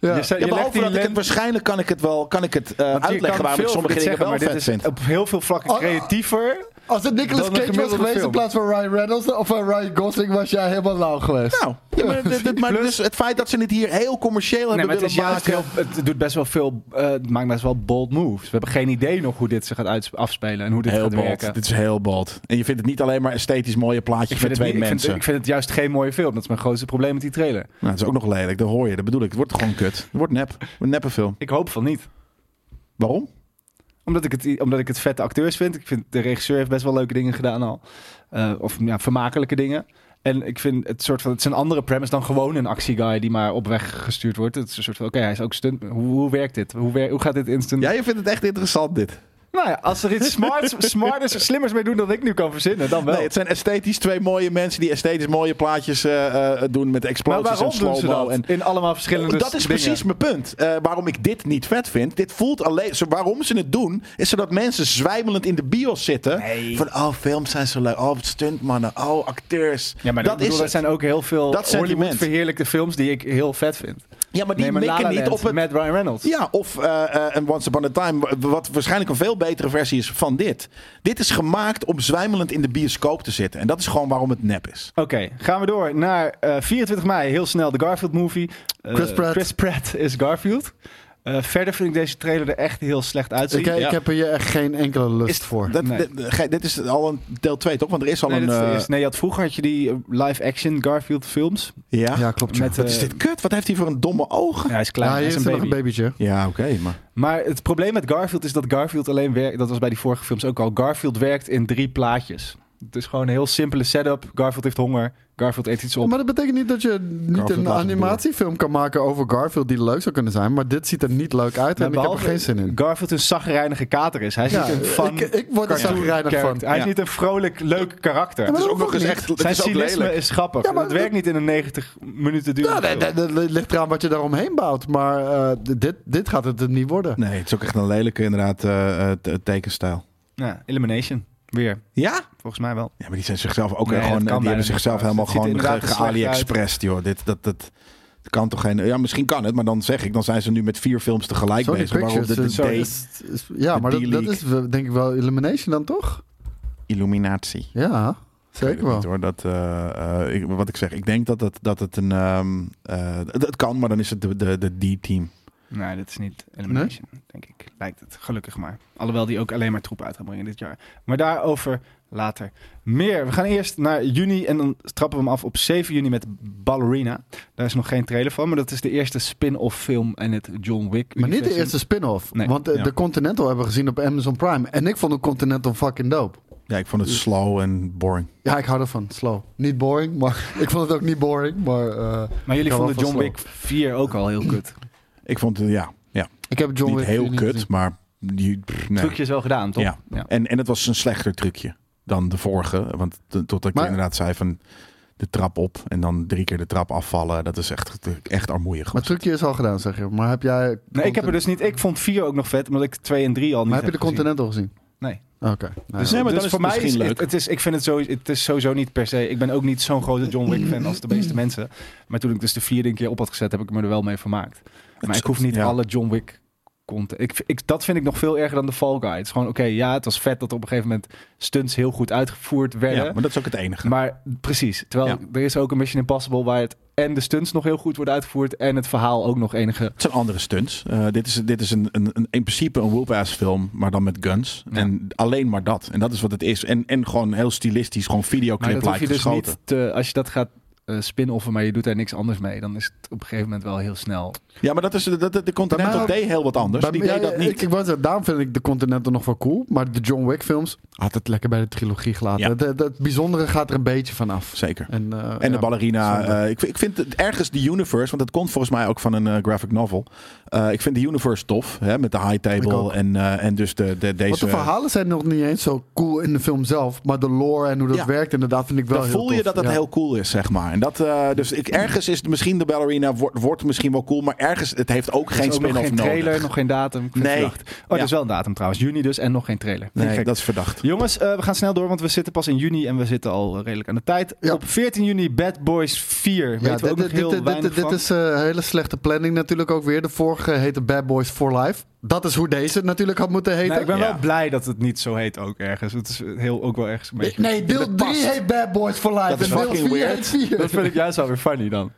Ja.
Je, zei-
Ja,
je legt
behalve
die
dat ik
lens-
het waarschijnlijk kan ik het wel kan ik het eh,
Want je
uitleggen
kan
waarom ik
veel
sommige
over
dingen wel
dit zeggen,
vet
maar dit
vind.
is Op heel veel vlakken
Oh.
creatiever
Als het Nicolas
Dan een
Cage was
gemiddelde
geweest in
film.
plaats van Ryan Reynolds of eh, Ryan Gosling, was jij helemaal lauw geweest.
Nou, ja, maar, dit- dit- maar dus het feit dat ze het hier heel commercieel
Nee,
hebben
maar het, is
willen
juist
maken...
heel, het doet best wel veel, eh, het maakt best wel bold moves. We hebben geen idee nog hoe dit zich gaat uits- afspelen en hoe dit
Heel
gaat
bald.
werken.
Dit is heel bald. En je vindt het niet alleen maar esthetisch mooie plaatjes
Ik
met
vind, het
twee
niet- ik, vind,
mensen.
ik vind het juist geen mooie film. Dat is mijn grootste probleem met die trailer.
Nou, dat is ook nog lelijk. Dat hoor je. Dat bedoel ik. Het wordt gewoon kut. Het wordt nep. Een neppe film.
Ik hoop van niet.
Waarom?
Omdat ik, het, omdat ik het vette acteurs vind. Ik vind de regisseur heeft best wel leuke dingen gedaan al. Eh, of ja, vermakelijke dingen. En ik vind het soort van, het is een andere premise dan gewoon een actieguy die maar op weg gestuurd wordt. Het is een soort van, oké, hij is ook stunt. Hoe, hoe werkt dit? Hoe, wer- hoe gaat dit instant?
Ja, je vindt het echt interessant dit.
Nou ja, als er iets smarts, smarters, slimmers mee doen dan ik nu kan verzinnen, dan wel.
Nee, het zijn esthetisch twee mooie mensen die esthetisch mooie plaatjes eh, eh, doen met
maar
explosies en
waarom doen ze
slow
dat?
En
In allemaal verschillende
dat is
dingen.
precies mijn punt. Eh, waarom ik dit niet vet vind. Dit voelt alleen. zo- Waarom ze het doen, is zodat mensen zwijmelend in de bios zitten. Van oh, films zijn zo leuk. Oh, stuntmannen. Oh, acteurs.
Ja, maar dat,
dat is.
dat
het.
zijn ook heel veel
Dat sentiment.
Hollywood verheerlijkte films die ik heel vet vind.
Ja, maar die
Neem een La
mikken
La
niet
Land
op het.
met Ryan Reynolds.
Ja, of eh, eh, een Once Upon a Time, wa- wat waarschijnlijk een veel betere versie is van dit. Dit is gemaakt om zwijmelend in de bioscoop te zitten. En dat is gewoon waarom het nep is.
Oké, gaan we door naar eh, 24 mei. Heel snel de Garfield movie. Eh,
Chris Pratt.
Chris Pratt is Garfield. Eh, verder vind ik deze trailer er echt heel slecht uitzien.
Ik, eh, ik heb er hier echt geen enkele lust
Is-
voor.
dat-
Nee.
dit- ge- dit is al een deel 2, toch? Want er is al
nee,
een.
dat is de
eh,
eerste. nee, je had vroeger had je die eh, live-action Garfield films.
ja.
Ja, klopt. ja.
Met,
Wat
eh,
is dit kut? Wat heeft hij voor een domme
Ja,
ogen?
hij is klein,
ja,
hij
hier
is
is
een
er nog
baby.
een babytje.
Ja, oké, maar.
Maar het probleem met Garfield is dat Garfield alleen werkt... Dat was bij die vorige films ook al. Garfield werkt in drie plaatjes. Het is gewoon een heel simpele setup. Garfield heeft honger. Garfield eet iets op.
Maar dat betekent niet dat je niet
Garfield
een
laat het
animatiefilm kan maken over Garfield die leuk zou kunnen zijn. Maar dit ziet er niet leuk uit en
Nou,
ik heb er
behalve
geen zin in.
Garfield een zagrijnige kater is. Hij is
Ja, eh,
niet een fun
ik, ik word er
cartoon
zagrijnig van.
character. Hij is
Ja.
niet een vrolijk, leuk karakter.
Het is
dat
ook nog eens
hoeft niet.
echt. Het
Zijn
is ook
cynisme
lelijk.
is grappig.
Ja, maar
dat
dat-
werkt niet in een 90 minuten
Ja,
durende
nee,
film.
nee, nee, het ligt eraan wat je daaromheen bouwt. Maar eh, dit, dit gaat het niet worden.
Nee, het is ook echt een lelijke, inderdaad, eh, eh, te- tekenstijl.
Ja, Elimination. Weer.
Ja?
Volgens mij wel.
Ja, maar die zijn zichzelf ook
Nee,
eh, gewoon.
dat kan
eh, Die hebben
bijna niet
zichzelf helemaal
trouwens. Het ziet er
gewoon ge-
inderdaad er slecht
ge-AliExpressed, joh. Dit, dat, dat, dat kan toch geen. Ja, misschien kan het, maar dan zeg ik, dan zijn ze nu met vier films tegelijk
Sony
bezig. Waarop
Pictures.
de, de,
eh, is- is- ja,
de
maar dat, dat
D-League.
is wel- denk ik wel Elimination dan toch?
illuminatie.
Ja,
Ik
zeker
weet het
wel.
niet, hoor. Dat, eh, eh, ik- wat ik zeg, ik denk dat het, dat het een. ehm, eh, het het kan, maar dan is het de, de, de D-team.
Nee, dit is niet Elimination, denk ik. Lijkt het. Gelukkig maar. Alhoewel die ook alleen maar troep uit gaan brengen dit jaar. Maar daarover later meer. We gaan eerst naar juni en dan trappen we hem af op 7 juni met Ballerina. Daar is nog geen trailer van, maar dat is de eerste spin-off film en het John Wick.
Maar niet de
universum.
eerste spin-off.
Nee.
Want eh,
Ja.
de Continental hebben we gezien op Amazon Prime. En ik vond de Continental fucking dope.
Ja, ik vond
Dus-
het slow en boring.
Ja, ik hou ervan. Slow. Niet boring, maar ik vond het ook niet boring. Maar, eh,
Maar jullie
Ik hou
vonden
wel
John
van
Wick 4 ook al heel kut.
Ik vond het, ja, ja
ik heb John
niet
Wick
heel
niet
kut,
gezien.
maar. Die, pff, nee.
Trucje is wel gedaan, toch?
Ja. En, en het was een slechter trucje dan de vorige. Want t- totdat ik
Maar-
inderdaad zei van de trap op en dan drie keer de trap afvallen. Dat is echt, echt armoeig.
Maar het trucje is al gedaan, zeg je. Maar heb jij...
Nee, ik heb er dus niet. Ik vond 4 ook nog vet, omdat ik 2 en 3 al niet
Maar heb je de
gezien.
Continental gezien?
Nee.
Oké. Nou
Dus,
Nee,
ja.
maar
dus
dan is
voor
het
mij is
misschien
het,
leuk.
het is, ik vind het, sowieso, het is sowieso niet per se. Ik ben ook niet zo'n grote John Wick fan als de
Mm.
meeste mensen. Maar toen ik dus de vierde een keer op had gezet, heb ik me er wel mee vermaakt. Maar
Het-
ik hoef niet
ja.
alle John Wick content. Ik, ik, dat vind ik nog veel erger dan de Fall Guy. Het is gewoon, oké, ja, het was vet dat op een gegeven moment stunts heel goed uitgevoerd werden.
ja, maar dat is ook het enige.
Maar precies. Terwijl
Ja.
er is ook een Mission Impossible waar het en de stunts nog heel goed worden uitgevoerd en het verhaal ook nog enige.
Het zijn andere stunts. Eh, dit is, dit is een, een, een- in principe een whoop-ass film, maar dan met guns.
Ja.
En alleen maar dat. En dat is wat het is. En, en gewoon heel stilistisch, gewoon
Maar
videoclip
dat hoef je
lijkt
dus
geschoten.
niet te, als je dat gaat eh, spin-offen, maar je doet daar niks anders mee, dan is het op een gegeven moment wel heel snel.
Ja, maar dat is, dat, dat- de Continental
Bij
nou-
mij-
deed heel wat anders.
Bij-
Die
ja,
deed dat
ja,
niet.
Ik, ik wou zeggen, daarom vind ik de Continental nog wel cool. Maar de John Wick films had het lekker bij de trilogie gelaten.
Ja.
Het- het- het bijzondere gaat er een beetje van af.
Zeker.
En, eh,
En
ja.
de ballerina.
zonde.
eh, ik, ik vind het ergens de universe, want dat komt volgens mij ook van een eh, graphic novel. Eh, ik vind de universe tof, hè, met de high
Ik
table
ook.
en, eh, en dus de, de, deze...
Want de verhalen zijn nog niet eens zo cool in de film zelf. Maar de lore en hoe dat
Ja.
werkt, inderdaad, vind ik wel
dan
heel
voel je
tof.
dat dat
Ja.
heel cool is, zeg maar. En dat, eh, dus ik, ergens is het misschien de ballerina, wordt, wordt misschien wel cool, maar ergens, het heeft ook
Er
geen
is ook nog
spin-off
geen trailer,
nodig.
nog geen datum. Ik vind
Nee.
het verdacht. Oh, dat
Ja.
is wel een datum trouwens. Juni dus en nog geen trailer. Vind ik
Nee,
gek.
dat is verdacht.
Jongens, eh, we gaan snel door, want we zitten pas in juni en we zitten al eh, redelijk aan de tijd.
Ja.
Op 14 juni Bad Boys 4. Weet
Ja,
Weten we
dit,
ook nog
dit,
heel
dit, dit,
weinig
dit
van.
is eh, een hele slechte planning natuurlijk ook weer. De vorige heette Bad Boys for Life. dat is hoe deze natuurlijk had moeten heten.
Nou, ik ben
Ja.
wel blij dat het niet zo heet ook ergens. Het is eh, heel, ook wel ergens een beetje...
Nee, deel
Dat
3
past.
heet Bad Boys for Life.
Dat is
en deel
fucking
4
weird.
heet 4.
Dat vind ik juist wel weer funny dan.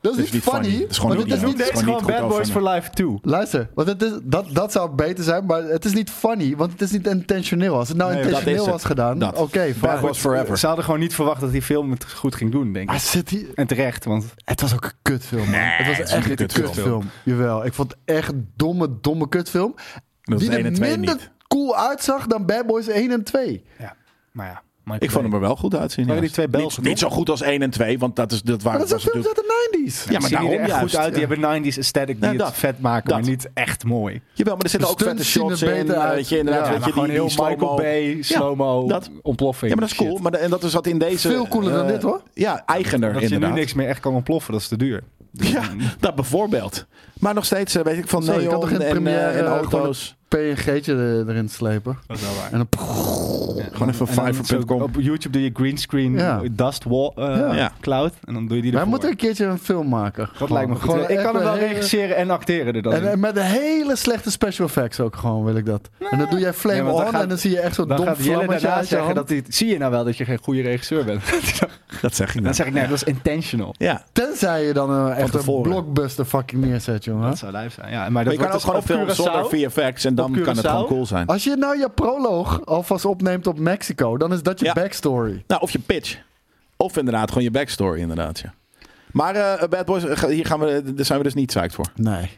Dat is
Dat
niet funny,
Dat is gewoon
want het is
idioot.
niet
Dat
Deze is gewoon
niet
Bad
goed
Boys
overnemen.
for Life 2.
Luister, want het is, dat, dat zou beter zijn, maar het is niet funny, want het is niet intentioneel. Als het nou
Nee, dat
intentioneel
is het.
was gedaan,
Dat.
oké, fine.
Bad Boys Forever.
Ze hadden gewoon niet verwacht dat die film het goed ging doen, denk
Maar
ik.
zit die...
En terecht, want
Het was ook een kutfilm, man.
Nee,
het was
het is
echt
niet
een
een kutfilm.
kutfilm. Jawel, ik vond het echt een domme, domme kutfilm.
Dat is
die
één
er
en twee
minder
niet.
cool uitzag dan Bad Boys 1 en 2.
ja, maar ja. Michael
Ik vond hem
Bay.
er wel goed uitzien.
Waren
ja.
die twee Belgen,
Niet, niet zo
toch?
goed als 1 en 2, want dat, is, dat
Maar
waren
dat zijn
was
films
natuurlijk...
uit de 90s.
Ja, maar
Zien die er
daarom
echt
juist.
goed uit. Die hebben 90s aesthetic die
Ja, dat.
het vet maken, maar
Dat.
niet echt mooi.
Jawel, maar er zitten
De
ook vette
stunts zien er
shots in.
beter
eh,
uit.
Weet je, inderdaad,
Ja,
weet
maar
je, die, die slow-mo.
Bay, slow-mo,
dat.
ontploffing.
Ja, maar dat is cool.
shit.
Maar de- en dat is wat in deze...
Veel cooler dan
eh,
dit, hoor.
Ja, eigener
Dat je nu
inderdaad.
niks meer echt kan ontploffen, dat is te duur.
Ja, dat bijvoorbeeld. Maar nog steeds, eh, weet ik, van
Zo, je kan
neon
toch in
en,
première,
eh, en
eh,
auto's.
PNG'tje er- erin slepen.
Dat is wel waar.
En dan...
Gewoon even
En dan
fiverr.com.
zo Op YouTube doe je green screen
Ja.
dust wall eh,
Ja.
cloud en dan doe je die
Wij
ervoor.
moeten een keertje een film maken.
Dat
Gewoon.
lijkt me goed.
Gewoon
ik
echt
kan hem wel
een hele-
regisseren en acteren er dan.
En,
in.
en met een hele slechte special effects ook gewoon, wil ik dat. En dan doe jij flame
Nee, want dan
on
gaat-
en dan zie je echt zo'n
Dan
dom
gaat Jelle
vlammetje
daarna
uit je
zeggen
hand.
dat hij... Zie je nou wel dat je geen goede regisseur bent?
Dat zeg ik
dan
nou.
zeg ik, nee, dat is intentional.
Ja.
Tenzij je dan een, echt een
tevoren.
blockbuster fucking neerzet, jongen.
Dat zou lijf zijn, ja. Maar
Maar
dat
je kan ook
wordt
gewoon een
dus op
film zonder
Curaçao.
VFX en dan
Op
kan het
Curaçao?
gewoon cool zijn.
Als je nou je proloog alvast opneemt op Mexico, dan is dat je
Ja.
backstory.
Nou, of je pitch. Of inderdaad, gewoon je backstory inderdaad, ja. Maar eh, Bad Boys, eh, ga- hier gaan we, eh, daar zijn we dus niet psyched voor.
Nee.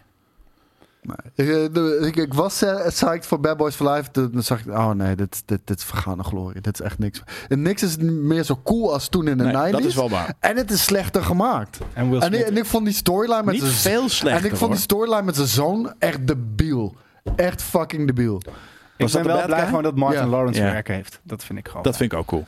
Ik, eh, de- ik, ik was eh, psyched voor Bad Boys for Life. Toen toen zag ik, oh nee, dit, dit, dit is vergane glorie. Dit is echt niks. En niks is meer zo cool als toen in de
Nee,
90s.
dat is wel waar.
En het is slechter gemaakt.
En Will
En ik,
Smith.
en ik vond die storyline met
Niet
zijn
veel
dus- En
slechter,
ik vond
hoor.
die storyline met zijn zoon echt debiel. Echt fucking debiel.
Ik
Was dat
ben
de
wel
bad
blij
guy?
gewoon dat Martin
Ja.
Lawrence
Ja.
werk heeft. Dat vind ik gewoon.
Dat vind ik ook cool.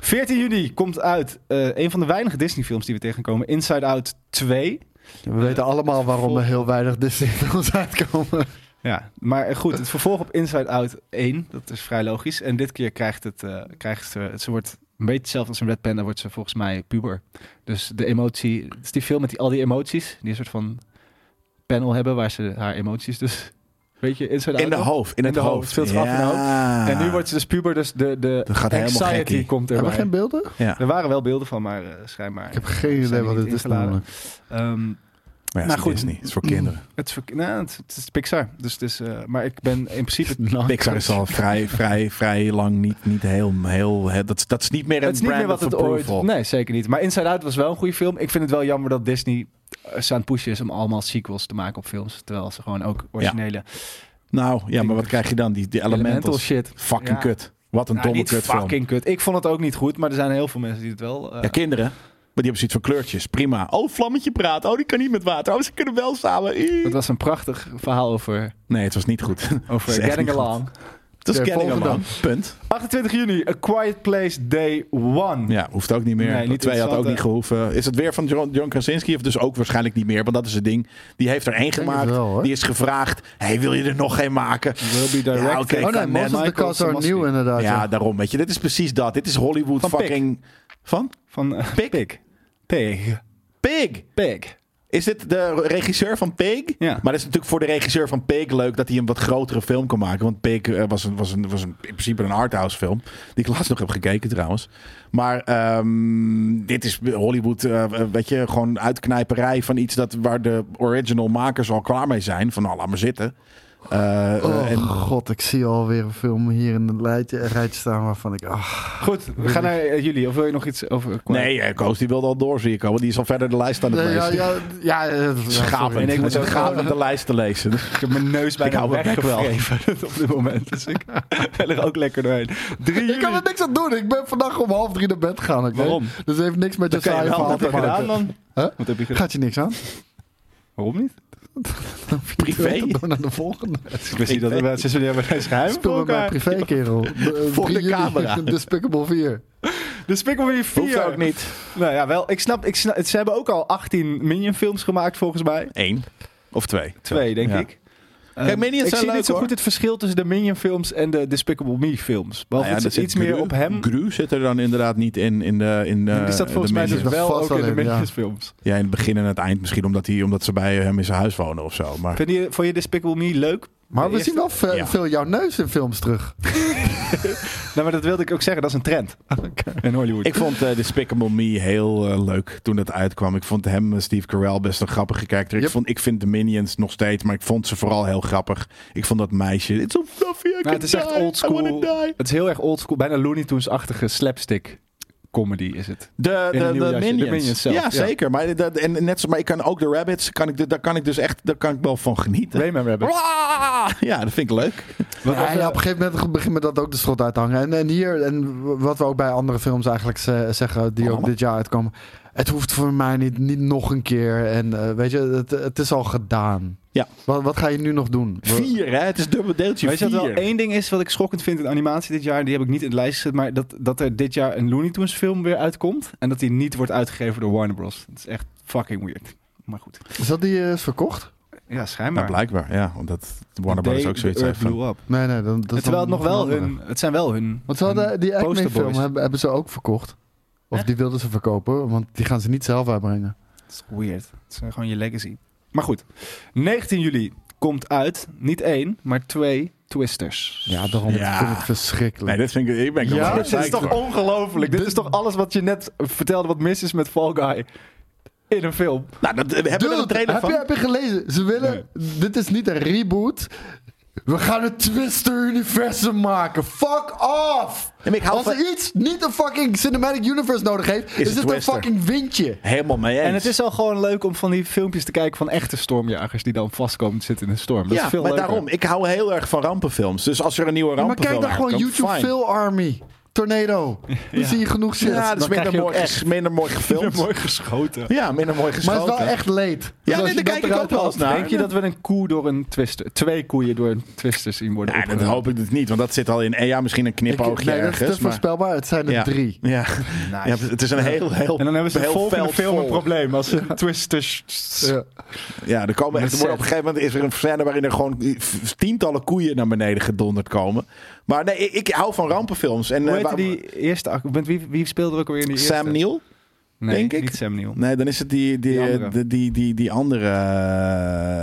14 juni komt uit eh, een van de weinige Disney-films die we tegenkomen: Inside Out 2.
We weten allemaal waarom er heel weinig Disney-films uitkomen.
Ja, maar eh, goed, het vervolg op Inside Out 1, dat is vrij logisch. En dit keer krijgt het, eh, krijgt ze, ze wordt een beetje hetzelfde als een Red Panda, wordt ze volgens mij puber. Dus de emotie, het is die film met die, al die emoties, die een soort van panel hebben waar ze haar emoties dus, weet je, Inside Out.
In de
ook.
hoofd, in
In
het
de hoofd.
hoofd.
Speelt zich af in de
Ja.
En nu wordt ze dus puber, dus de, de
Dat gaat helemaal
anxiety
gekkie.
komt
Hebben
erbij.
we geen beelden?
Ja.
Er waren wel beelden van, maar eh, schijnbaar.
Ik heb geen idee
die
wat
niet
dit is
ingeladen?
namelijk.
ehm,
Maar ja,
Nou,
nou,
goed.
goed. Disney. Het is voor kinderen.
het, is verk- nou, het, het is Pixar, dus het is, eh, maar ik ben in principe
Pixar is al vrij, vrij, vrij lang niet, niet heel... heel hè, dat, dat is niet meer een
Het is niet
brand
meer wat
of
het ooit...
approval.
Nee, zeker niet. Maar Inside Out was wel een goede film. Ik vind het wel jammer dat Disney eh, ze aan het pushen is om allemaal sequels te maken op films. Terwijl ze gewoon ook originele
Nou, ja, maar wat krijg je dan? Die, die elementals.
elemental shit.
Fucking
Ja.
kut. Wat een
Ja,
domme
niet
kutfilm.
fucking kut. Ik vond het ook niet goed, maar er zijn heel veel mensen die het wel... eh,
Ja, kinderen. Maar die hebben zoiets van kleurtjes. Prima. Oh, vlammetje praat. Oh, die kan niet met water. Oh, ze kunnen wel samen. Ih.
het was een prachtig verhaal over,
Nee, het was niet goed.
over
is echt
getting
niet goed.
along.
Het was
Oké,
Kenning
volgende
man. Punt.
28 juni, A Quiet Place Day 1.
Ja, hoeft ook niet meer.
Nee,
die
niet
twee had ook
interessant,
niet gehoeven. Is het weer van John, John Krasinski? Of dus ook waarschijnlijk niet meer. Want dat is het ding. Die heeft er één
denk het
gemaakt.
wel, hoor.
die is gevraagd. hey, wil je er nog geen maken?
Will be directed.
Ja, oké,
oh
kan
nee, most
net.
of the
Michael
cast are
Samaski.
new inderdaad.
Ja,
Ja,
daarom. Weet je, dit is precies dat. Dit is Hollywood
Van Pig.
fucking... Van?
Van eh, Pig. Pig. Pig.
Pig! Is dit de regisseur van Pig?
Ja.
Maar dat is natuurlijk voor de regisseur van Pig leuk dat hij een wat grotere film kan maken. Want Pig eh, was, een, was, een, was een, in principe een arthouse film. Die ik laatst nog heb gekeken trouwens. Maar ehm, dit is Hollywood, eh, weet je, gewoon uitknijperij van iets dat, waar de original makers al klaar mee zijn. Van nou, laat maar zitten. Eh, eh,
Oh
en
god, ik zie alweer een film hier in het rijtje, rijtje staan waarvan ik... ah.
Goed, we gaan naar eh, jullie. Of wil je nog iets over... A Quiet
nee, eh, Koos die wilde al door, zie ik al. Want die is al verder de lijst aan het
Ja,
lezen.
ja, ja, ja, eh, ja,
Schapend.
sorry.
En ik moet
Hij is
ook-
schapend de lijst te lezen.
Ik heb mijn neus
Ik
bijna
hou mijn bek
weggewelven op dit moment. Dus ik ben er ook lekker doorheen. 3 juli.
Ik kan er niks aan doen. Ik ben vandaag om half drie naar bed gegaan. oké?
Waarom?
Dus heeft niks met je
Kan je
saaie
wel,
verhaal
wat
te
heb je gedaan
maken.
dan?
Huh?
Wat heb je gedaan?
Gaat je niks aan?
Waarom niet?
Privé.
Door naar de volgende.
Ik wist niet dat we sinds wanneer hebben deze geheim
Speel met mijn privé, kerel. De-
Voor de
3 juli,
camera.
Despicable 4.
De Spikkelmeer 4.
Hoeft ook niet.
Nou ja, wel. Ik snap, ik snap, ze hebben ook al 18 Minion films gemaakt volgens mij.
Eén of twee.
Twee, denk
Ja.
ik.
Kijk, Minions
Ehm, ik
zijn
zie
leuk,
niet zo
hoor.
goed het verschil tussen de Minion films en de Despicable Me films. Behalve
Nou ja,
dat ze
er
iets
zit
meer
Gru.
op hem...
Gru zit er dan inderdaad niet in. in, de, in eh,
Die staat
de
volgens mij dus
Minions.
Dat
wel
vast
ook in de
alleen, ja.
Minions films.
Ja, in het begin en het eind misschien omdat, hij, omdat ze bij hem in zijn huis wonen of zo. Maar
Vind je, vond je Despicable Me leuk?
Maar we
eerste-
zien wel ve-
Ja.
veel jouw neus in films terug.
Nou, maar dat wilde ik ook zeggen. Dat is een trend in Hollywood.
Ik vond de Despicable Me heel eh, leuk toen het uitkwam. Ik vond hem, eh, Steve Carell, best een grappige karakter. Ik,
Yep.
vond, ik vind de Minions nog steeds, maar ik vond ze vooral heel grappig. Ik vond dat meisje... It's so fluffy, I
Nou,
can
het is
die,
echt old
I wanna
school.
die.
Het is heel erg old school, bijna Looney Tunes-achtige slapstick comedy is het.
De,
In
de,
een nieuw
de
jasje.
minions.
De Minions zelf,
ja,
ja.
zeker. Maar, dat, en net, zo- maar ik kan ook de rabbits, kan ik, daar kan ik dus echt daar kan ik wel van genieten.
Rayman Rabbit.
Waaah! Ja, dat vind ik leuk.
Wat-
Ja,
wat-
ja, op een gegeven moment begint met dat ook de strot uit te hangen. En, en hier, en wat we ook bij andere films eigenlijk ze- zeggen, die ook
Allemaal.
dit jaar uitkomen. Het hoeft voor mij niet, niet nog een keer. En eh, weet je, het, het is al gedaan.
Ja.
Wat, wat ga je nu nog doen?
Vier, hè? Het is dubbel deeltje
Weet je wat
vier.
wel één ding is wat ik schokkend vind in animatie dit jaar? Die heb ik niet in de lijst gezet, maar dat, dat er dit jaar een Looney Tunes film weer uitkomt. En dat die niet wordt uitgegeven door Warner Bros. Dat is echt fucking weird. Maar goed.
Is dat die eh, is verkocht?
Ja,
Nou,
schijnbaar.
blijkbaar, ja. Omdat Warner Brothers ook zoiets heeft van...
blew up.
Nee, nee. Dan, dat
En
is
terwijl het
dan
nog wel
een andere.
hun... Het zijn wel hun...
Want ze hadden die
Poster
Acme-film
Boys.
hebben, hebben ze ook verkocht. Of
Echt?
die wilden ze verkopen, want die gaan ze niet zelf uitbrengen.
Het is weird. Het is eh, gewoon je legacy. Maar goed. 19 juli komt uit, niet één, maar twee Twisters.
Ja, daarom
Ja.
ik vind ik het verschrikkelijk.
Nee, dit vind ik... Hier ben ik nog
Ja?
wel
Dit
Dit is
psyched
toch
voor.
ongelooflijk? Dit is toch alles wat je net vertelde wat mis is met Fall Guy in een film?
Nou, dat, hebben we er een
Dude,
trailer
heb,
van?
Je, heb je gelezen? Ze willen. Dit is niet een reboot. We gaan een Twister-universum maken. Fuck off!
maar ik hou
Als
van-
iets niet een fucking cinematic universe nodig heeft, is,
het
het een
Twister.
fucking windje.
Helemaal mee eens.
En het is al gewoon leuk om van die filmpjes te kijken van echte stormjagers die dan vastkomen te zitten in een storm. Dat
ja,
is veel
maar
leuker.
daarom, ik hou heel erg van rampenfilms. Dus als er een nieuwe
Ja, maar
rampenfilm
kijk dan gewoon
uitkomt,
YouTube
fine.
Phil Army. Tornado. Dan zie je genoeg shit.
Ja, dat is
Dan krijg
minder
je
mooi,
ook
echt minder mooi gefilmd.
mooi geschoten.
Ja, minder mooi
maar
geschoten.
het is wel echt leed.
Ja,
Dus
nee,
als je
daar
dat
kijk ik
eruit
ook wel
haalt-
eens naar.
Denk je dat we een koe door een twister, twee koeien door een twister zien worden?
Nee, dat
opgenomen?
hoop ik dus niet, want dat zit al in. eh, Ja, misschien een
Ik-
knipoogje
nee, dat is
ergens.
te
maar,
voorspelbaar. Het zijn er
ja.
drie.
Ja. ja, het is een heel, heel.
En dan hebben ze
heel
volgende
veld
film een
vol.
probleem als ze twisters.
Ja.
Ja, er komen echt, er worden op een
Met
gegeven moment is er een scène waarin er gewoon tientallen koeien naar beneden gedonderd komen. Maar nee, ik, ik hou van rampenfilms. En,
Hoe
eh,
heette
waar-
die eerste? act- Met wie, wie speelde er ook alweer in die eerste?
Sam Neill?
Nee,
denk ik.
niet Sam Neill.
Nee, dan is het die, die,
Die
eh,
andere.
die, die, die, die andere.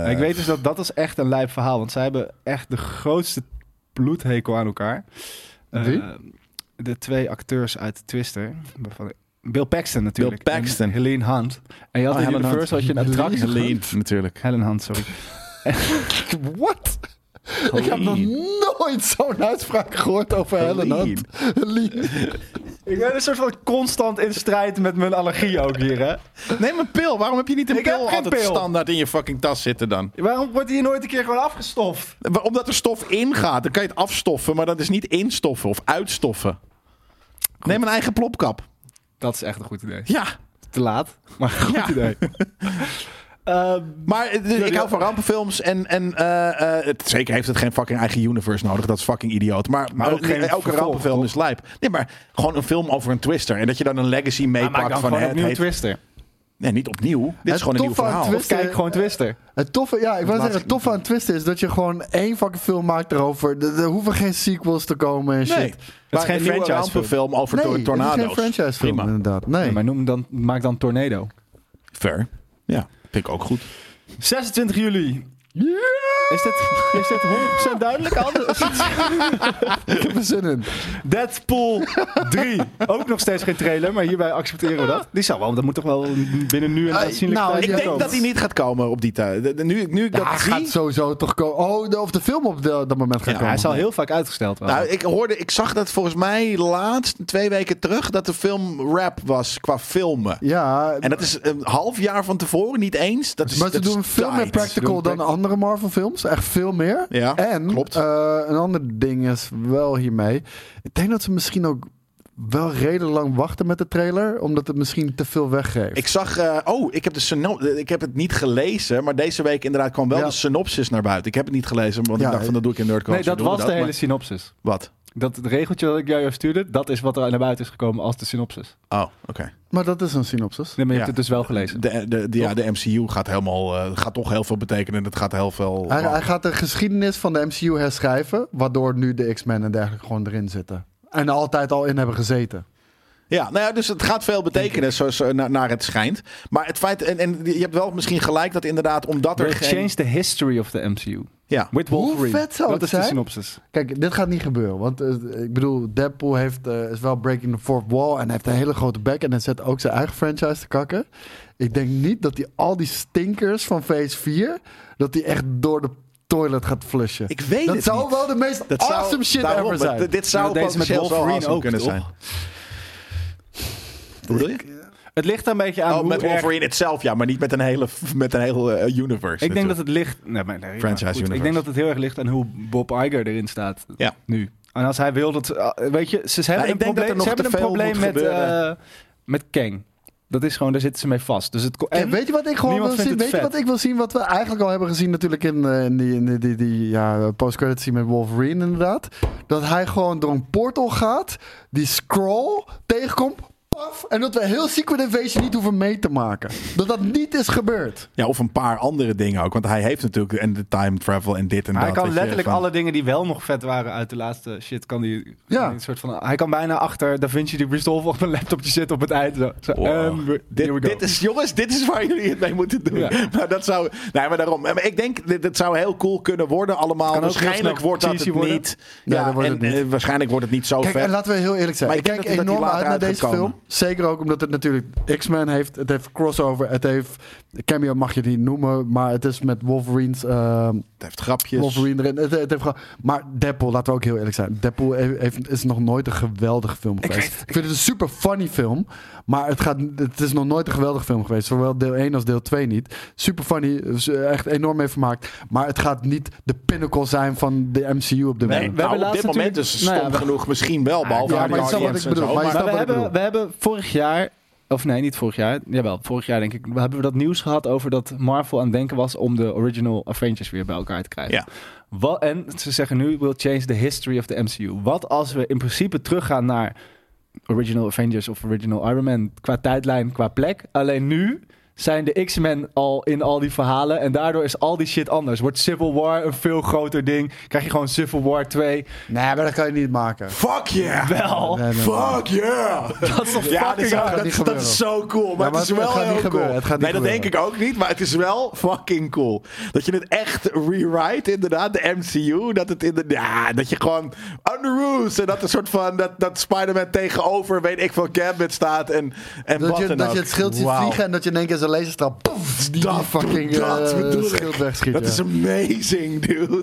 eh,
ik weet dus dat dat is echt een lijp verhaal. Want zij hebben echt de grootste bloedhekel aan elkaar. Eh,
Wie?
de twee acteurs uit Twister. waarvan- Bill Paxton natuurlijk.
Bill Paxton.
En Helene Hunt. En je had
Oh,
in
Helen Hunt.
Universal had je een attractie.
Helene, natuurlijk.
Helen Hunt, sorry.
What? Ik heb nog nooit zo'n uitspraak gehoord over Helen Hunt. Helene.
ik ben een soort van constant in strijd met mijn allergie ook hier, hè.
Neem een pil. Waarom heb je niet een
Ik heb
pil
geen
altijd
pil.
standaard in je fucking tas zitten dan?
Waarom wordt hier nooit een keer gewoon afgestoft?
Maar Omdat er stof ingaat, dan kan je het afstoffen, maar dat is niet instoffen of uitstoffen. Neem een eigen plopkap.
Dat is echt een goed idee.
Ja,
Te laat, maar een goed
Ja.
idee. Ehm,
maar eh, dus ik
ja.
hou van rampenfilms en, en eh, eh, het, zeker heeft het geen fucking eigen universe nodig. Dat is fucking idioot. Maar,
Maar ook
eh,
geen
elke
vervolg,
rampenfilm
toch?
is lijp. Nee, maar gewoon een film over een twister en dat je dan een legacy
maar maak
meepakt
dan
van
gewoon
het
opnieuw
heet-
Twister. Eh,
Nee, niet opnieuw. Dit is gewoon een nieuw
toffe aan
verhaal.
Twister-
Of kijk gewoon Twister.
Het toffe, ja, ik wou
Laat
zeggen,
ik-
het toffe aan Twist is dat je gewoon één fucking film maakt erover. Er, er hoeven geen sequels te komen en shit.
Nee,
Nee,
het is geen
geen
franchise
franchise
rampenfilm over
het
tor-
is
tornado's.
geen franchise film
Prima.
inderdaad. Nee.
Ja, maar noem dan, maak dan Tornado.
Fair. Ja, vind ik ook goed.
26 juli. Is dit, is dit 100% duidelijk anders?
ik heb er zin in.
Deadpool 3. Ook nog steeds geen trailer, maar hierbij accepteren we dat. Die zal wel, dat moet toch wel binnen nu en
Eh,
aanzienlijk
nou,
tijd
Ik
Ja,
denk
komen.
dat hij niet gaat komen op die tijd. De- de- Nu, nu ik dat
Ja,
zie...
gaat sowieso toch komen. Oh, de- of de film op de- dat moment gaat
Ja,
komen.
Hij is al heel vaak uitgesteld. wel.
Nou, ik, hoorde, ik zag dat volgens mij laatst, twee weken terug, dat de film rap was qua filmen.
Ja,
En dat is een half jaar van tevoren, niet eens. Dat is,
maar ze
dat is
doen veel meer
tight.
practical
Doen
dan
practical.
andere Marvel films. Echt veel meer.
Ja,
en
klopt.
eh, een ander ding is wel hiermee. Ik denk dat ze misschien ook wel redelijk lang wachten met de trailer. Omdat het misschien te veel weggeeft.
Ik zag, eh, oh, ik heb, de syno- ik heb het niet gelezen, maar deze week inderdaad kwam wel
Ja.
de synopsis naar buiten. Ik heb het niet gelezen, want
Ja, eh,
ik dacht van dat doe ik in Nerdcore.
nee, dat was de hele synopsis.
Wat?
Dat het regeltje dat ik jou stuurde, dat is wat er naar buiten is gekomen als de synopsis.
Oh, oké.
Maar dat is een synopsis.
Nee, maar je
Ja.
hebt het dus wel gelezen.
De, de, de- ja, de MCU gaat, helemaal, eh, gaat toch heel veel betekenen. Dat gaat heel veel...
Hij, hij gaat de geschiedenis van de MCU herschrijven, waardoor nu de X-Men en dergelijke gewoon erin zitten. En er altijd al in hebben gezeten.
Ja, nou ja, dus het gaat veel betekenen zoals, eh, na- naar het schijnt. Maar het feit, en, en je hebt wel misschien gelijk dat inderdaad omdat er
They
geen...
changed the history of the MCU.
Ja.
With Wolverine.
vet zou
Dat
het
is de
zijn?
synopsis.
Kijk, dit gaat niet gebeuren. Want eh, ik bedoel, Deadpool heeft, eh, is wel breaking the fourth wall. En heeft een hele grote bek. En hij zet ook zijn eigen franchise te kakken. Ik denk niet dat hij al die stinkers van Phase 4... dat hij echt door de toilet gaat flushen.
Ik weet
dat
het
zou
niet.
wel de meest
Dat zou-
awesome shit
daarom,
ever
maar
zijn.
d- Dit zou
dat deden ze met
potentieel wel
Wolverine
awesome
ook,
kunnen
toch?
zijn. Hoe bedoel je?
Het ligt daar een beetje aan
Oh,
hoe
met
erg-
Wolverine itself, ja. Maar niet met een hele, met een hele eh, universe.
Ik denk dat het ligt... Nee, maar nee, maar
Franchise
goed,
universe.
Ik denk dat het heel erg ligt aan hoe Bob Iger erin staat
Ja.
nu. En als hij wil dat... ah, Weet je, ze hebben
ik
een
denk dat er
probleem,
nog
ze hebben
te
een
veel
probleem
moet
met,
gebeuren.
eh, met Kang. Dat is gewoon, daar zitten ze mee vast. Dus het, ko-
En
en-
weet je wat ik gewoon wil
niemand vindt
zien?
het
Weet je
vet.
wat ik wil zien? Wat we eigenlijk al hebben gezien natuurlijk in, eh, in die, in die, die, die, ja, post-credits scene met Wolverine inderdaad. Dat hij gewoon door een portal gaat, die scroll tegenkomt, paf. En dat we heel Secret Invasion niet hoeven mee te maken. Dat dat niet is gebeurd.
Ja, of een paar andere dingen ook. Want hij heeft natuurlijk en de time travel en dit en
Maar
dat.
hij kan
Nou, weet je,
letterlijk
van-
alle dingen die wel nog vet waren uit de laatste shit, kan die
Ja.
kan die een soort van. Hij kan bijna achter Da Vinci die Resolve op een laptopje zitten op het eind. Zo, zo,
Wow.
ehm, we- here we
Dit,
go.
dit is, jongens, dit is waar jullie het mee moeten doen.
Ja.
Maar dat zou. Nee, maar daarom. Maar ik denk, dit, dit zou heel cool kunnen worden allemaal.
kan ook heel
waarschijnlijk
snel
wordt dat
cheesy
het
worden.
niet.
Ja,
Ja,
dat wordt
en,
het niet.
eh, waarschijnlijk wordt het niet zo
Kijk,
vet.
en laten we heel eerlijk zijn.
Maar
ik
ik
kijk
denk dat die
enorm
later
uit naar
uit gaat
deze
komen.
film. Zeker ook omdat het natuurlijk X-Men heeft. Het heeft crossover. Het heeft. Cameo mag je het niet noemen. Maar het is met Wolverine's. ehm,
Het heeft grapjes.
Wolverine erin. Het, het heeft gewoon- maar Deadpool, laten we ook heel eerlijk zijn. Deadpool he- heeft, is nog nooit een geweldige film geweest. Ik, vind het een super funny film. Maar het, gaat, het is nog nooit een geweldige film geweest. Zowel deel 1 als deel 2 niet. Super funny. is Echt enorm mee vermaakt. Maar het gaat niet de pinnacle zijn van de MCU op de
Nee,
moment.
we hebben
nou, op dit
laatst
moment
natuurlijk-
is stom
nou ja, we-
genoeg misschien wel. Behalve
Ja,
aan
maar
die
ik snap wat
audience
ik bedoel,
en zo,
maar je
maar-
Maar we
wat ik
hebben,
bedoel.
we hebben vorig jaar, of nee, niet vorig jaar, jawel, vorig jaar denk ik, we hebben we dat nieuws gehad over dat Marvel aan het denken was om de original Avengers weer bij elkaar te krijgen.
Ja.
Wat, en ze zeggen nu, we'll change the history of the MCU. Wat als we in principe teruggaan naar original Avengers of original Iron Man qua tijdlijn, qua plek, alleen nu... Zijn de X-Men al in al die verhalen? En daardoor is al die shit anders. Wordt Civil War een veel groter ding? Krijg je gewoon Civil War 2?
Nee, maar dat kan je niet maken.
Fuck yeah!
Wel.
Nee, nee,
Fuck yeah!
Dat is toch
Ja, dat,
fucking
is,
gaat
dat,
niet
dat
gebeuren.
is zo cool. Maar
Ja, maar
het is
het
wel
gaat niet
heel
gebeuren.
cool.
Het gaat niet
nee, dat
gebeuren.
denk ik ook niet. Maar het is wel fucking cool. Dat je het echt rewrite, inderdaad. De MCU. Dat, het in de, ja, dat je gewoon under rules. En dat een soort van. Dat, dat Spider-Man tegenover, weet ik van Gambit staat. En, en
Dat
wat
je,
dan
dat
ook.
je het schild ziet
Wauw.
vliegen en dat je in één keer zijn laserstraal... Poef, die, die
Dat-
fucking
dat
eh,
bedoel ik.
schild wegschiet.
Dat
ja.
is amazing, dude.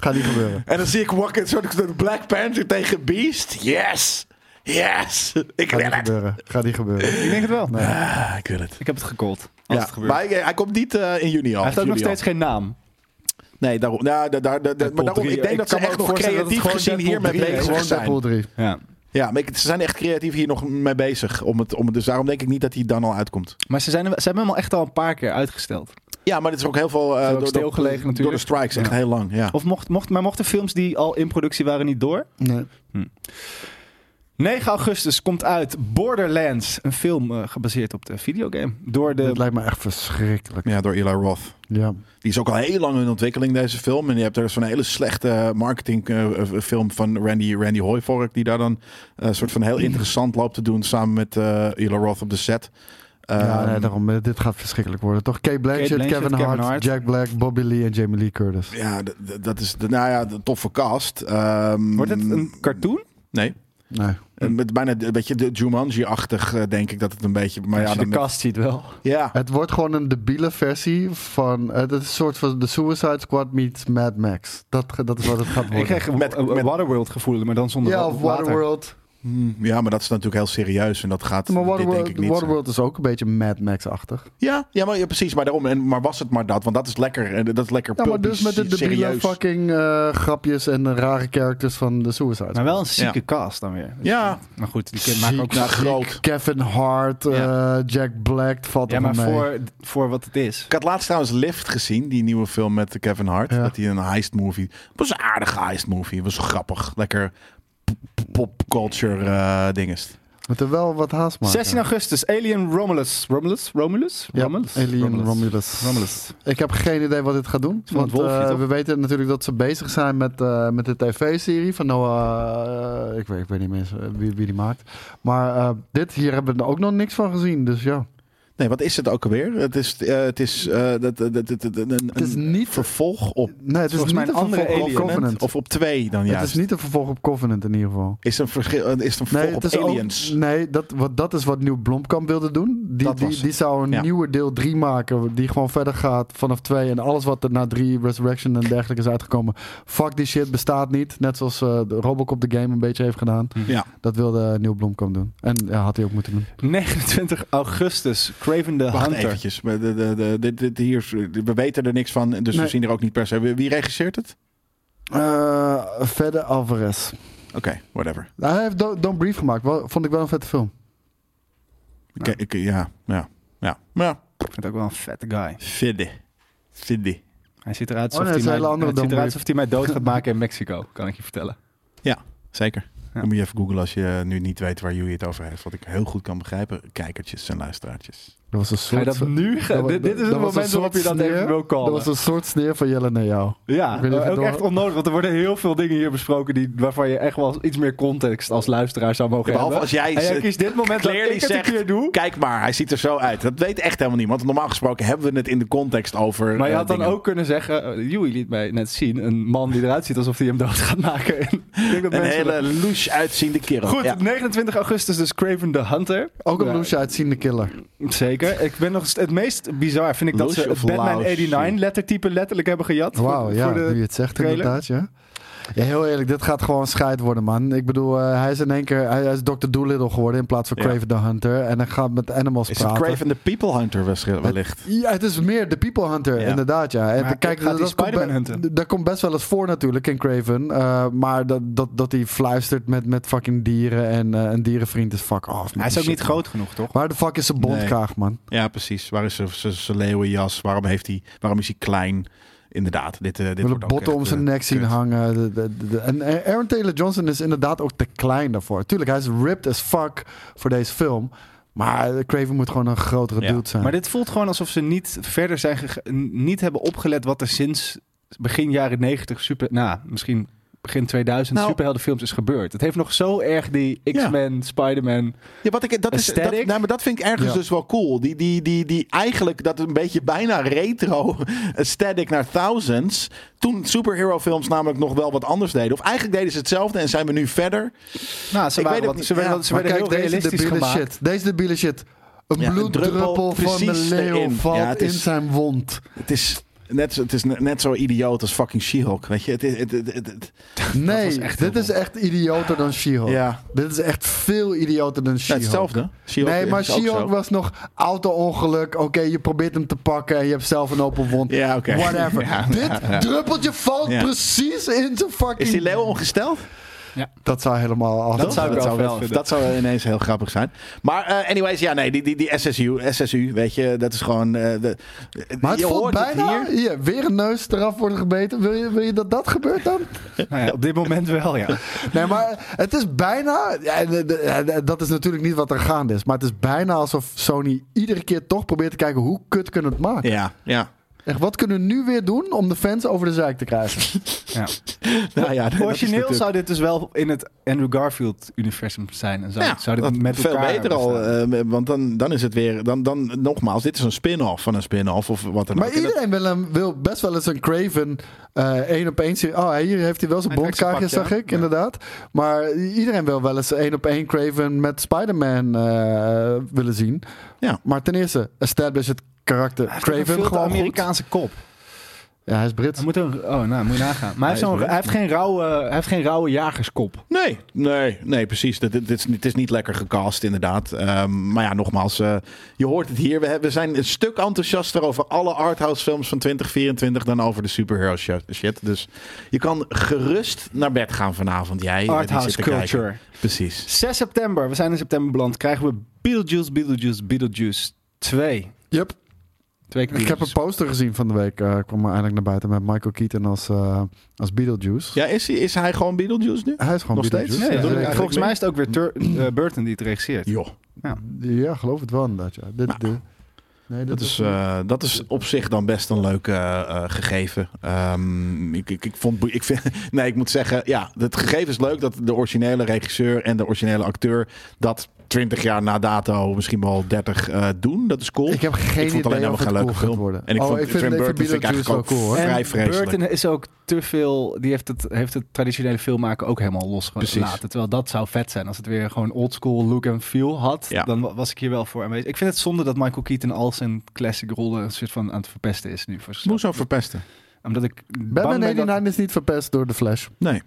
Gaat niet gebeuren.
En dan zie ik Rocket, soort Black Panther tegen Beast. Yes! Yes! Ik
Gaat
wil het.
niet gebeuren. Gaat niet gebeuren.
Ik denk het wel.
Ah, ik wil het.
Ik heb het gekold. Als
Ja,
het gebeurt.
maar hij, hij komt niet eh, in juni al.
Hij heeft ook nog
Juli al.
steeds geen naam.
Nee, daarom. Ja, daar, daar, daar- maar
Deadpool
daarom,
3,
ik denk
ik
dat ze
kan me
echt
ook
nog
voorstellen dat
creatief
het
gezien
gewoon
hiermee
Deadpool 3 is.
bezig
Gewoon Deadpool
zijn.
3.
Ja.
Ja, maar ik- ze zijn echt creatief hier nog mee bezig. Om het, om het, dus daarom denk ik niet dat hij dan al uitkomt.
Maar ze, zijn, ze hebben hem al echt al een paar keer uitgesteld.
Ja, maar dit is ook heel veel eh,
ook
door, door,
stilgelegen
door
natuurlijk.
de strikes. Echt
Ja.
heel lang, ja.
Of mocht, mocht, maar mochten films die al in productie waren niet door?
Nee.
9 augustus komt uit Borderlands. Een film eh, gebaseerd op de videogame. Door
Dat
de...
lijkt me echt verschrikkelijk.
Ja, door Eli Roth.
Ja.
Die is ook al heel lang in ontwikkeling, deze film. En je hebt er zo'n hele slechte marketingfilm van Randy, Randy Hooivork... die daar dan een soort van heel interessant loopt te doen... samen met eh Eli Roth op de set.
ja,
Ehm,
nee, daarom, eh, dit gaat verschrikkelijk worden, toch? Kate Blanchett,
Kate Blanchett,
Kevin,
Kevin
Hart,
Hart.
Jack Black, Bobby Lee en Jamie Lee Curtis.
ja, d- d- dat is de, nou ja, de toffe cast. Ehm,
Wordt het een cartoon?
Nee.
Nee.
Eh, Met bijna een beetje de Jumanji-achtig, eh, denk ik dat het een beetje. Maar
Als
ja,
je de
dan met-
cast ziet wel.
ja.
Het wordt gewoon een debiele versie van... eh, Het is een soort van de Suicide Squad meets Mad Max. Dat, ge- dat is wat het gaat
Ik
worden.
kreeg een
Met-
een
met-
Waterworld gevoel, maar dan zonder
ja,
wa-
of
water.
Waterworld.
Hm, ja, maar dat is natuurlijk heel serieus en dat gaat
Maar
dit denk ik
Waterworld,
niet.
Waterworld is ook een beetje Mad Max-achtig.
zijn. Ja, ja, maar, ja, precies. Maar daarom. En, maar was het maar dat? Want dat is lekker. eh, Dat is lekker.
Ja, maar
pulpy,
dus met de debiele
serieus.
fucking eh, grapjes en de rare characters van de Suicide Squad.
Maar wel een zieke
Ja.
cast dan weer. Dus
Ja,
Maar goed, die kind maken ook...
Ziek,
nou,
ziek.
groot.
Kevin Hart, eh, Jack Black, het valt
Ja,
allemaal
maar
mee.
voor, voor wat het is.
ik had laatst trouwens Lift gezien, die nieuwe film met Kevin Hart.
Ja.
Dat hij een heist movie. Het was een aardige heist movie. Het was grappig, lekker p- p- popculture eh dinges.
Met er wel wat haast maken.
16 augustus, Alien Romulus. Romulus? Romulus?
Ja,
Romulus?
Alien
Romulus.
Romulus.
Romulus.
Ik heb geen idee wat dit gaat doen.
van het
want
wolfje,
eh,
toch?
we weten natuurlijk dat ze bezig zijn met, eh, met de tv-serie van Noah... eh, ik, weet, ik weet niet meer eens, eh, wie, wie die maakt. Maar eh, dit hier hebben we ook nog niks van gezien. Dus ja,
Nee, wat is het ook alweer? Het is, eh, het is, eh, dat, dat, dat, dat- een,
het is
een
niet...
vervolg op
Nee, het is
volgens mij
niet een
een andere
vervolg op
Alien, hè?
Covenant.
of op twee dan
Het
juist.
is niet een vervolg op Covenant in ieder geval.
Is een verschil? eh, Is het een vervolg
het
op
is ook-
aliens?
nee, dat, wat, dat is wat Nieuw Blomkamp wilde doen. Die,
Dat was
die,
het.
die zou een
Ja.
nieuwe deel 3 maken. Die gewoon verder gaat vanaf 2. En alles wat er na 3 Resurrection en dergelijke is uitgekomen. Fuck die shit, bestaat niet. Net zoals eh, de Robocop de game een beetje heeft gedaan.
Ja.
Dat wilde Nieuw Blomkamp doen. En ja, had hij ook moeten doen.
29 augustus, Craven the
Wacht
Hunter.
eventjes. We- de- de- de- dit- dit hier, is- we weten er niks van, dus
Nee.
we zien er ook niet per se. Wie wie regisseert het?
Eh verder Alvarez.
Oké, whatever.
Hij heeft Don't, Don't Brief gemaakt. Wel- vond ik wel een vette film.
Ik- ik- ja, ja, ja. Maar ja,
Ik vind het ook wel een vette guy.
Fiddy. Fiddy.
Hij ziet eruit
Oh,
alsof,
nee, het is
hij,
een hele
mij,
andere
het ziet eruit
Dombrief.
alsof hij mij dood gaat maken in Mexico, kan ik je vertellen.
Zeker.
Ja.
Dan moet je even googlen als je eh, nu niet weet waar jullie het over heeft. Wat ik heel goed kan begrijpen, kijkertjes en luisteraartjes.
Dat was een
Ga je
soort...
dat nu?
dat
gaan?
wa-
dit, dit is
dat
het
was een
moment waarop je dat
soort sneer.
even wil
dat
callen.
was een soort sneer van Jelle naar jou. Ik
Ja,
weet niet of
eh,
je
ook
door-
echt onnodig, want er worden heel veel dingen hier besproken die, waarvan je echt wel iets meer context als luisteraar zou mogen
Behalve
hebben.
als jij
en jij
ze-
kiest dit moment dat
Clearly
ik het een
zegt,
keer doe.
kijk maar, hij ziet er zo uit. Dat weet echt helemaal niemand. Normaal gesproken hebben we het in de context over.
Maar je
eh,
had dan
dingen.
ook kunnen zeggen, eh, Joey liet mij net zien, een man die eruit ziet alsof hij hem dood gaat maken. ik denk dat
Een
mensen
hele louche uitziende kerel.
Goed,
Ja.
29 augustus dus Craven the Hunter.
Ook een
Ja,
bloesje uitziende killer.
Zeker. Ik ben nog st- het meest bizar vind ik dat
Loesje
ze het
of
Batman
Laosje?
89 lettertype letterlijk hebben gejat. voor-
Wauw,
voor
ja,
de-
nu je het zegt
trailer.
inderdaad, ja. Ja, heel eerlijk, dit gaat gewoon scheid worden, man. Ik bedoel, eh, hij is in één keer... Hij, hij is Dr. Doolittle geworden in plaats van
Ja.
Craven the Hunter. En hij gaat met animals
Is het
praten.
Craven the People Hunter waarschijnlijk- wellicht?
Ja, het is meer de people hunter,
Ja.
inderdaad, ja. En
Maar
kijk,
gaat
dat,
hij
dat komt
Spider-Man
be-
hunten?
d- dat komt best wel eens voor natuurlijk in Craven. eh, maar dat, dat, dat hij fluistert met, met fucking dieren en eh, een dierenvriend is fuck off. man.
Hij is ook
Shit,
niet groot genoeg, toch?
man. Waar de fuck is zijn bondkraag, man?
Ja, precies. Waar is zijn- zijn zijn leeuwenjas? Waarom, heeft hij, waarom is hij klein? Inderdaad, dit, eh dit
willen
wordt ook
botten
echt,
om zijn
eh,
nek zien
kut.
hangen. De- de- de- de- en Aaron Taylor Johnson is inderdaad ook te klein daarvoor. Tuurlijk, hij is ripped as fuck voor deze film. Maar Craven moet gewoon een grotere
Ja,
dude zijn.
Maar dit voelt gewoon alsof ze niet verder zijn gege- n- niet hebben opgelet wat er sinds begin jaren 90 super, nou, misschien begin 2000
Nou.
superheldenfilms is gebeurd. Het heeft nog zo erg die
Ja.
X-Men, Spider-Man. Nou,
Ja, wat ik, dat, is, dat,
Aesthetic?
nou, maar dat vind ik ergens
Ja.
dus wel cool. Die, die, die, die eigenlijk, dat een beetje bijna retro aesthetic naar thousands. Toen superhero films namelijk nog wel wat anders deden. Of eigenlijk deden ze hetzelfde en zijn we nu verder.
Nou, ze
Ik
waren
weet ook
wat,
niet.
ze werden,
Ja,
wat- ze
Maar
werden
kijk,
heel
deze
realistisch
debiele
gemaakt.
shit. Deze debiele shit. Een
Ja, een druppel
bloeddruppel van de
precies
leeuw
erin.
valt
Ja, het
in
is-
zijn wond.
Het is net, zo- het is ne- net zo idioot als fucking She-Hulk. Weet je, het, is- het, het, het, het-
Nee,
echt
dit
heel
is echt idioter dan She-Hulk.
ja.
Dit is echt veel idioter dan
Nou,
She-Hulk.
hetzelfde. She-Hulk
Nee,
is
maar
ook zo.
She-Hulk was nog auto-ongeluk. Oké, je probeert hem te pakken en je hebt zelf een open wond.
Ja, oké.
Whatever.
Ja,
Dit
ja, ja.
druppeltje valt
Ja.
precies in zijn fucking...
Is die leeuw ongesteld?
Dat zou helemaal... af-
Dat zou ik
dat
wel
zou,
vet vinden.
dat zou ineens heel grappig zijn. Maar eh, anyways, ja, nee, die, die, die SSU, SSU, weet je, dat is gewoon... eh, de,
Maar het
je
voelt
hoort het
bijna...
hier.
hier. weer een neus eraf worden gebeten. Wil je, wil je dat dat gebeurt dan?
Nou ja, op dit moment wel, ja.
Nee, maar het is bijna... ja, eh, de- de- de- dat is natuurlijk niet wat er gaande is. Maar het is bijna alsof Sony iedere keer toch probeert te kijken... hoe kut kunnen we het maken?
Ja, ja.
Echt, wat kunnen we nu weer doen om de fans over de zeik te krijgen?
ja.
Nou ja, dat is
Origineel
natuurlijk-
zou dit dus wel in het Andrew Garfield-universum zijn. En zou,
Ja,
Nou, zou dit
dat
met
veel
elkaar
beter al.
bestaan.
eh, want dan, dan is het weer. Dan, dan, nogmaals, dit is een spin-off van een spin-off of wat dan
Maar
ook. En dat-
iedereen wil, hem, wil best wel eens een Craven eh, één op één serie. Oh, hier heeft hij wel zijn
Hij trekt zijn
bondkaartje,
pak,
zag
ja.
ik,
Ja.
inderdaad. Maar iedereen wil wel eens één op één Craven met Spider-Man eh, willen zien.
Ja.
Maar ten eerste, establish het karakter
Hij heeft ook een
Craven
veel te
gewoon goed.
Amerikaanse kop.
Ja, hij is Brits.
Hij moet een, oh, nou, moet je nagaan. Maar hij, heeft
Hij is
zo'n-
Brit.
hij heeft geen rauwe, hij heeft geen rauwe jagerskop.
Nee, nee, nee, precies. Dit, dit, dit is, niet- het is niet lekker gecast, inderdaad. Ehm, maar ja, nogmaals, eh, je hoort het hier. We, hebben- we zijn een stuk enthousiaster over alle arthouse films van 2024 dan over de superhero shi- shit. Dus je kan gerust naar bed gaan vanavond, jij. eh, die
Arthouse
zit te kijken.
culture.
Precies.
6 september, we zijn in september beland, krijgen we Beetlejuice, Beetlejuice, Beetlejuice 2.
Yep.
Twee keer
Ik heb een poster gezien van de week. eh kwam maar eindelijk naar buiten met Michael Keaton als, eh, als Beetlejuice.
Ja, is hij, is hij gewoon Beetlejuice nu?
Hij is gewoon
Nog
Beetlejuice. Dus
steeds?
Ja,
Ja,
zeker.
ja.
volgens mij is het ook weer Tur- eh, Burton die het regisseert.
Joh,
Ja, geloof het wel inderdaad. Ja. Dit, dit- nee, dit
dat is, eh, dat is op zich dan best een leuk eh, eh, gegeven. Ehm, ik, ik, ik vond, ik vind, nee, ik moet zeggen, ja, het gegeven is leuk dat de originele regisseur en de originele acteur dat 20 jaar na dato, misschien wel 30, eh, doen. Dat is cool.
ik heb geen
ik vond alleen
idee
helemaal
of
geen
het cool
leuke
gaat
film.
worden.
En ik
oh,
vond
ik vind,
Tim
ik
Burton
vind
vind ik eigenlijk
Beetlejuice wel
ook
cool hoor.
vrij
En
vreselijk.
Burton is ook te veel. Die heeft het, heeft het traditionele filmmaken ook helemaal losgelaten.
Precies.
Terwijl dat zou vet zijn. Als het weer gewoon oldschool look en feel had.
Ja.
Dan wa- was ik hier wel voor aanwezig. Ik vind het zonde dat Michael Keaton al zijn classic rollen. een soort van aan het verpesten is nu. Voor zichzelf.
Moest zo verpesten.
Omdat ik.
Batman
bang ben dat-
99 is niet verpest door de Flash.
Nee.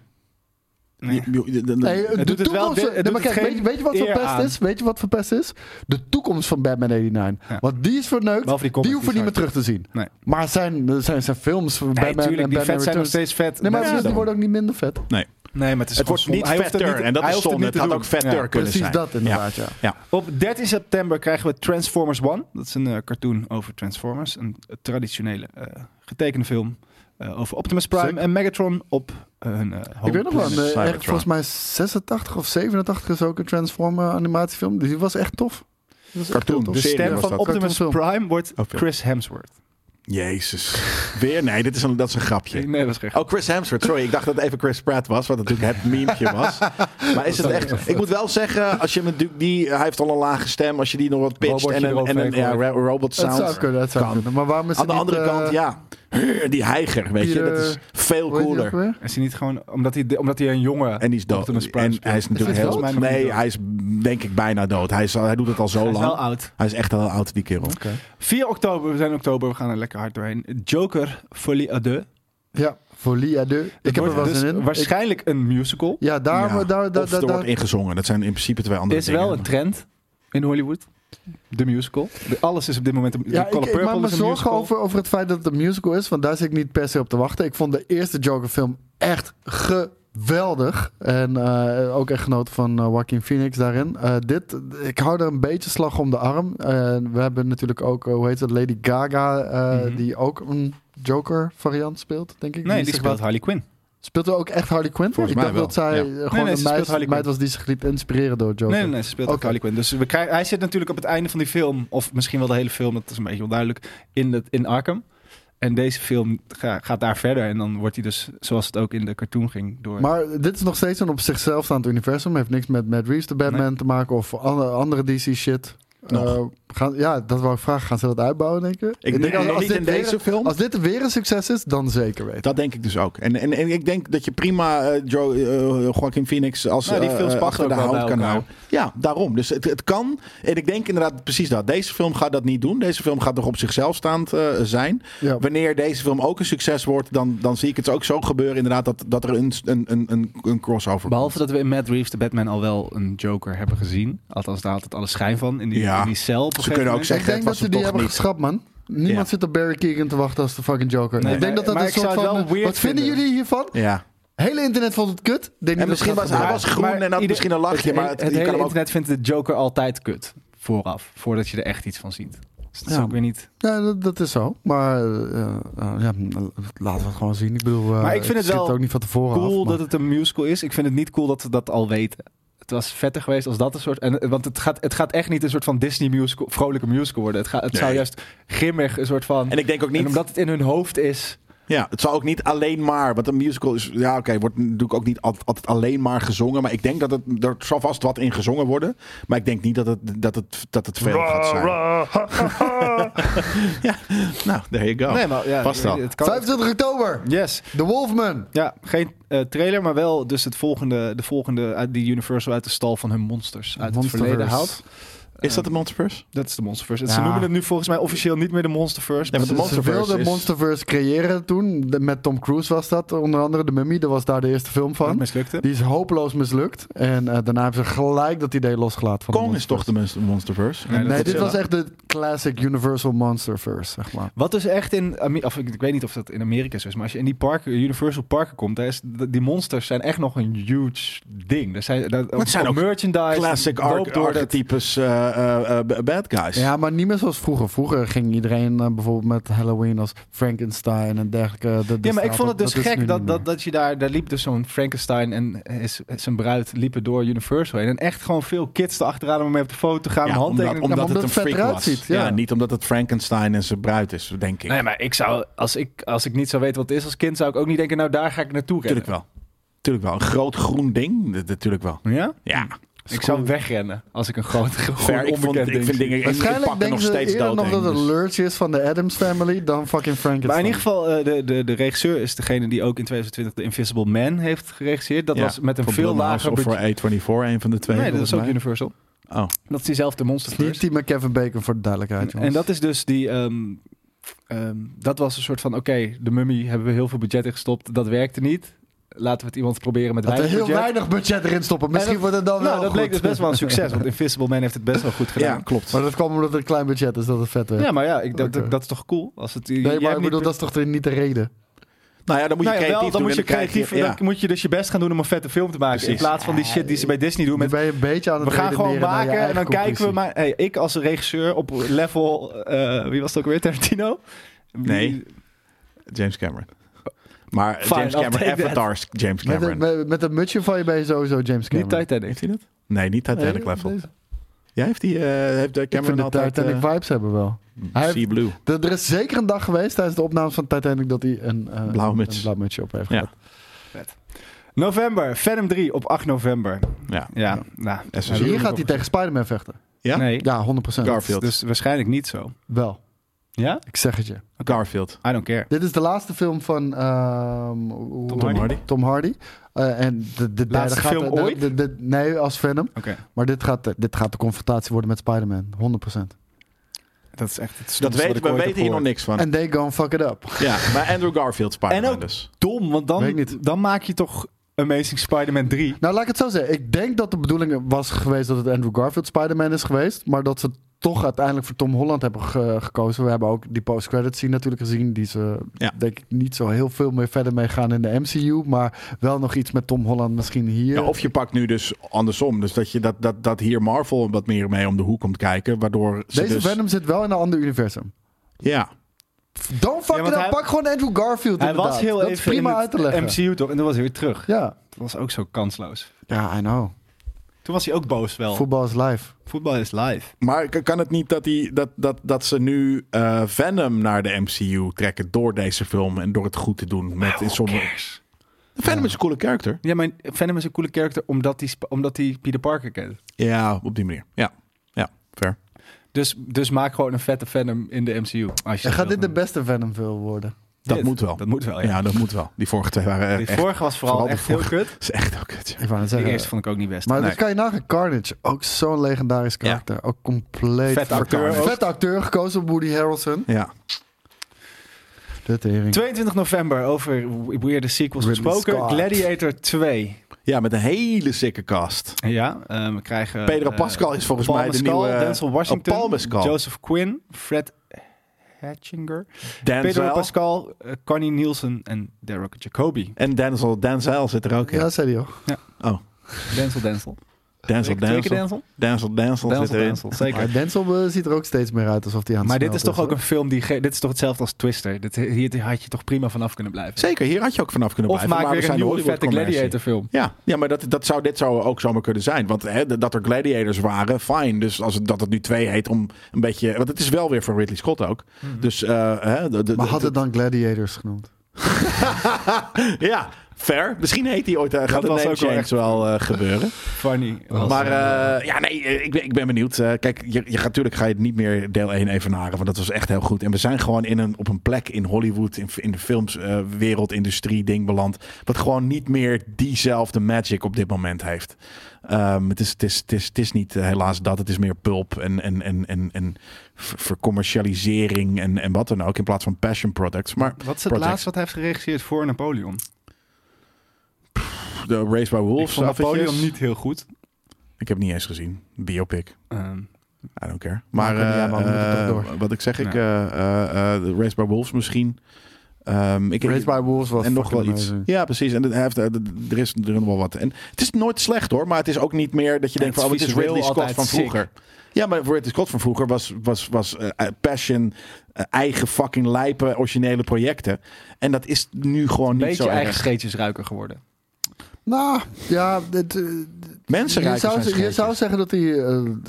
Nee.
Je- je- de- de-
Nee, de
doet het wel-
toekomst-
het
nee,
doet
maar
het
kijk, weet,
geen
je- weet je wat
eer
verpest
aan.
is? Weet je wat verpest is? De toekomst van Batman 99.
Ja.
Want die is verneukt.
Behalve die comic,
Die hoeven we
die
niet meer
is
terug te zien.
Nee.
Maar zijn, zijn, zijn films van
Nee,
Batman
tuurlijk,
en
die
Batman
vet zijn nog
Returns-
steeds vet.
Nee, maar
Net
Ja,
precies, die
daarom.
worden ook niet minder vet.
nee.
dus Nee, maar het is
Het
gewoon
wordt
zonde.
niet
Hij hoeft
vetter.
niet-
en dat
hij
is
hoeft het
zonde.
niet
Het
te
had
doen.
ook vetter
Ja.
kunnen
Precies
zijn.
dat inderdaad, ja.
Op 13 september krijgen we Transformers One. Dat is een eh, cartoon over Transformers. Een traditionele eh, getekende film eh, over Optimus Prime
Sick.
en Megatron op eh, hun eh, home
Ik weet nog wel,
planet.
een, eh,
Cybertron.
echt, volgens mij 86 of 87 is ook een Transformer animatiefilm. Die was echt tof. Die was echt
Cartoon,
heel tof.
De
serie
stem
was
van
dat.
Optimus
Cartoonfilm.
Prime wordt
Oh, film.
Chris Hemsworth.
Jezus. Weer? Nee, dit is een, dat is een grapje.
Nee, dat is gek.
Oh, Chris Hemsworth. Sorry, ik dacht dat het even Chris Pratt was, wat natuurlijk het memetje was. Maar is het echt... Ik moet wel zeggen, als je hem natuurlijk die... Hij heeft al een lage stem. Als je die nog wat pitcht
Robotje
en een, en een
eroverheen
ja,
gooit.
ro- robot
Het zou
sound.
kunnen, het zou
Kan.
kunnen. Maar waarom is
Aan de
het niet,
andere
eh,
kant, ja. Die heiger, weet je.
Peter-
Dat is veel
hoe heet die ook
cooler.
weer?
Is hij niet gewoon... Omdat hij, de- omdat hij een jongen...
En die is dood.
Optimus Prime
En
speelt.
hij is natuurlijk
Is hij
heel...
dood?
Nee, hij is denk ik bijna dood. Hij, is, al- hij doet het al zo
Hij is wel
lang.
oud.
Hij is echt al oud, die kerel.
4 oktober, we zijn in oktober, we gaan er lekker hard doorheen. Joker Folie à deux.
Ja, Folie à deux. Ik heb er
Wordt
wel
dus
zin in. Ik-
Waarschijnlijk een musical.
Ja, daar...
Ja,
daar, daar, daar,
of er wordt
daar-
ingezongen. Dat zijn in principe twee andere
is
dingen.
wel een trend in Hollywood. De musical. De- alles is op dit moment een de
Ja, ik,
Color
ik maak
Purple
me
is een
zorgen
musical.
over, over het feit dat het een musical is. Want daar zit ik niet per se op te wachten. Ik vond de eerste Joker-film echt geweldig. En eh, ook echt genoten van eh, Joaquin Phoenix daarin. Eh, dit, ik hou er een beetje slag om de arm. En we hebben natuurlijk ook, eh, hoe heet dat, Lady Gaga. eh,
Mhm.
Die ook een Joker-variant speelt, denk ik.
Nee, die
zich
speelt
laat-
Harley Quinn.
Speelt er ook echt Harley Quinn? voor?
Volgens mij
ik dacht dat
wel,
zij
ja.
eh,
nee,
gewoon
ze
een
speelt
meid,
Harley
meid was die zich liet inspireren door Joker.
Nee, nee, nee, ze speelt ook
Oké.
Harley Quinn. Dus we krijgen, hij zit natuurlijk op het einde van die film, of misschien wel de hele film, dat is een beetje onduidelijk, in, het, in Arkham. En deze film ga- gaat daar verder en dan wordt hij dus, zoals het ook in de cartoon ging, door...
Maar dit is nog steeds een op zichzelf staand universum. Heeft niks met Matt Reeves, de Batman, te maken of andere, andere DC shit.
Nog.
Eh, gaan, ja, dat wou ik vragen. Gaan ze dat uitbouwen, denk je?
Ik denk
als,
dat
als
niet
dit
in
weer-
deze film.
als dit weer een succes is, dan zeker weten.
Dat denk ik dus ook. En, en, en ik denk dat je prima eh, Joe, eh, Joaquin Phoenix als
Nou, die
eh,
films
eh,
passen
achter de
ook wel
hout
bij
kan
elkaar.
houden. Ja, daarom. Dus het, het kan. En ik denk inderdaad precies dat. Deze film gaat dat niet doen. Deze film gaat nog op zichzelf staand eh, zijn.
Ja.
Wanneer deze film ook een succes wordt, dan, dan zie ik het ook zo gebeuren inderdaad dat, dat er een, een, een, een, een crossover
Behalve dat we in Matt Reeves de Batman al wel een Joker hebben gezien. Althans, daar had het alle schijn van, in die,
Ja.
in die cel. op een
Ze
gegeven
kunnen ook zeggen,
moment.
ik
het
denk dat
was
ze
hem
die
toch
hebben
niet.
geschrapt, man.
Ja.
Niemand zit op Barry Keegan te wachten als de fucking Joker.
Nee.
ik denk dat dat
Maar
een
ik
soort
zou het
van...
wel weird
wat vinden
vinden.
jullie hiervan?
Ja.
Hele internet vond het kut. Ik Denk
En
niet dat
misschien
het
was
gaat
hij
gebeuren.
was groen
Maar
en had
ieder-
misschien een lachje, maar
het, hele-
het,
het
je
hele
kan hem ook
internet vindt de Joker altijd kut. Vooraf. Voordat je er echt iets van ziet. Dus dat is
Ja.
ook weer niet...
Ja, dat, dat is zo. Maar eh, eh, ja, laten we het gewoon zien. Ik bedoel, eh,
Maar ik vind het
zit
wel
ook niet van tevoren af,
cool
maar-
dat het een musical is. Ik vind het niet cool dat we dat al weten. Het was vetter geweest als dat een soort. En, want het gaat, het gaat echt niet een soort van Disney musical, vrolijke musical worden. Het, gaat, het zou
Nee.
juist grimmig een soort van.
En ik denk ook
en
niet
omdat het in hun hoofd is.
Ja, het zal ook niet alleen maar, want een musical is, ja oké, wordt natuurlijk ook niet altijd, altijd alleen maar gezongen, maar ik denk dat het, er zal vast wat in gezongen worden, maar ik denk niet dat het, dat het, dat het veel gaat zijn. ja, nou, there you go.
Nee, maar ja,
Past wel.
Het kan,
25 oktober,
yes.
The Wolfman.
Ja, geen eh, trailer, maar wel dus het volgende, de volgende uit die Universal uit de stal van hun monsters uit het
Monsterverse.
verleden haalt.
is dat de Monsterverse?
Dat is de Monsterverse. En Ze
Ja.
noemen het nu volgens mij officieel niet meer de Monsterverse.
Nee,
maar
want de
het is-
Ze
Monsterverse
wilden
is-
Monsterverse creëren toen. De- met Tom Cruise was dat onder andere. De Mummy, dat was daar de eerste film
dat
van.
mislukte.
Die is hopeloos mislukt. En eh, daarna hebben ze gelijk dat idee losgelaten. Van de
Kong is toch de monster- Monsterverse?
Nee,
En-
Nee,
Dat
dit
Godzilla.
was echt de classic Universal Monsterverse, zeg maar.
Wat dus echt in, Ame- of ik, ik weet niet of dat in Amerika zo is, maar als je in die parken, Universal parken komt, daar is, d- die monsters zijn echt nog een huge ding. Er zijn, daar,
het zijn
op
ook
merchandise,
Classic
loopt
arc,
door dat-
archetypes, eh, eh, eh, b- bad guys.
Ja, maar niet meer zoals vroeger. Vroeger ging iedereen eh, bijvoorbeeld met Halloween als Frankenstein en dergelijke. Dat- dat
Ja, maar ik
staat
vond het
op-
dus
is nu
gek dat,
niet meer.
dat, dat je daar, daar liep dus zo'n Frankenstein en eh, z- zijn bruid liepen door Universal heen. En echt gewoon veel kids erachteraan om mee op de foto te gaan.
Ja,
Ja, handtekeningen.
omdat,
te
omdat
omdat
het een
het vet
freak
eruit
was.
ziet,
ja.
ja.
niet omdat het Frankenstein en zijn bruid is, denk ik.
Nee, maar ik zou, als ik, als ik niet zou weten wat het is als kind, zou ik ook niet denken, nou daar ga ik naartoe rennen.
Tuurlijk wel. Tuurlijk wel. Een groot groen ding, dat- natuurlijk wel.
Ja?
Hmm. Ja,
Ik zou wegrennen als ik een groot, groot
ver. Ik, vond,
onbekend
ik
ding
vind
zie.
dingen... Ik, ik
Waarschijnlijk
pak er
denken
nog
ze
steeds
eerder
dood
nog
heen,
dat het
dus-
een lurch is van de Addams Family dan fucking Frankenstein.
Maar in ieder geval, eh, de, de, de regisseur is degene die ook in 2020 de Invisible Man heeft geregisseerd. Dat
Ja,
was met een
voor
veel
Blumhouse Of
lager
voor
budget.
A24, een van de twee.
Nee, dat
volgens
is ook
mij.
Universal.
Oh.
Dat is diezelfde Monster
Het is niet
First.
die met Kevin Bacon voor de duidelijkheid,
En,
jongens.
dat is dus die... ehm, ehm, dat was een soort van, oké, de mummy hebben we heel veel budget in gestopt. Dat werkte niet. Laten we het iemand proberen met
dat er
weinig
heel
budget.
weinig budget erin stoppen. Misschien
En
wordt het dan
nou,
wel
dat bleek
goed.
dus best wel een succes. Want Invisible Man heeft het best wel goed
Ja,
gedaan.
klopt.
Maar dat kwam omdat het een klein budget is, dat het vet
Ja,
werd.
maar ja, ik, dat,
Oké.
dat is toch cool? Als het,
nee, maar ik bedoel, dat is toch de- niet de reden?
Nou ja, dan moet je creatief
wel, dan
doen
moet
en
je
dan krijg
creatief,
ja.
dan moet je dus je best gaan doen om een vette film te maken.
Precies.
In plaats van die shit die ze bij Disney doen
Dan
met
ben je een beetje aan het
We gaan gewoon
redeneren naar je
maken en
eigen
dan kijken we.
conclusie.
Maar hey, ik als regisseur op level. eh, wie was het ook weer? Tarantino? Wie-
Nee. James Cameron. Maar
Fine,
James
I'll
Cameron,
take that.
Avatars James
Met
Cameron.
een, met, met een mutsje van je ben je sowieso James
Niet
Cameron.
Titanic.
Heeft hij dat? Nee, niet
Nee,
Titanic Level.
deze-
Ja, heeft die, eh heeft de
Ik vind
Cameron
de
altijd...
Titanic
eh,
vibes hebben wel. Hij
Sea Blue.
Er, er is zeker een dag geweest tijdens de opnames van Titanic dat hij een, eh,
Blauwe
een-
muts.
een blauw mutsje op heeft
Ja.
gehad.
November, Venom 3 op 8 november.
Ja.
Ja, nou.
SSU.
daar
Dus hier
doe ik
gaat
op.
hij tegen Spider-Man vechten.
Ja?
Nee,
Ja, 100%.
Garfield.
dus waarschijnlijk niet zo.
Wel,
Ja?
ik zeg het je.
Garfield.
I don't care.
Dit is de laatste film van ehm, hoe-
Tom Hardy?
Tom Hardy. Eh, en de, de derde
Laatste
gaat,
film
de-
ooit?
de- de- nee, als Venom.
Oké.
Maar dit gaat, de- dit gaat de confrontatie worden met Spider-Man. 100%.
Dat is echt. Het
Dat weten we weten hier nog
niet.
niks van.
En they gonna fuck it up.
ja, maar Andrew Garfield
En
Spider-Man
ook-
dus.
Dom, want
Weet
dan,
ik niet.
dan maak je toch Amazing Spider-Man 3.
Nou, laat ik het zo zeggen. Ik denk dat de bedoeling was geweest dat het Andrew Garfield Spider-Man is geweest. Maar dat ze toch uiteindelijk voor Tom Holland hebben ge- gekozen. We hebben ook die post-credit scene natuurlijk gezien. Die ze,
Ja.
denk ik, niet zo heel veel meer verder mee gaan in de MCU. Maar wel nog iets met Tom Holland misschien hier.
Ja, of je pakt nu dus andersom. Dus dat, je dat, dat, dat hier Marvel wat meer mee om de hoek komt kijken. Waardoor ze
Deze
dus...
Venom zit wel in een ander universum.
Ja.
Don't
Ja,
fuck
want
it up.
hij-
Pak gewoon Andrew Garfield
Hij
inderdaad.
was heel
dat
even
is prima
in
uit te
het
leggen.
MCU toch? En dan was hij weer terug.
Ja.
Dat was ook zo kansloos.
ja, I know.
Toen was hij ook boos wel.
Voetbal is live.
Voetbal is live.
Maar k- kan het niet dat, die, dat, dat, dat ze nu eh, Venom naar de MCU trekken door deze film en door het goed te doen met
Nou,
in sommige... Venom is een coole character.
Ja, maar Venom is een coole karakter omdat hij, sp- omdat hij Peter Parker kent.
Ja, op die manier. Ja, ja fair.
Dus, dus maak gewoon een vette Venom in de MCU. Als je
En gaat
dat
dit de
wil.
beste Venom film worden?
Dat
Dit.
moet wel.
Dat moet wel, ja.
Ja, dat moet wel. Die vorige twee waren
Die
echt...
vorige was vooral,
vooral de
echt heel kut.
Dat is echt ook kut.
Ik wou het
De
zeggen.
eerste vond ik ook niet best.
Maar
Nee.
dat kan je nagaan. Carnage, ook zo'n legendarisch karakter. Ook compleet...
Vet acteur ook.
Vet acteur, gekozen door Woody Harrelson.
Ja.
De tering.
22 november over weirde sequels
Ridley
gesproken.
Scott.
Gladiator 2.
ja, met een hele sikke cast.
Ja, eh, we krijgen...
Pedro
eh,
Pascal is volgens
Paul
mij de
Mescal,
nieuwe...
Denzel Washington,
Oh, Paul Mescal.
Joseph Quinn, Fred Hatchinger,
Denzel.
Pedro Pascal, eh, Connie Nielsen en Derek Jacobi.
En Denzel, Denzel zit er ook in.
Ja, zei hij ook.
Oh,
Denzel Denzel.
Denzel,
Twee keer
Denzel. Denzel, Denzel zit
Denzel
erin.
Denzel, zeker.
Maar Denzel eh, ziet er ook steeds meer uit alsof hij aan het
Maar dit is
smelten
toch ook een film die... ge- Dit is toch hetzelfde als Twister? Dit, hier had je toch prima vanaf kunnen blijven?
Zeker, hier had je ook vanaf kunnen
Of
blijven.
maak
maar we
weer een
zijn de
nieuwe vette
Hollywood-commercie.
Gladiator film.
Ja, ja maar dat, dat zou, dit zou ook zomaar kunnen zijn. Want hè, dat er gladiators waren, fijn. Dus als het, dat het nu twee heet om een beetje... Want het is wel weer van Ridley Scott ook.
Mhm.
Dus eh, hè, de- de-
Maar had het dan Gladiators genoemd?
Ja, fair. Misschien heet hij ooit... eh, gaat
Dat
de
was
name
ook wel
change
echt-
wel eh, gebeuren.
Funny.
maar eh, ja, nee, eh, ik ben, ik ben benieuwd. Eh, kijk, je, je gaat natuurlijk ga je het niet meer deel 1 evenaren, want dat was echt heel goed. En we zijn gewoon in een, op een plek in Hollywood, in, in de filmswereld, eh, industrie, ding beland, wat gewoon niet meer diezelfde magic op dit moment heeft. Ehm, het, is, het, is, het, is, het is niet eh, helaas dat, het is meer pulp en, en, en, en, en ver- vercommercialisering en, en wat dan ook, in plaats van passion products. Maar
Wat is het
Project.
laatste wat hij heeft geregisseerd voor Napoleon?
de Race by
Ik
Wolves,
vond Napoleon
affiches.
niet heel goed.
ik heb het niet eens gezien. Biopic.
Ehm,
I don't care. Maar,
Maakt het niet
eh,
uit, maar we moeten
eh,
toch door.
wat ik zeg, ik,
Ja.
eh, eh, eh, de Race by Wolves misschien. Ehm, ik,
Raised by Wolves was
en nog wel
fucking
iets.
amazing.
Ja, precies. En hij heeft, eh, d- er is er nog wel wat. En het is nooit slecht hoor, maar het is ook niet meer dat je denkt van,
het
oh, het is
visueel
Ridley Scott
altijd
van
sick.
vroeger. Ja, maar Ridley Scott van vroeger was, was, was eh, eh, passion, eh, eigen fucking lijpe originele projecten. En dat is nu gewoon niet zo
beetje eigen
erg.
scheetjesruiker geworden.
Nou, ja, dit, eh, d-
Mensen
je,
ruiken
zou,
zijn
je zou
scheetjes.
zeggen dat hij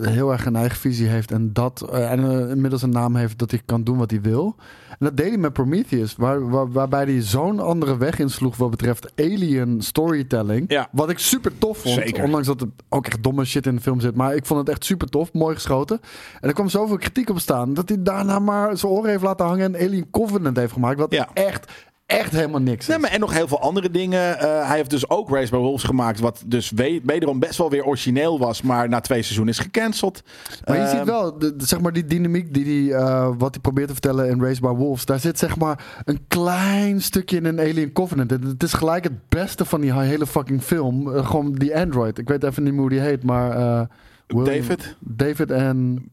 eh, heel erg een eigen visie heeft en dat eh, en eh, inmiddels een naam heeft dat hij kan doen wat hij wil. En dat deed hij met Prometheus, waar, waar- waarbij hij zo'n andere weg insloeg wat betreft alien storytelling.
Ja.
Wat ik super tof vond,
Zeker.
ondanks dat er ook echt domme shit in de film zit. Maar ik vond het echt super tof, mooi geschoten. En er kwam zoveel kritiek op staan dat hij daarna maar zijn oren heeft laten hangen en Alien Covenant heeft gemaakt, wat
Ja.
echt, echt helemaal niks
Nee,
is.
maar en nog heel veel andere dingen. Eh, hij heeft dus ook Race by Wolves gemaakt, wat dus we- wederom best wel weer origineel was, maar na twee seizoenen is gecanceld.
Maar je
Ehm,
ziet wel, de, de- zeg maar die dynamiek die, die eh, wat hij probeert te vertellen in Race by Wolves. Daar zit zeg maar een klein stukje in een Alien Covenant. Het, het is gelijk het beste van die hele fucking film. Eh, gewoon die android. Ik weet even niet meer hoe die heet, maar... eh, William-
David?
David en...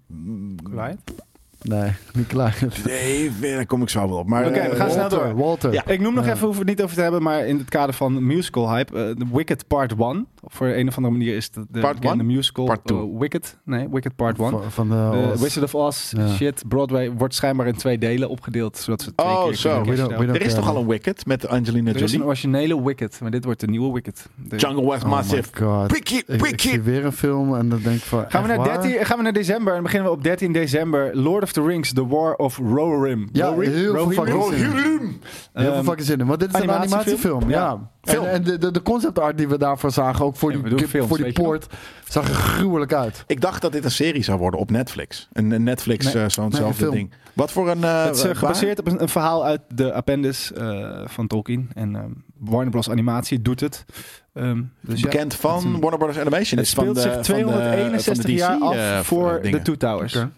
Nee, niet Klein.
Nee, eh, daar kom ik zo wel op. Maar,
Oké, we gaan
eh,
snel
Walter,
door.
Walter.
Ja.
Ik noem nog even, hoeven we het niet over te hebben, maar in het kader van musical hype, eh, The Wicked Part 1. Voor een of andere manier is het de,
Part
bekende
one?
musical.
Part two.
eh, Wicked, nee, Wicked Part 1.
Van, van
Eh,
De
de...
Wizard of Oz,
Oh. Ja.
shit, Broadway wordt schijnbaar in twee delen opgedeeld, zodat ze twee
Oh,
keer
zo.
kunnen
We
don't-
kerststellen.
we don't-
er is
Oké.
toch al een Wicked met Angelina
Er is een
Jolie?
originele Wicked, maar dit wordt de nieuwe Wicked. De-
Jungle West
Oh my
Massive.
god.
Wicked,
Ik, ik zie
wicked.
weer een film en dan denk ik van...
Gaan we,
echt
naar
waar?
13, gaan we naar december en beginnen we op 13 december. Lord of the Rings, The War of Rohirrim.
Ja,
Rohirrim?
heel veel
Rohirrim?
fucking zin. Heel veel
Ehm,
fucking zin in. Want dit is
animatiefilm.
een animatiefilm. Ja.
Film.
En, en de, de, de concept art die we daarvoor zagen, ook voor
Ja, we
die,
doen
kip-
films,
voor die
weet je
poort, zag er gruwelijk uit.
Ik dacht dat dit een serie zou worden op Netflix. Een, een Netflix,
Nee,
eh, zo'nzelfde
film.
ding. Wat voor een... eh,
Het is eh,
waar?
gebaseerd op een, een verhaal uit de appendix eh, van Tolkien. En ehm, Warner Bros. Animatie doet het. Ehm, dus ja.
Bekend van
Het is een-
Warner Bros. Animation.
Het
is van
speelt
de-
zich
van de-
261
van de DC,
jaar af
eh,
voor
dingen.
de Two Towers.
Oké.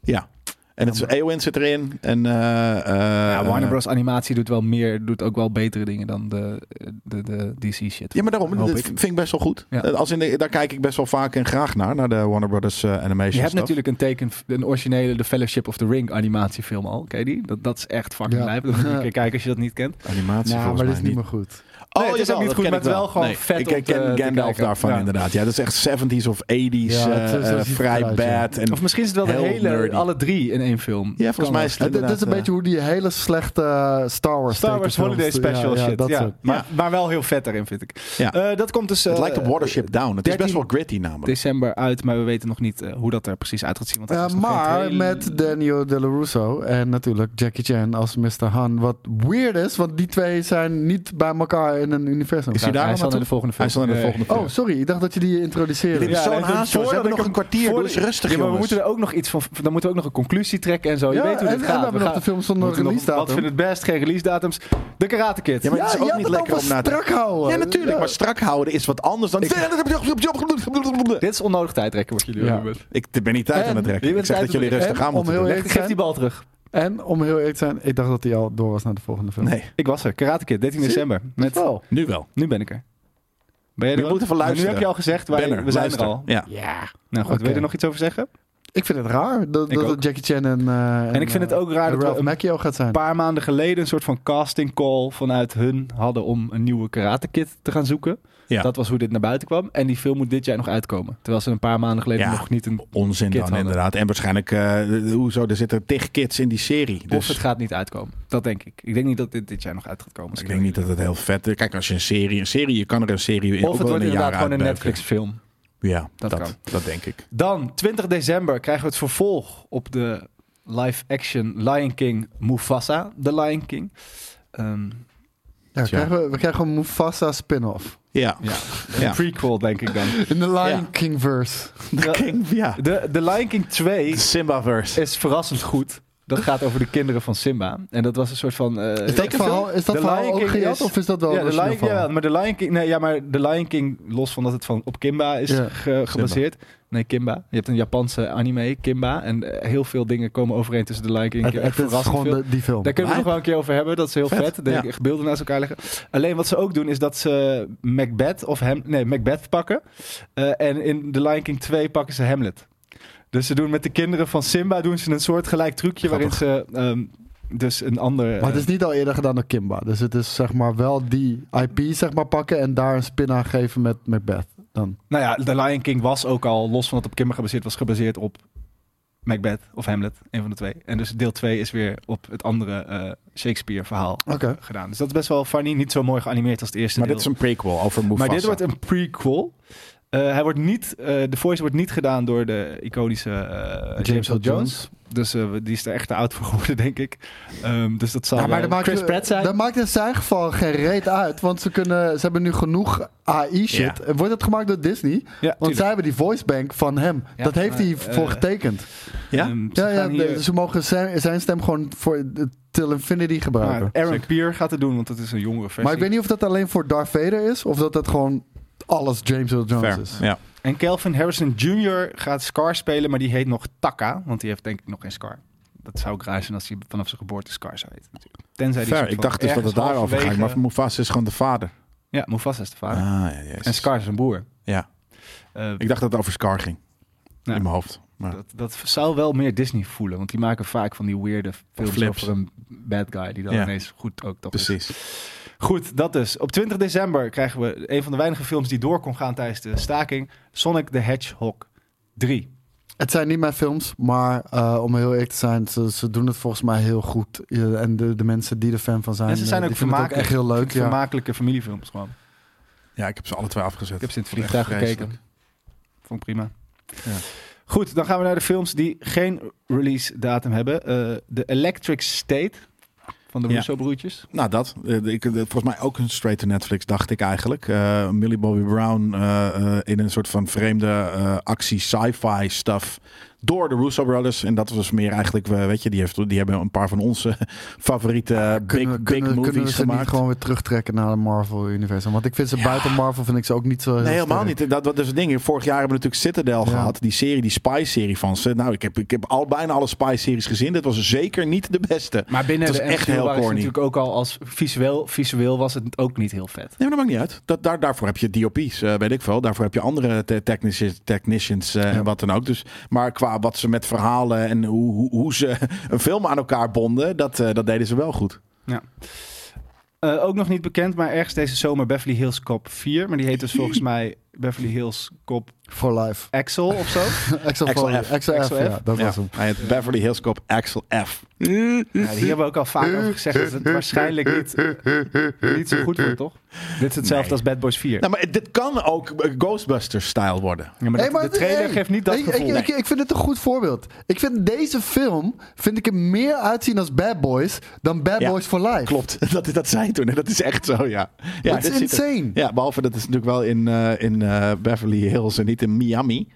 Ja. En het is Eowyn zit erin. En, eh, eh,
Ja, Warner
eh,
Bros. Animatie doet wel meer, doet ook wel betere dingen dan de, de, de DC shit.
Ja, maar daarom.
Hoop
Dat
ik.
vind ik best wel goed.
Ja.
Eh, Als in de- daar kijk ik best wel vaak en graag naar. Naar de Warner Brothers eh, Animation
Je hebt
stuff.
natuurlijk een teken, een originele The Fellowship of the Ring animatiefilm al. Ken je die? Dat, dat is echt fucking
Ja.
lijp. Dat moet je een keer kijken als je dat niet kent.
Animatie volgens
Nou, maar dit
mij
is niet meer goed.
Nee, het is
jawel,
ook niet
dat
goed,
ken
maar
ik
het is wel gewoon vet
Ik
om
ken
te- te
Gandalf
kijken.
daarvan
Ja.
inderdaad. Ja, dat is echt 70s of 80s.
Ja, het is-
eh,
zo ziet
eh,
het
vrij
eruit, ja.
bad. En,
Of misschien is het wel de
Heel
hele,
nerdy.
alle drie in één film.
ja, volgens
Kan
mij
wel.
is het
Het, het is
inderdaad,
een
eh,
beetje hoe die hele slechte eh, Star Wars
Star Wars
tekenfilms-
Holiday Special
ja, ja,
shit.
Dat
ja.
soort.
Maar,
Ja.
maar wel heel vet daarin, vind ik.
Ja.
Eh, dat komt dus...
het
eh,
lijkt op Watership Down. Het is best wel gritty namelijk.
december uit, maar we weten nog niet eh, hoe dat er precies uit gaat zien. Want dat
Eh,
is nog geen
maar
hele-
met Daniel DeLaRusso en natuurlijk Jackie Chan als Mr. Han. Wat weird is, want die twee zijn niet bij elkaar in een universum.
Is hij daar
hij
al
zal naar de
naartoe?
volgende film.
Hij zal naar de
Eh,
volgende
Oh, sorry. Ik dacht dat je die introduceerde.
Dit is zo'n
dat is
haast,
voordat
hoor. Ze hebben
ik
nog
hem-
een kwartier,
voordat-
doe eens rustig,
Ja, maar we
jongens.
moeten er ook nog iets van... Dan moeten we ook nog een conclusie trekken en zo. Je
Ja,
weet hoe
en-
dit
en
gaat.
we hebben nog de film zonder
moeten nog-
releasedatum.
Wat vindt het best? Geen release datums. De Karate Kid.
Ja, maar het
Ja,
is ook
je had
niet
het
lekker
over
om na te
strak houden.
Ja, natuurlijk.
Ja.
Maar strak houden is wat anders dan...
Dit is onnodig tijdrekken wat jullie
Ja.
doen.
Ik ben niet tijd
En-
aan het
je
trekken. Ik
bent
zeg
tijd
dat jullie
aan het-
rustig
en
aan moeten
om
doen.
heel
Leg- Geef die bal terug.
En om heel eerlijk te zijn, ik dacht dat hij al door was naar de volgende film.
Nee,
Ik was er. Karate Kid, 13 december. Met,
Wel.
nu wel.
nu ben ik er. Ben jij
We
er ook?
moeten even
Nu
luisteren.
heb je al gezegd, wij,
Banner,
we zijn
luister.
er al.
Ja.
Nou goed,
Oké.
wil je er nog iets over zeggen?
Ik vind het raar dat,
Ik
dat
ook.
het Jackie Chan en, eh,
En ik vind
eh,
het ook raar
en
dat we
Ralph
een
Macchio gaat zijn.
Een paar maanden geleden een soort van casting call vanuit hun hadden om een nieuwe Karate Kid te gaan zoeken.
Ja.
Dat was hoe dit naar buiten kwam. En die film moet dit jaar nog uitkomen. Terwijl ze een paar maanden geleden
Ja.
nog niet een...
Onzin
Kid
dan
hadden.
inderdaad. En waarschijnlijk, eh, hoezo, er zitten tig kids in die serie.
Of
Dus
het gaat niet uitkomen. Dat denk ik. Ik denk niet dat dit dit jaar nog uit gaat komen.
ik denk niet dat het heel vet is. Kijk, als je een serie, een serie, je kan er een serie in.
Of
ook
het
wel
wordt
in een jaar
inderdaad gewoon een
uitbuiken.
Netflix film.
Ja,
Dat
dat,
kan.
dat, denk ik.
Dan, 20 december, krijgen we het vervolg op de live-action Lion King Mufasa. The Lion King. Ehm,
Ja,
Ja.
krijgen we, we krijgen een Mufasa spin-off.
Ja.
ja,
Ja.
een prequel denk ik dan.
In de Lion
Ja.
King verse.
King, ja.
De, de Lion King 2
De Simbaverse.
is verrassend goed. Dat gaat over de kinderen van Simba. En dat was een soort van. eh,
Is dat verhaal, is dat
De
verhaal
Lion
ook
King
gejat
is-
of is dat wel
ja,
een
de
origineel
Lion,
verhaal?
ja, maar de Lion King. Nee, ja, maar de Lion King, los van dat het van op Kimba is
Ja.
ge- gebaseerd. Nee, Kimba. Je hebt een Japanse anime, Kimba. En eh, heel veel dingen komen overeen tussen de Lion King. en
Het,
Kimba. Echt
het is
verrassend
gewoon
veel.
de- die film.
Daar kunnen we
Lijp.
nog wel een keer over hebben. Dat is heel vet.
Vet,
Dat
ja.
je echt beelden naast elkaar leggen. Alleen wat ze ook doen is dat ze Macbeth of hem, nee, Macbeth pakken. Eh, en in The Lion King 2 pakken ze Hamlet. Dus ze doen met de kinderen van Simba doen ze een soort gelijk trucje waarin ze ehm, dus een ander...
Maar het
eh,
is niet al eerder gedaan door Kimba. Dus het is zeg maar wel die IP zeg maar, pakken en daar een spin aan geven met Macbeth. Dan.
Nou ja, The Lion King was ook al, los van dat het op Kimmer gebaseerd was, gebaseerd op Macbeth of Hamlet, een van de twee. En dus deel 2 is weer op het andere eh, Shakespeare-verhaal
Oké.
gedaan. Dus dat is best wel funny, niet zo mooi geanimeerd als het eerste
Maar
deel.
dit is een prequel over Mufasa.
maar dit wordt een prequel. Eh, hij wordt niet, eh, de voice wordt niet gedaan door de iconische eh, James, Earl Jones. Dus eh, die is er echt te oud voor geworden, denk ik. Ehm, dus dat zal
Ja, maar
wel-
dat maakt,
Chris Pratt zijn.
dat Eh, maakt in zijn geval geen reet uit. Want ze, kunnen, ze hebben nu genoeg AI-shit.
Ja.
En Wordt het gemaakt door Disney? Want
Ja,
zij
tuurlijk.
hebben die voice bank van hem.
Ja,
dat heeft
maar,
hij voor
eh,
getekend.
Ja?
Ehm, ze
Ja, ja,
gaan hier-
de- ze mogen zijn, zijn stem gewoon voor de- till infinity
Maar
gebruiken.
Aaron Pier gaat het doen, want dat is een jongere versie.
maar ik weet niet of dat alleen voor Darth Vader is. Of dat dat gewoon alles James Earl Jones
Fair.
is.
Ja.
En Calvin Harrison Jr. gaat Scar spelen, maar die heet nog Taka, want die heeft denk ik nog geen Scar. Dat zou ook raar zijn als hij vanaf zijn geboorte Scar zou heten. Natuurlijk. Tenzij die
Fair.
soort
Ik
van
dacht dus dat het
ergens
daarover ging.
halverwege-
Maar Mufasa is gewoon de vader.
Ja, Mufasa is de vader.
Ah, ja, jezus.
en Scar is een boer.
Ja.
Eh,
Ik dacht dat het over Scar ging.
Ja.
In mijn hoofd. Maar
dat, dat zou wel meer Disney voelen, want die maken vaak van die weirde films
Flips.
over een bad guy die dan
Ja.
ineens goed ook toch is.
precies.
Goed, dat dus. Op 20 december krijgen we een van de weinige films die door kon gaan tijdens de staking. Sonic the Hedgehog 3.
Het zijn niet mijn films, maar eh, om heel eerlijk te zijn, ze, ze doen het volgens mij heel goed. Ja, en de, de mensen die er fan van zijn,
en ze zijn ook
eh, die vinden het
vermakelijk.
echt heel
Ik
leuk.
vind
Ja.
Vermakelijke familiefilms gewoon.
Ja, ik heb ze alle twee afgezet.
Ik heb ze in het
Vond ik
vliegtuig
echt
gekeken. Vond ik prima.
Ja.
Goed, dan gaan we naar de films die geen release datum hebben. Eh, de Electric State van de
Ja.
Russo-broertjes.
Nou, dat. Eh, ik, eh, volgens mij ook een straight to Netflix, dacht ik eigenlijk. Eh, Millie Bobby Brown eh, eh, in een soort van vreemde eh, actie sci-fi stuff door de Russo Brothers. En dat was meer eigenlijk, eh, weet je, die, heeft, die hebben een paar van onze favoriete big,
Kunnen,
big
kunnen,
movies
kunnen we ze niet
gemaakt.
gewoon weer terugtrekken naar de Marvel-universum? Want ik vind ze buiten Marvel vind ik ze ook niet zo heel
Nee, helemaal
sterk.
niet. Dat, dat is het ding. Vorig jaar hebben we natuurlijk Citadel
eh, Ja.
gehad. Die serie, die Spy-serie van ze. Nou, ik heb, ik heb al bijna alle Spy-series gezien. Dit was zeker niet de beste.
Maar binnen
Het
de
was echt
MCU
heel
waren ze
corny.
natuurlijk ook al als visueel, visueel was het ook niet heel vet.
Nee, maar dat maakt niet uit. Dat, daar, daarvoor heb je DOP's, eh, weet ik veel. Daarvoor heb je andere te- technici- technicians eh, en wat dan ook. Dus, maar qua wat ze met verhalen en hoe, hoe, hoe ze een film aan elkaar bonden, dat, eh, dat deden ze wel goed.
Eh, ook nog niet bekend, maar ergens deze zomer Beverly Hills Cop 4. Maar die heet dus volgens mij Beverly Hills Cop
For life.
Axel of zo.
Axel
Axel
Foley.
F.
Axel F.
Axel
Ja,
F.
dat
Ja.
was hem.
Hij heet Beverly Hills Cop Axel F.
Ja, Nou, die hebben we ook al vaak over gezegd dat het waarschijnlijk niet, niet zo goed wordt, toch? Dit is hetzelfde als Bad Boys 4.
Nou, maar dit kan ook eh, Ghostbusters-stijl worden.
Ja, maar
Hey,
dat-
maar
de trailer
hey,
geeft niet dat
ik,
gevoel.
Ik, ik, ik vind het een goed voorbeeld. Ik vind deze film vind ik er meer uitzien als Bad Boys dan Bad
Ja,
Boys for Life.
Klopt, dat, dat zei hij toen. En dat is echt zo, ja. ja
Dat is
dit zit er-
insane.
Ja, behalve dat is natuurlijk wel in, eh, in eh, Beverly Hills en niet in Miami.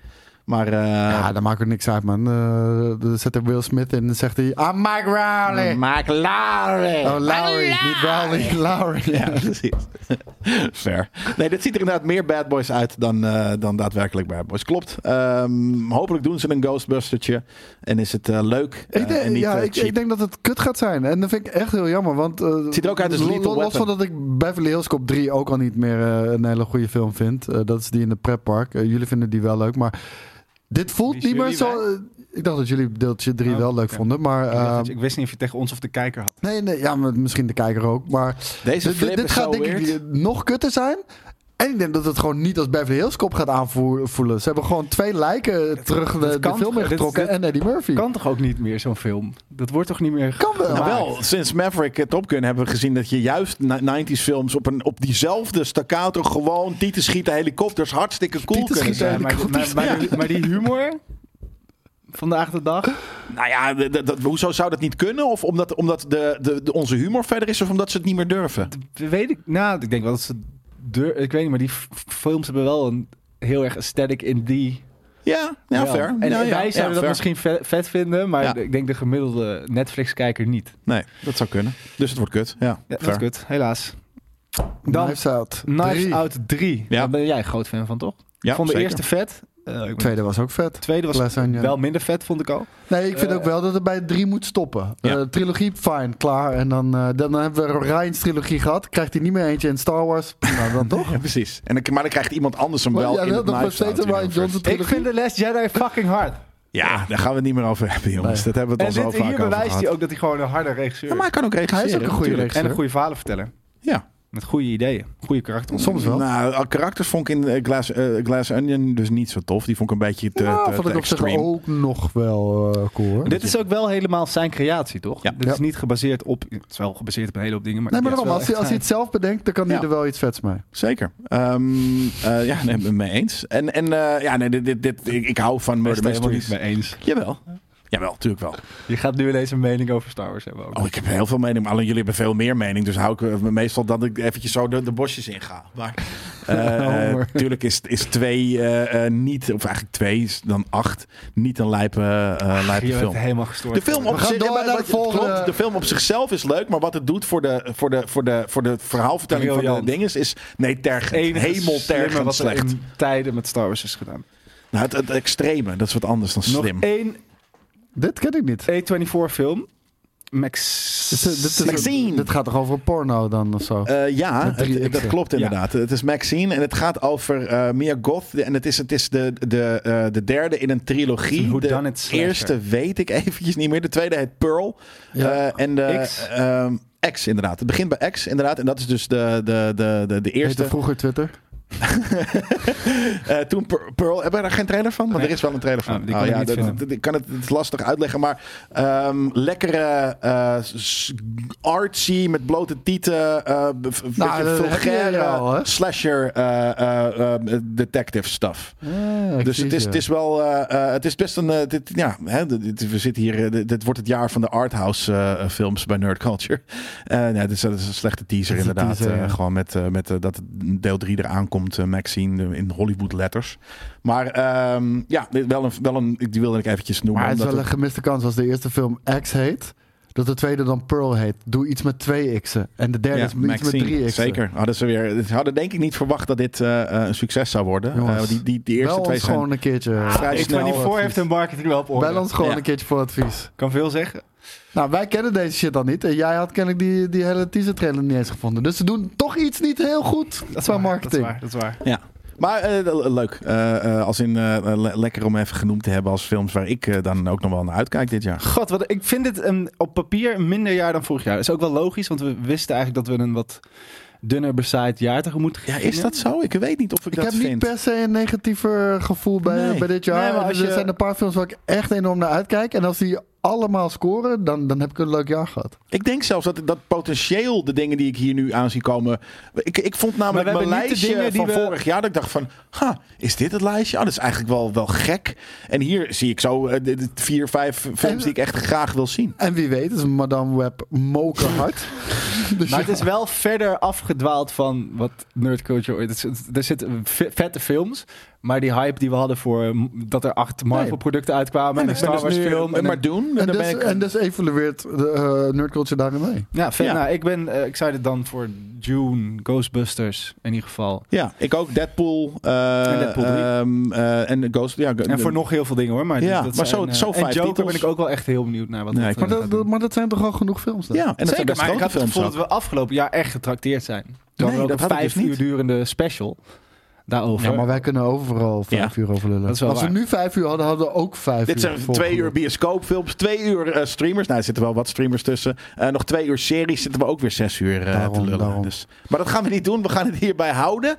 Maar eh,
Ja, dat maakt ook niks uit, man. Eh, dan zet er Will Smith in en dan zegt hij... I'm Mike Rowley.
Mark Lowry.
Oh, Lowry. Niet Rowley, Lowry.
Ja, precies. Fair. Nee, dit ziet er inderdaad meer Bad Boys uit dan, eh, dan daadwerkelijk Bad Boys. Klopt. Ehm, hopelijk doen ze een Ghostbustertje. En is het eh, leuk. eh,
Ik denk,
en niet,
ja,
eh,
ik,
cheap.
ik denk dat het kut gaat zijn. En dat vind ik echt heel jammer. Want, eh,
ziet er ook uit als
lo-
Lethal
lo- Los
Weapon.
van dat ik Beverly Hills Cop 3 ook al niet meer eh, een hele goede film vind. Eh, dat is die in de pretpark. Eh, jullie vinden die wel leuk, maar dit voelt
Wie is
niet meer
jullie,
zo... eh, ik dacht dat jullie deeltje 3
Oh,
wel leuk
oké.
vonden, maar...
Ik dacht
eh,
dat je- ik wist niet of je tegen ons of de kijker had.
nee, nee, ja, maar misschien de kijker ook. Maar
Deze
dit-
flip
dit
is
gaat
zo
denk
weird.
ik eh, nog kutter zijn. En ik denk dat het gewoon niet als Beverly Hills Cop gaat aanvoelen. Ze hebben gewoon twee lijken terug de, de
kan-
film
dit-
ingetrokken
dit-
en Eddie Murphy.
Kan toch ook niet meer zo'n film? Dat wordt toch niet meer...
Kan wel.
Nou wel, sinds Maverick het op kunnen hebben we gezien dat je juist na- 90s films op, een, op diezelfde staccato gewoon tieten schieten helikopters hartstikke cool
Tieten
kunnen
schieten
zijn.
Ja, maar, maar, maar, maar die humor... Vandaag de dag.
Nou ja, d- d- dat, hoezo zou dat niet kunnen? Of omdat, omdat de, de, de- onze humor verder is of omdat ze het niet meer durven?
Weet ik. Nou, ik denk wel dat ze. Deur, ik weet niet, maar die f- films hebben wel een heel erg aesthetic in die.
Ja, ja,
wel.
fair.
En
Ja,
wij
ja,
zouden
ja,
dat
fair.
misschien ve- vet vinden, maar
Ja.
ik denk de gemiddelde Netflix-kijker niet.
Nee, dat zou kunnen. Dus het wordt kut. Ja,
Ja, dat
fair.
is kut, helaas. Dan
Knives Out.
Knives
Drie.
Out 3.
Ja.
Daar ben jij een groot fan van, toch?
Ja,
ik vond de
zeker.
eerste vet. Eh, ik ben-
Tweede was ook vet.
tweede was
Lasagne.
wel minder vet, vond ik al.
Nee, ik vind
Eh,
ook wel dat het bij drie moet stoppen.
Ja.
Eh, trilogie, fijn, klaar. En dan, eh, dan hebben we Ryan's trilogie gehad. Krijgt hij niet meer eentje in Star Wars? Nou, dan toch?
Ja, precies. En dan, maar dan krijgt iemand anders hem
Maar
wel
jij
in
wil
het
nog
Knives
steeds
Out
een Ryan
universe.
Johnson
Ik
trilogie?
vind The Last Jedi fucking hard.
Ja, daar gaan we het niet meer over hebben, jongens.
Nee.
Dat hebben we
En
het al zo
dit,
vaak
hier
over
bewijst
gehad.
hij ook dat hij gewoon een harde regisseur
Ja, maar hij kan ook regisseren.
Hij is ook een goede
natuurlijk.
is. En een goede verhalenverteller.
Ja.
Met goede ideeën, goede karakter.
Soms wel.
Nou, karakters vond ik in eh, Glass, eh, Glass Onion dus niet zo tof. Die vond ik een beetje te,
Nou,
te,
vond
te
ik op zich
extreme.
ook nog wel eh, cool hoor.
Dit is ook wel helemaal zijn creatie, toch?
Ja.
Dit is
Ja.
niet gebaseerd op... Het is wel gebaseerd op een hele hoop dingen, maar...
Nee, maar
dit is
daarom, als,
wel
hij, als
echt
hij het zelf bedenkt, dan kan hij
Ja.
er wel iets vets mee.
Zeker. Ehm, eh, ja, nee, mee eens. En, en eh, ja, nee, dit, dit, dit- ik, ik hou van
zijn.
Murder
Ik ben het er helemaal niet
Mysteries.
mee eens.
Jawel. Jawel, natuurlijk wel.
Je gaat nu ineens een mening over Star Wars hebben ook.
Oh, ik heb heel veel mening. maar Alleen jullie hebben veel meer mening. Dus hou ik eh, meestal dat ik eventjes zo de, de bosjes inga. Maar eh, eh,
hoor.
tuurlijk is, is twee eh, eh, niet, of eigenlijk twee is dan acht, niet een lijpe, eh, lijpe
je bent
film.
helemaal gestoord.
De film, op
gaan
zich-
door
ja, maar
naar
wat-
de volgende.
klopt, de film op zichzelf is leuk, maar wat het doet voor de, voor de, voor de, voor de verhaalvertelling van
Briljant.
de dingen is, nee, tergend.
Enige slimme
Hemeltergend
wat er
slecht.
in tijden met Star Wars is gedaan.
Nou, het, het extreme, dat is wat anders dan
Nog
slim.
één
Dit ken ik niet.
A24 film. Max...
Dit, is- dit is-
Maxine.
dit gaat toch over porno dan of zo?
Eh, ja,
Met drie
het- dat
X'en.
klopt inderdaad. Het is Maxine en het gaat over eh Mia Goth. En het is, het is de, de, eh, de derde in een
Een
trilogie. De
whodunit slasher.
eerste weet ik eventjes niet meer. De tweede heet Pearl.
Ja.
Eh, en de,
X.
ehm, X inderdaad. Het begint bij X inderdaad. En dat is dus de, de, de, de, de
Heette
eerste.
vroeger Twitter.
Eh, toen Per- Pearl, hebben we daar geen trailer van? Want
Nee.
er is wel een trailer van.
Oh, die kan ik niet
dat-
vinden.
dat- ik kan het, het is lastig uitleggen, maar ehm, lekkere eh, s- artsy met blote tieten, eh b-
Nou,
f- beetje
dat heb je
vulgaire
al, hè?
slasher eh, eh, eh, detective stuff.
Ah.
Dus het is, het is wel, eh, eh, het is best een, eh, dit, ja, hè, dit- dit- we zitten hier, eh, dit, dit wordt het jaar van de arthouse eh, films bij Nerd Culture. Eh nee, dit, is, dat is een slechte teaser
Dat is een
inderdaad,
teaser,
eh,
ja.
gewoon met, eh, met eh, dat deel 3 eraan komt, eh, Maxine eh, in Hollywood letters. Maar ehm, ja, dit wel een, wel een, die wilde ik eventjes noemen.
Maar het is
omdat
wel een gemiste kans als de eerste film X heet, dat de tweede dan Pearl heet. Doe iets met twee X'en. En de derde
ja,
is iets met
Maxine,
drie X'en.
Zeker, hadden ze weer, ze hadden denk ik niet verwacht dat dit eh, eh, een succes zou worden.
Jongens,
Eh, die, die, die eerste
Bel
twee
ons
zijn...
gewoon een keertje.
vrij
advies.
snel
A24 heeft hun marketing wel op orde.
Bel ons gewoon
Ja.
een keertje voor advies.
Kan veel zeggen.
Nou, wij kennen deze shit dan niet. En jij had kennelijk die, die hele teaser trailer niet eens gevonden. Dus ze doen toch iets niet heel goed qua marketing.
Dat is waar, dat is waar.
Ja. Maar eh, le- leuk. Eh, eh, als in eh, le- lekker om even genoemd te hebben als films waar ik eh, dan ook nog wel naar uitkijk dit jaar.
God, wat, ik vind dit een, op papier een minder jaar dan vorig jaar. Dat is ook wel logisch, want we wisten eigenlijk dat we een wat dunner bezaaid jaar tegemoet
Ja,
gingen.
is dat zo? Ik weet niet of ik,
Ik
dat
heb
vind.
niet per se een negatiever gevoel bij,
Nee.
bij dit jaar.
Nee, maar
Er-
als
er
je-
zijn een paar films waar ik echt enorm naar uitkijk. En als die allemaal scoren, dan, dan heb ik een leuk jaar gehad.
Ik denk zelfs dat, dat potentieel de dingen die ik hier nu aan zie komen. Ik, ik vond
Maar
namelijk
we
mijn
hebben niet de
lijstje
dingen die
van
we-
vorig jaar. Dat ik dacht van, ha, is dit het lijstje? Ah, dat is eigenlijk wel, wel gek. En hier zie ik zo eh, de- de vier, vijf films die ik echt graag wil zien.
En wie weet is Madame Web mokerhard. dus
Maar
ja,
het is wel verder afgedwaald van wat nerdculture ooit... het is- Er zitten ve- vette films, maar die hype die we hadden voor... eh, m- dat er acht Marvel-producten uitkwamen en
ik
een
ben
Star
dus
Wars
nu-
film. En
maar
een-
doen.
en,
dan
dus,
ben ik,
en dus evolueert de eh, nerdculture daarin mee.
ja, vet.
Ja.
Nou, ik ben eh, excited dan voor June, Ghostbusters in ieder geval.
ja, ik ook. Deadpool. eh,
En Deadpool drie.
ehm, eh, en Ghost. Ja,
En voor nog heel veel dingen hoor. Maar,
Ja,
dat
maar
zijn,
zo-
eh,
zo
En
vijf
Joker
titels.
ben ik ook wel echt heel benieuwd naar wat
Nee,
dat,
ik-
eh,
Maar dat,
gaat
dat-
doen.
maar dat zijn toch al genoeg films dan?
Ja, en dat zijn
Zeker,
best
maar ik
grote
had het
films.
gevoel
ook.
dat we afgelopen jaar echt getrakteerd zijn. Dan
Nee,
hadden we ook
dat had
een
ik dus
vijf
niet.
uur durende special daarover.
Ja, maar wij kunnen overal vijf uur over lullen.
Dat is wel
Als we
waar.
nu vijf uur hadden, hadden we ook vijf
Dit
uur.
zijn
voor
twee uur
geluld.
bioscoopfilms, twee uur eh, streamers. Nou, er zitten wel wat streamers tussen. Eh, nog twee uur series zitten we ook weer zes uur eh,
Daarom,
te lullen.
daarom.
Dus. Maar dat gaan we niet doen. We gaan het hierbij houden.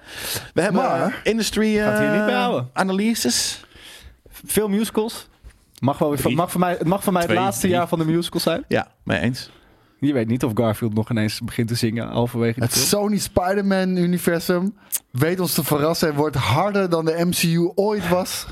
We hebben
Maar-
eh, industry eh,
Gaat hier niet bij houden.
analyses.
Veel musicals. Mag wel weer van,
Drie.
mag voor mij, het mag voor mij het
Twee,
laatste
drie.
jaar van de musical zijn.
Ja, mee eens.
Je weet niet of Garfield nog ineens begint te zingen halverwege de
Het
film.
Sony Spider-Man-universum weet ons te verrassen en wordt harder dan de MCU ooit was.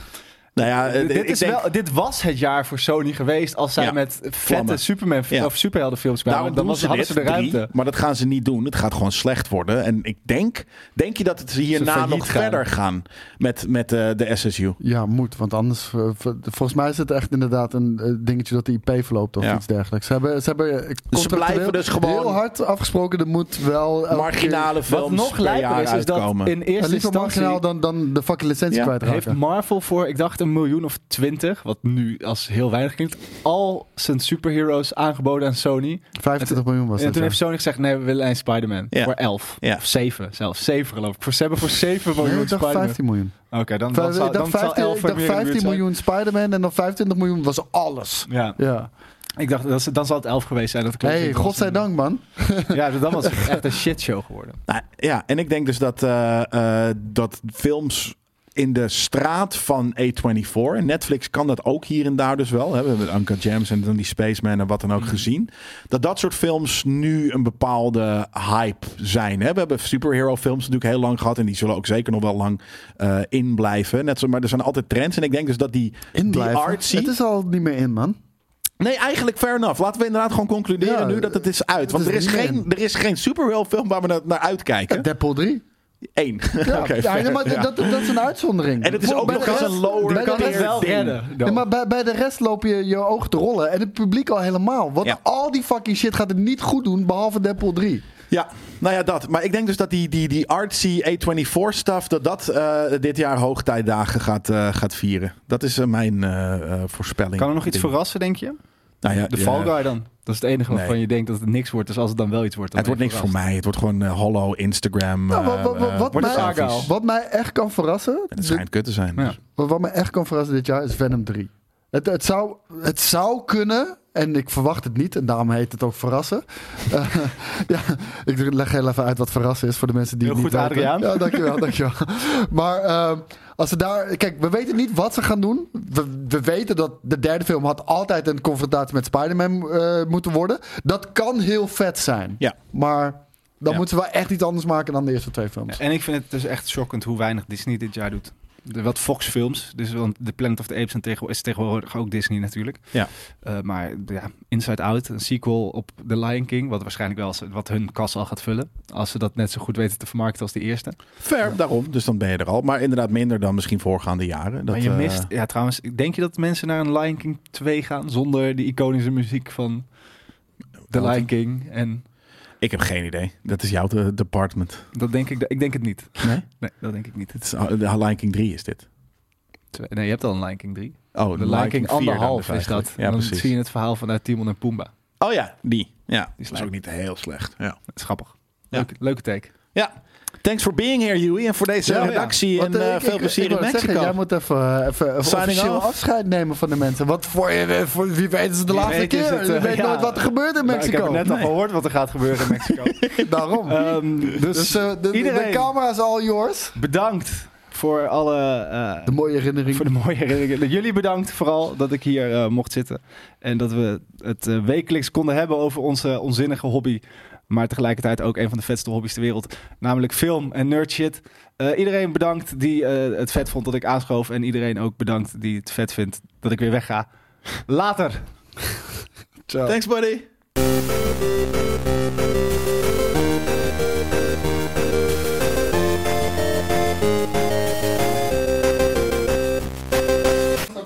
Nou ja, eh,
dit,
ik
is
denk,
wel, dit was het jaar voor Sony geweest als zij
Ja,
met vette
vlammen.
Superman
Ja.
of superheldenfilms kwamen.
daarom
dan
doen
was,
ze
hadden
dit,
ze de
drie,
ruimte.
maar dat gaan ze niet doen. Het gaat gewoon slecht worden. En ik denk, denk je dat het hierna
failliet
nog
gaan.
verder gaan met, met eh, de SSU?
Ja, moet. Want anders, eh, v- volgens mij is het echt inderdaad een eh, dingetje dat de IP verloopt of
Ja.
iets dergelijks. Ze hebben, ze hebben
Dus
eh,
ze
contractueel
blijven dus gewoon-
heel hard afgesproken. Er moet wel elke
Marginale
Wat
films
nog
per
lijper
jaar
is, is dat
uitkomen.
in
keer- En
eerste
liever
instantie
marginaal dan, dan de fucking licentie
Ja,
kwijtraken.
heeft Marvel voor, ik dacht, een miljoen of twintig, wat nu als heel weinig klinkt, al zijn superheroes aangeboden aan Sony.
25 miljoen was
en
dat.
toen
ja.
heeft Sony gezegd, nee, we willen een Spider-Man.
Ja.
Voor elf.
Ja.
Of zeven zelfs. Zeven geloof ik. Voor, ze hebben voor zeven
oh,
Nee,
miljoen
ik dacht
Spider-Man.
15 miljoen.
Oké, dan,
Ik
dan, zal,
dacht
dan zal
15,
elf
ik
er
dacht
meer in de
15
buurt zijn.
miljoen Spider-Man en dan 25 miljoen was alles.
Ja,
Ja.
ik dacht, dat, ze- dan zal het elf geweest zijn. Dat
hey, godzijdank man.
Ja, dat was het echt een shitshow geworden.
Nou, ja, en ik denk dus dat, eh, eh, dat films in de straat van A24, en Netflix kan dat ook hier en daar dus wel, hè, we hebben met Uncle James en dan die Spaceman en wat dan ook
Mhm.
gezien, dat dat soort films nu een bepaalde hype zijn. Hè. We hebben superhero films natuurlijk heel lang gehad en die zullen ook zeker nog wel lang eh, in blijven. Net zo, maar er zijn altijd trends en ik denk dus dat die,
In
die
blijven.
artsy...
Het is al niet meer in man.
Nee, eigenlijk fair enough. Laten we inderdaad gewoon concluderen
Ja,
nu dat het is uit.
het
Want
is
er, is
niet
geen,
in.
er is geen superhero film waar we na- naar uitkijken.
Deadpool 3.
Eén.
Ja,
Oké,
ja,
fair,
maar
ja.
Dat, dat is een uitzondering.
En het is
Voor-
ook
bij
nog
de
eens
rest-
een lower
bij de
tier
rest-
ding.
Ja, maar bij, bij de rest loop je je oog te rollen. En het publiek al helemaal. Want
Ja.
al die fucking shit gaat het niet goed doen, behalve Deadpool 3.
Ja, nou ja, dat. Maar ik denk dus dat die, die, die artsy A24-stuff... dat dat eh, dit jaar hoogtijdagen gaat, eh, gaat vieren. Dat is eh, mijn eh, eh, voorspelling.
Kan er nog iets
Ding.
verrassen, denk je?
Nou ja,
De
ja,
Fall Guy dan. Dat is het enige waarvan
Nee.
je denkt dat het niks wordt. Dus als het dan wel iets wordt, dan
Het wordt
ben
niks
je
voor mij. Het wordt gewoon eh, hollow Instagram.
Nou, wat,
eh,
wat, wat,
eh,
wat
wordt het
mij,
Argyle?
wat mij echt kan verrassen.
het schijnt kut te zijn.
Ja.
dus.
Wat, wat mij echt kan verrassen dit jaar is Venom 3. Het, het, zou, het zou kunnen, en ik verwacht het niet, en daarom heet het ook verrassen. Eh, ja, ik leg heel even uit wat verrassen is voor de mensen die
Heel
het niet
goed,
weten.
Adriaan.
Ja, dankjewel, dankjewel. Maar ehm, als ze daar... Kijk, we weten niet wat ze gaan doen. We, we weten dat de derde film had altijd een confrontatie met Spider-Man eh, moeten worden. Dat kan heel vet zijn.
Ja.
Maar dan
Ja.
moeten ze wel echt iets anders maken dan de eerste twee films.
En ik vind het dus echt shockend hoe weinig Disney dit jaar doet. De, wat Fox films, dus, want The Planet of the Apes en tegen, is tegenwoordig ook Disney natuurlijk.
Ja.
Eh, maar ja, Inside Out, een sequel op The Lion King, wat waarschijnlijk wel als- wat hun kas al gaat vullen. Als ze dat net zo goed weten te vermarkten als de eerste.
Fair, daarom. Dus dan ben je er al. Maar inderdaad minder dan misschien voorgaande jaren. Dat,
maar je
eh,
mist, ja trouwens, denk je dat mensen naar een Lion King 2 gaan zonder die iconische muziek van The
Wat?
Lion King? En
Ik heb geen idee. Dat is jouw eh, department.
dat denk ik, ik denk het niet.
Nee?
Nee, dat denk ik niet. Het
Het is, eh, de Lion King 3 is dit.
is- Nee, je hebt al een Lion King 3.
Oh,
De Lion King
4 dan
anderhalf
dus
is dat.
eigenlijk. Ja,
En dan
precies.
zie je het verhaal vanuit Timon en Pumbaa.
Oh ja, die. Ja, die is
slecht.
ook niet heel slecht. Ja.
Dat is grappig.
Ja.
Leuke, leuke take.
ja. Thanks for being here, Huey. En voor deze
Ja, ja.
redactie. En
Want, eh,
eh,
ik-
veel
ik-
plezier
ik
in
wou
Mexico.
Zeggen, jij moet even, eh, even
Signing
officieel
off.
afscheid nemen van de mensen. Wat voor, eh, voor wie weten ze de
Wie
laatste
weet is
keer?
het,
je
eh,
weet
ja. Nou,
nooit wat er gebeurt in
ik heb
Mexico.
net
Nee.
al gehoord wat er gaat gebeuren in Mexico.
Daarom.
Ehm, dus
dus eh, de- de, de
iedereen.
camera is all yours.
bedankt voor alle... eh,
De mooie herinnering.
voor de mooie herinneringen. Jullie bedankt vooral dat ik hier eh, mocht zitten. En dat we het eh, wekelijks konden hebben over onze onzinnige hobby. Maar tegelijkertijd ook een van de vetste hobby's ter wereld. Namelijk film en nerd shit. Eh, iedereen bedankt die eh, het vet vond dat ik aanschoof. En iedereen ook bedankt die het vet vindt dat ik weer wegga. Later!
Ciao.
Thanks, buddy.